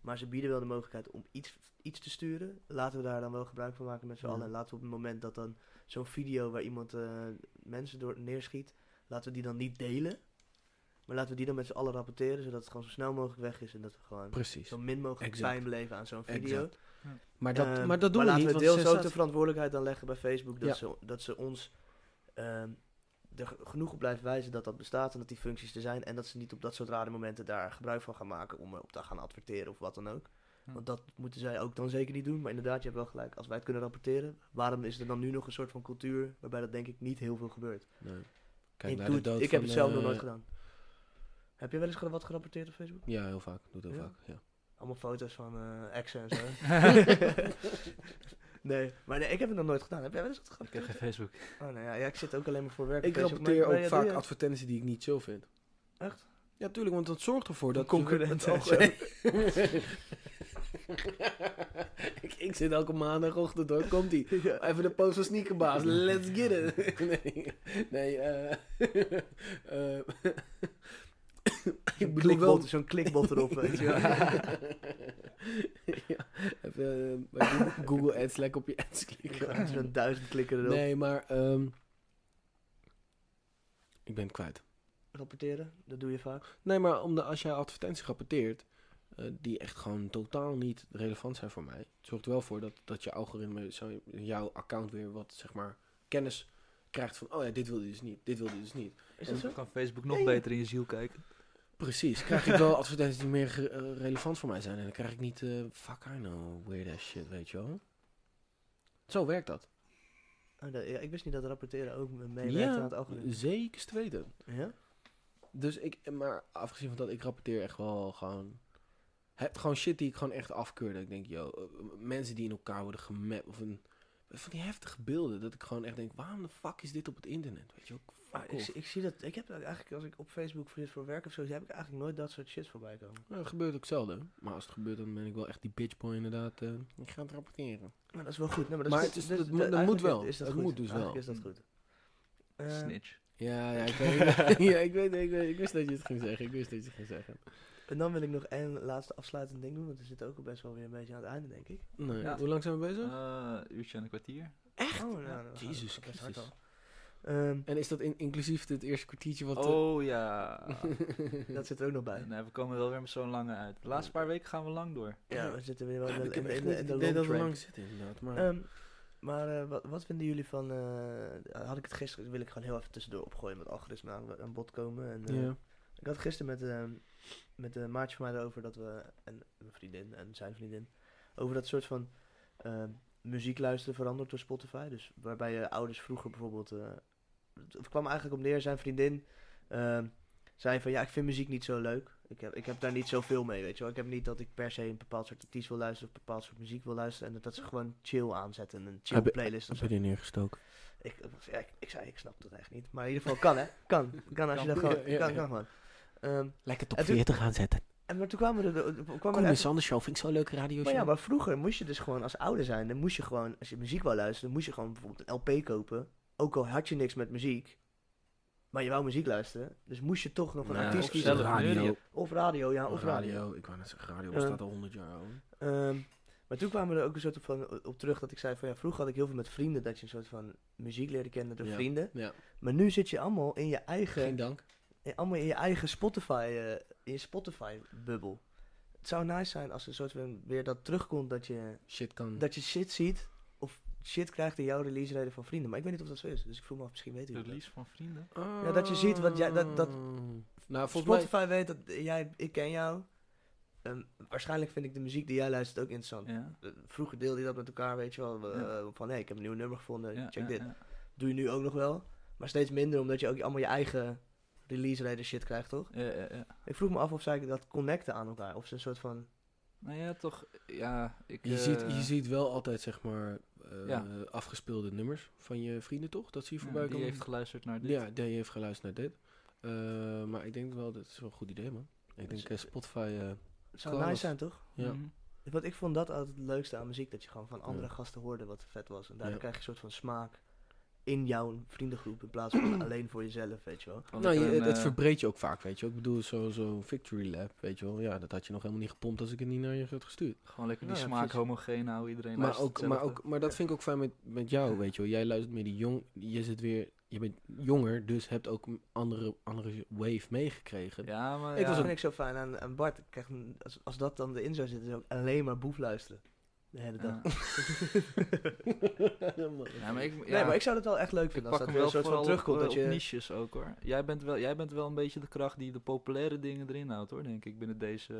Maar ze bieden wel de mogelijkheid om iets, iets te sturen. Laten we daar dan wel gebruik van maken met z'n Ja. allen. En laten we op het moment dat dan zo'n video waar iemand eh, mensen door neerschiet, laten we die dan niet delen. Maar laten we die dan met z'n allen rapporteren, zodat het gewoon zo snel mogelijk weg is. En dat we gewoon Precies. zo min mogelijk Exact. pijn beleven aan zo'n Exact. video. Maar dat, Ehm, maar dat doen we laten niet. we want deels ze ook staat- de verantwoordelijkheid dan leggen bij Facebook. Dat, Ja. ze, dat ze ons ehm, er g- genoeg op blijven wijzen dat dat bestaat en dat die functies er zijn. En dat ze niet op dat soort rare momenten daar gebruik van gaan maken om erop te gaan adverteren of wat dan ook. Hm. Want dat moeten zij ook dan zeker niet doen. Maar inderdaad, je hebt wel gelijk. Als wij het kunnen rapporteren, waarom is er dan nu nog een soort van cultuur waarbij dat denk ik niet heel veel gebeurt? Nee. Kijk ik naar de doe het- dood ik heb van, het zelf nog eh, nooit gedaan. Heb je wel eens ge- wat gerapporteerd op Facebook? Ja, heel vaak. Doe het heel Ja? vaak. Ja. Allemaal foto's van eh exen en zo. nee, maar nee, ik heb het nog nooit gedaan. Heb jij wel eens wat Ik heb gerapporteerd? geen Facebook. Oh, nou ja, ja, ik zit ook alleen maar voor werk. Ik op Facebook, maar- rapporteer maar ook ja, vaak doe jij? advertenties die ik niet chill vind. Echt? Ja, tuurlijk, want dat zorgt ervoor dat... Oh, concurrenten het alge- ik, ik zit elke maandagochtend hoor, komt ie. Ja. Even de post van Sneakerbaas, let's get it. nee, nee eh, eh, Zo'n ik bedoel wel... klikbot, zo'n klikbot erop, weet je wel. ja, even eh, bij Google- Google Ads lekker op je ads klikken. Ja, Zo'n duizend klikken erop. Nee, maar... ehm, ik ben het kwijt. Rapporteren, dat doe je vaak. Nee, maar omdat als jij advertenties rapporteert, eh, die echt gewoon totaal niet relevant zijn voor mij, het zorgt er wel voor dat, dat je algoritme, zo, jouw account weer wat, zeg maar, kennis krijgt van, oh ja, dit wilde je dus niet, dit wilde je dus niet. Is dat zo? Dan kan Facebook nog beter in je ziel kijken. Precies, krijg ik wel advertenties die meer ge- eh, relevant voor mij zijn en dan krijg ik niet, eh, fuck I know, weird ass shit, weet je wel. Zo werkt dat. Oh, dat- ja, ik wist niet dat rapporteren ook meewerkt Ja. aan het algoritme. Zeker te weten. Ja? Dus ik, maar afgezien van dat, ik rapporteer echt wel gewoon. Heb gewoon shit die ik gewoon echt afkeurde. Ik denk, yo, eh, m- mensen die in elkaar worden gemapt. Of een, van die heftige beelden. Dat ik gewoon echt denk, waarom de fuck is dit op het internet? Weet je ook, Ah, fuck ik, off. zie- ik zie dat, ik heb dat eigenlijk, als ik op Facebook voor, voor werk of zo, heb ik eigenlijk nooit dat soort shit voorbij komen. Nou, dat gebeurt ook zelden. Maar als het gebeurt, dan ben ik wel echt die bitchboy inderdaad. eh, ik ga het rapporteren. Maar dat is wel goed. Nee, maar dat Maar is, het is- dus- dat dus moet- dat eigenlijk moet wel. Is, is dat Dat goed. moet dus wel. Eigenlijk is dat goed. Eh, Snitch. Ja, ja, ik weet, ja ik, weet, ik, weet, ik wist dat je het ging zeggen. Ik wist dat je het ging zeggen. en dan wil ik nog één laatste afsluitend ding doen, want we zitten ook al best wel weer een beetje aan het einde, denk ik. Nee, Ja. Nou Hoe lang zijn we bezig? Eh uurtje en een kwartier. Echt? Oh, nou, Ja. dat gaat- Jezus dat gaat hard Christus. al. Ehm, En is dat in- inclusief dit eerste kwartiertje wat... eh, Oh ja. dat zit er ook nog bij. Nee, eh, we komen wel weer met zo'n lange uit. De laatste paar weken gaan we lang door. Ja, we zitten weer wel ja, in ik de, heb in de, echt in de, niet in het de idee dat long we track. lang zitten inderdaad. Maar... Ehm, maar eh, wat, wat vinden jullie van... eh, had ik het gisteren... wil ik gewoon heel even tussendoor opgooien met algoritme aan, aan bod komen. En, eh, ja. Ik had gisteren met, ehm, met een maatje van mij erover dat we... En mijn vriendin en zijn vriendin. Over dat soort van ehm, muziek luisteren veranderd door Spotify. Dus waarbij je ouders vroeger bijvoorbeeld... eh, het het kwam eigenlijk op neer, zijn vriendin... ehm, zei van ja, ik vind muziek niet zo leuk. Ik heb, ik heb daar niet zoveel mee, weet je wel. Ik heb niet dat ik per se een bepaald soort artiest wil luisteren of een bepaald soort muziek wil luisteren. En dat, dat ze gewoon chill aanzetten. en Een chill Heb je- playlist of Heb zo. je die neergestoken? Ik, ja, ik, ik zei, ik snap dat echt niet. Maar in ieder geval kan, hè? Kan. Kan als je dat gewoon... Ja, ja, Kan, ja. kan gewoon. Ehm, Lekker En toen- 40 gaan zetten. en, maar toen kwamen er... er- er kwamen er echt- Sander Show vind ik zo'n leuke radio maar ja, maar vroeger moest je dus gewoon als ouder zijn... Dan moest je gewoon, als je muziek wou luisteren... moest je gewoon bijvoorbeeld een LP kopen. Ook al had je niks met muziek... Maar je wou muziek luisteren. Dus moest je toch nog een Nou, artiest of kiezen. zelf radio. radio. Of radio, ja. Of radio. Ik wou net zeggen, radio Eh. bestaat al 100 jaar hoor. Ehm, maar toen kwamen we er ook een soort van op terug dat ik zei van ja, vroeger had ik heel veel met vrienden dat je een soort van muziek leerde kennen door Ja, vrienden. ja. Maar nu zit je allemaal in je eigen, Geen dank. in, allemaal in je eigen Spotify, eh, in je Spotify bubbel. Het zou nice zijn als er een soort van weer dat terugkomt dat je, Shit Hm. kan. dat je shit ziet of shit krijgt in jouw release reden van vrienden. Maar ik weet niet of dat zo is, dus ik voel me af, misschien weten jullie dat. Release van vrienden. Ja, dat je ziet wat jij- dat- dat- Oh. Nou, volgens mij... Spotify weet dat jij, ik ken jou. Ehm, waarschijnlijk vind ik de muziek die jij luistert ook interessant. Ja. Eh, Vroeger deelde je dat met elkaar, weet je wel. eh, Ja. Van hé, hey, ik heb een nieuw nummer gevonden, ja, check ja, dit. ja. Doe je nu ook nog wel. Maar steeds minder, omdat je ook allemaal je eigen release reden shit krijgt, toch? Ja, ja, ja. Ik vroeg me af of zij dat connecten aan elkaar. Of ze een soort van... Nou ja, toch. Ja, ik. Je eh, ziet, je ziet wel altijd, zeg maar, eh, Ja. afgespeelde nummers van je vrienden, toch? Dat zie je ja, voorbij die komen. heeft geluisterd naar dit. Ja, die heeft geluisterd naar dit. Eh, maar ik denk wel, dat is wel een goed idee, man. Ik Dus- denk eh, Spotify... eh, Het zou Kan nice dat. zijn, toch? ja. Mhm. Want ik vond dat altijd het leukste aan muziek. Dat je gewoon van andere Ja. gasten hoorde wat vet was. En daardoor Ja. krijg je een soort van smaak. in jouw vriendengroep in plaats van alleen voor jezelf, weet je wel. Gewoon nou, lekker je- een, dat eh, verbreedt je ook vaak, weet je wel. Ik bedoel, zo'n zo victory lap, weet je wel. Ja, dat had je nog helemaal niet gepompt als ik het niet naar je had gestuurd. Gewoon lekker die Ja, smaak precies. homogeen houden. Iedereen Maar, luistert ook, maar, hetzelfde. ook, maar dat vind ik ook fijn met, met jou, weet je wel. Jij luistert meer die jong... Je, zit weer, je bent jonger, dus hebt ook een andere, andere wave meegekregen. Ja, maar Ik ja. Dat was vind ik zo fijn aan, aan Bart. Ik krijg, een- als, als dat dan erin zou zitten, zou ik alleen maar boef luisteren. De hele dag. Ja. Ja, maar ik, ja, Nee, maar ik zou dat wel echt leuk ik vinden pak als dat hem weer wel een soort van vooral terugkomt. terugkomt, op, eh, Dat op je, niches ook hoor. Jij bent, wel, jij bent wel een beetje de kracht die de populaire dingen erin houdt hoor, denk ik, binnen deze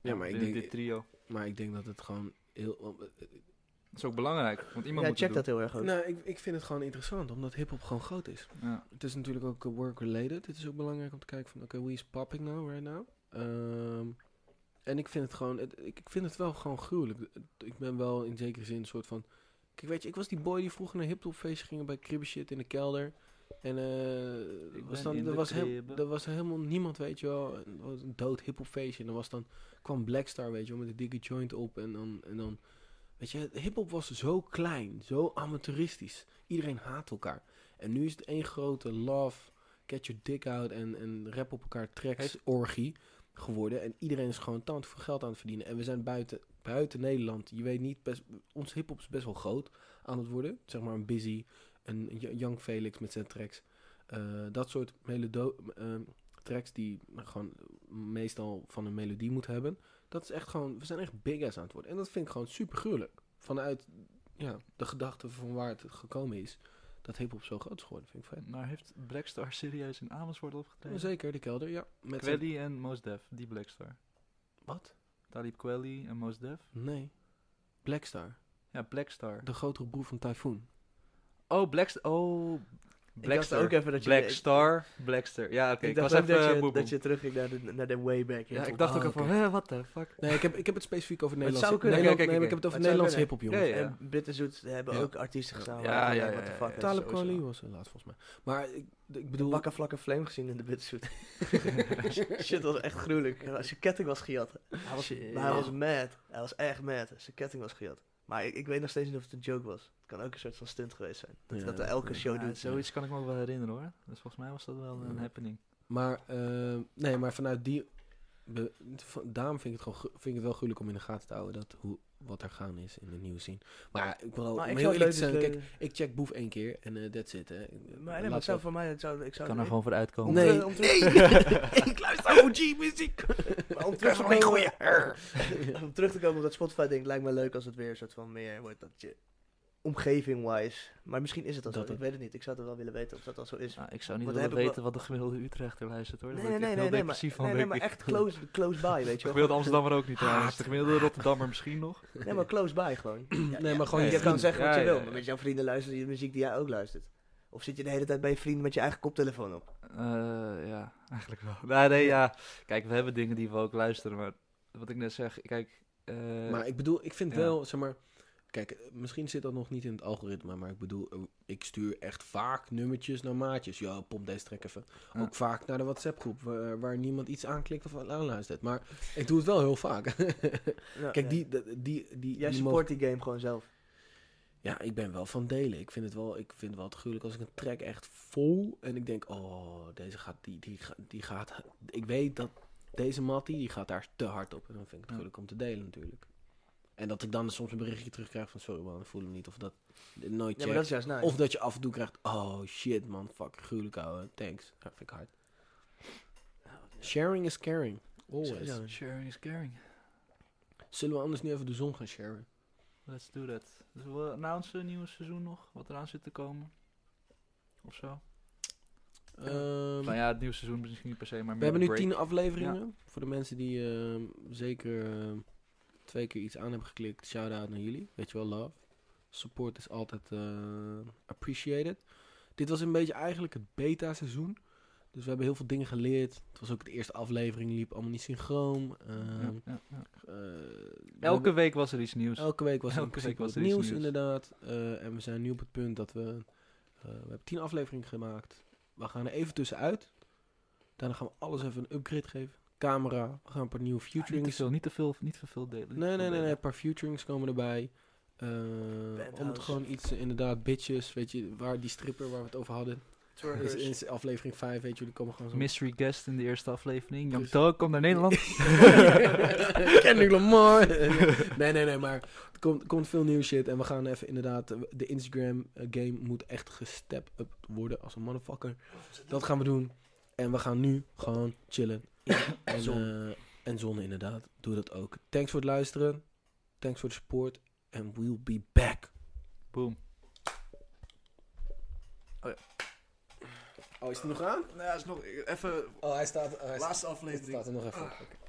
Ja, maar ik binnen denk- dit trio. Maar ik denk dat het gewoon heel... eh, Dat is ook belangrijk, want iemand ja, moet het check dat heel erg ook. Nou, ik, ik vind het gewoon interessant, omdat hip-hop gewoon groot is. doen. Ja. Het is natuurlijk ook eh, work-related. Het is ook belangrijk om te kijken van, oké, wie is popping now, right now? Ehm, en ik vind het gewoon, het- ik, ik vind het wel gewoon gruwelijk. Het- Ik ben wel in zekere zin een soort van... Kijk, weet je, ik was die boy die vroeger naar hip-hopfeesten ging bij Cribbe Shit in de kelder. En eh Ik was ben dan, in er, de was heel, cribbe. er was helemaal niemand, weet je wel. En Er was een dood hip-hopfeestje. En er was dan, kwam Blackstar, weet je wel, met de dikke joint op. En dan, en dan weet je, hip-hop was zo klein, zo amateuristisch. Iedereen haat elkaar. En nu is het één grote love, get your dick out en, en rap op elkaar tracks, Heeft- orgie geworden. En iedereen is gewoon tant voor geld aan het verdienen. En we zijn buiten, buiten Nederland, je weet niet, best, ons hip-hop is best wel groot aan het worden. Zeg maar een Busy, een J- Young Felix met zijn tracks. Eh, dat soort melodo- ehm, tracks die gewoon meestal van een melodie moeten hebben. Dat is echt gewoon, we zijn echt big ass aan het worden. En dat vind ik gewoon super gruwelijk. Vanuit ja, de gedachte van waar het gekomen is, dat hip-hop zo groot is geworden, vind ik vet. Maar heeft Blackstar serieus in Amersfoort opgetreden? Zeker, de kelder, ja. Met zijn- Quelly en Mos Def, die Blackstar. Wat? Talib Quelly en Mos Def. Nee. Blackstar, Ja, Blackstar. de grotere broer van Typhoon. Oh, Blackstar. Oh, ik dacht Blackstar. ook even dat je... Blackstar, Blackstar. Ja, oké, Ik, ik was dacht even ook dat je, boem, boem. dat je Oh, terug ging naar de, naar de way back. Ja, hip-hop. ik dacht ook Ah, even van, hè, what the fuck? Nee, ik heb, ik heb het specifiek over het Nederlands. zou kunnen. Nederland- Kijk, kijk, nee, maar ik heb het over kijk. Het zou Nederlands hip-hop, jongens. Ja, ja, ja. En Bitterzoet hebben Ja. ook artiesten gestaan. Ja, waar ik ja, denk, ja, what the ja, fuck, ja. hè, Talib sowieso. Kweli was de laatste, volgens mij. Maar ik, ik De bedoel... wakker vlakke flame gezien in de Bitterzoet. Shit, dat was echt gruwelijk. Zijn ketting was gejat. Hij was, Shit. maar hij was mad. Hij was echt mad. Zijn ketting was gejat. Maar ik, ik weet nog steeds niet of het een joke was. Het kan ook een soort van stunt geweest zijn. Dat Ja, hij dat dat elke kan. show Ja, doet. zoiets kan ik me ook wel herinneren hoor. Dus volgens mij was dat wel een Ja. happening. Maar, eh, nee, maar vanuit die... be- van- daarom vind ik, het gewoon, gru- vind ik het wel gruwelijk om in de gaten te houden dat hoe, wat er gaande is in de nieuwe scene. Maar ja, ik bedoel, om Maar ik heel zou eerlijk leuk te zijn, kijk, ik check Boef één keer en eh, that's it, hè. Ik- Maar nee, laat maar het zou wel- voor mij... Het zou, ik zou kan er gewoon voor uitkomen. Om Nee. terug- om terug- ik luister OG-muziek! maar om terug te Geen komen- goeie. om terug te komen op dat Spotify-ding, lijkt me leuk als het weer een soort van meer wordt dat je omgeving-wise. Maar misschien is het al Dat zo, ik het- weet het niet. Ik zou het wel willen weten of dat al zo is. Nou, ik zou Want dan niet willen heb ik wel- weten wat de gemiddelde Utrechter luistert hoor. Daar Nee, word nee, ik echt nee, heel nee, nee, maar, depressief van. nee, nee, maar word ik. echt close, close by, weet je wel. Gemiddelde Amsterdammer ook niet trouwens. De gemiddelde Rotterdammer misschien nog. Nee, maar close by gewoon. Nee, maar gewoon nee, je je kan vrienden. zeggen wat Ja, je ja, wil, ja. maar met jouw vrienden luisteren je de muziek die jij ook luistert. Of zit je de hele tijd bij je vrienden met je eigen koptelefoon op? Eh, ja, eigenlijk wel. Nee, nee, ja. Kijk, we hebben dingen die we ook luisteren, maar wat ik net zeg, kijk. eh, Maar ik bedoel, ik vind Ja. wel, zeg maar... Kijk, eh, misschien zit dat nog niet in het algoritme, maar ik bedoel, eh, ik stuur echt vaak nummertjes naar maatjes. Ja, pomp deze track even. Ja. Ook vaak naar de WhatsApp-groep, waar, waar niemand iets aanklikt of aanluistert. Maar ik doe het wel heel vaak. Nou, Kijk, ja. die, dat- die, die, die, jij mogen- support die game gewoon zelf. Ja, ik ben wel van delen. Ik vind het wel, ik vind het wel te gruwelijk als ik een track echt vol en ik denk, oh, deze gaat, die, die, ga- die gaat, ik weet dat deze mattie, die gaat daar te hard op. En dan vind ik het Ja. gruwelijk om te delen natuurlijk. En dat ik dan dus soms een berichtje terugkrijg van, sorry man, ik voel hem niet. Of dat dit nooit Ja, check. maar dat is juist nice. Of dat je af en toe krijgt, oh shit man, fuck, gruwelijk ouwe, thanks. Dat vind ik hard. Sharing is caring, always. Sowieso. Sharing is caring. Zullen we anders nu even de zon gaan sharen? Let's do that. Dus we announcen een nieuw seizoen nog, wat eraan zit te komen. Of zo. Um, Ehm, Nou ja, het nieuwe seizoen misschien niet per se, maar We meer hebben nu de break. tien afleveringen. Voor de mensen die ehm, zeker ehm, twee keer iets aan hebben geklikt, shout-out naar jullie. Weet je wel, love. Support is altijd eh, appreciated. Dit was een beetje eigenlijk het beta-seizoen. Dus we hebben heel veel dingen geleerd. Het was ook de eerste aflevering, liep allemaal niet synchroon. Ehm, Ja, ja, ja. eh, we Elke hebben- week was er iets nieuws. elke week was er in elke principe week was wat er iets nieuws, nieuws. inderdaad. Eh, en we zijn nu op het punt dat we... eh, we hebben tien afleveringen gemaakt. We gaan er even tussenuit. Daarna gaan we alles even een upgrade geven. Camera, we gaan een paar nieuwe Ja, Ah, niet te futurings veel, niet te veel, niet te veel delen. niet Nee, nee, te veel nee, nee. delen. Een paar futurings komen erbij. Eh, om het Penthouse. gewoon iets, eh, inderdaad, bitches, weet je, waar die stripper waar we het over hadden. Is, is aflevering 5, weet je, jullie komen gewoon zo... Mystery guest in de eerste aflevering. Young Dus- Thug komt naar Nederland. Kendrick Lamar. nee, nee, nee, maar er komt, komt veel nieuwe shit. En we gaan even inderdaad, eh, de Instagram eh, game moet echt gestep up worden als een motherfucker. Dat gaan we doen. En we gaan nu gewoon chillen. en, zon. eh, en zon inderdaad. Doe dat ook. Thanks voor het luisteren. Thanks voor de support. En we'll be back. Boom. Oh, is die nog aan? Nou ja, is nog even Oh, hij staat, hij staat, Oh, laatste aflevering. staat er nog even. op. Oké.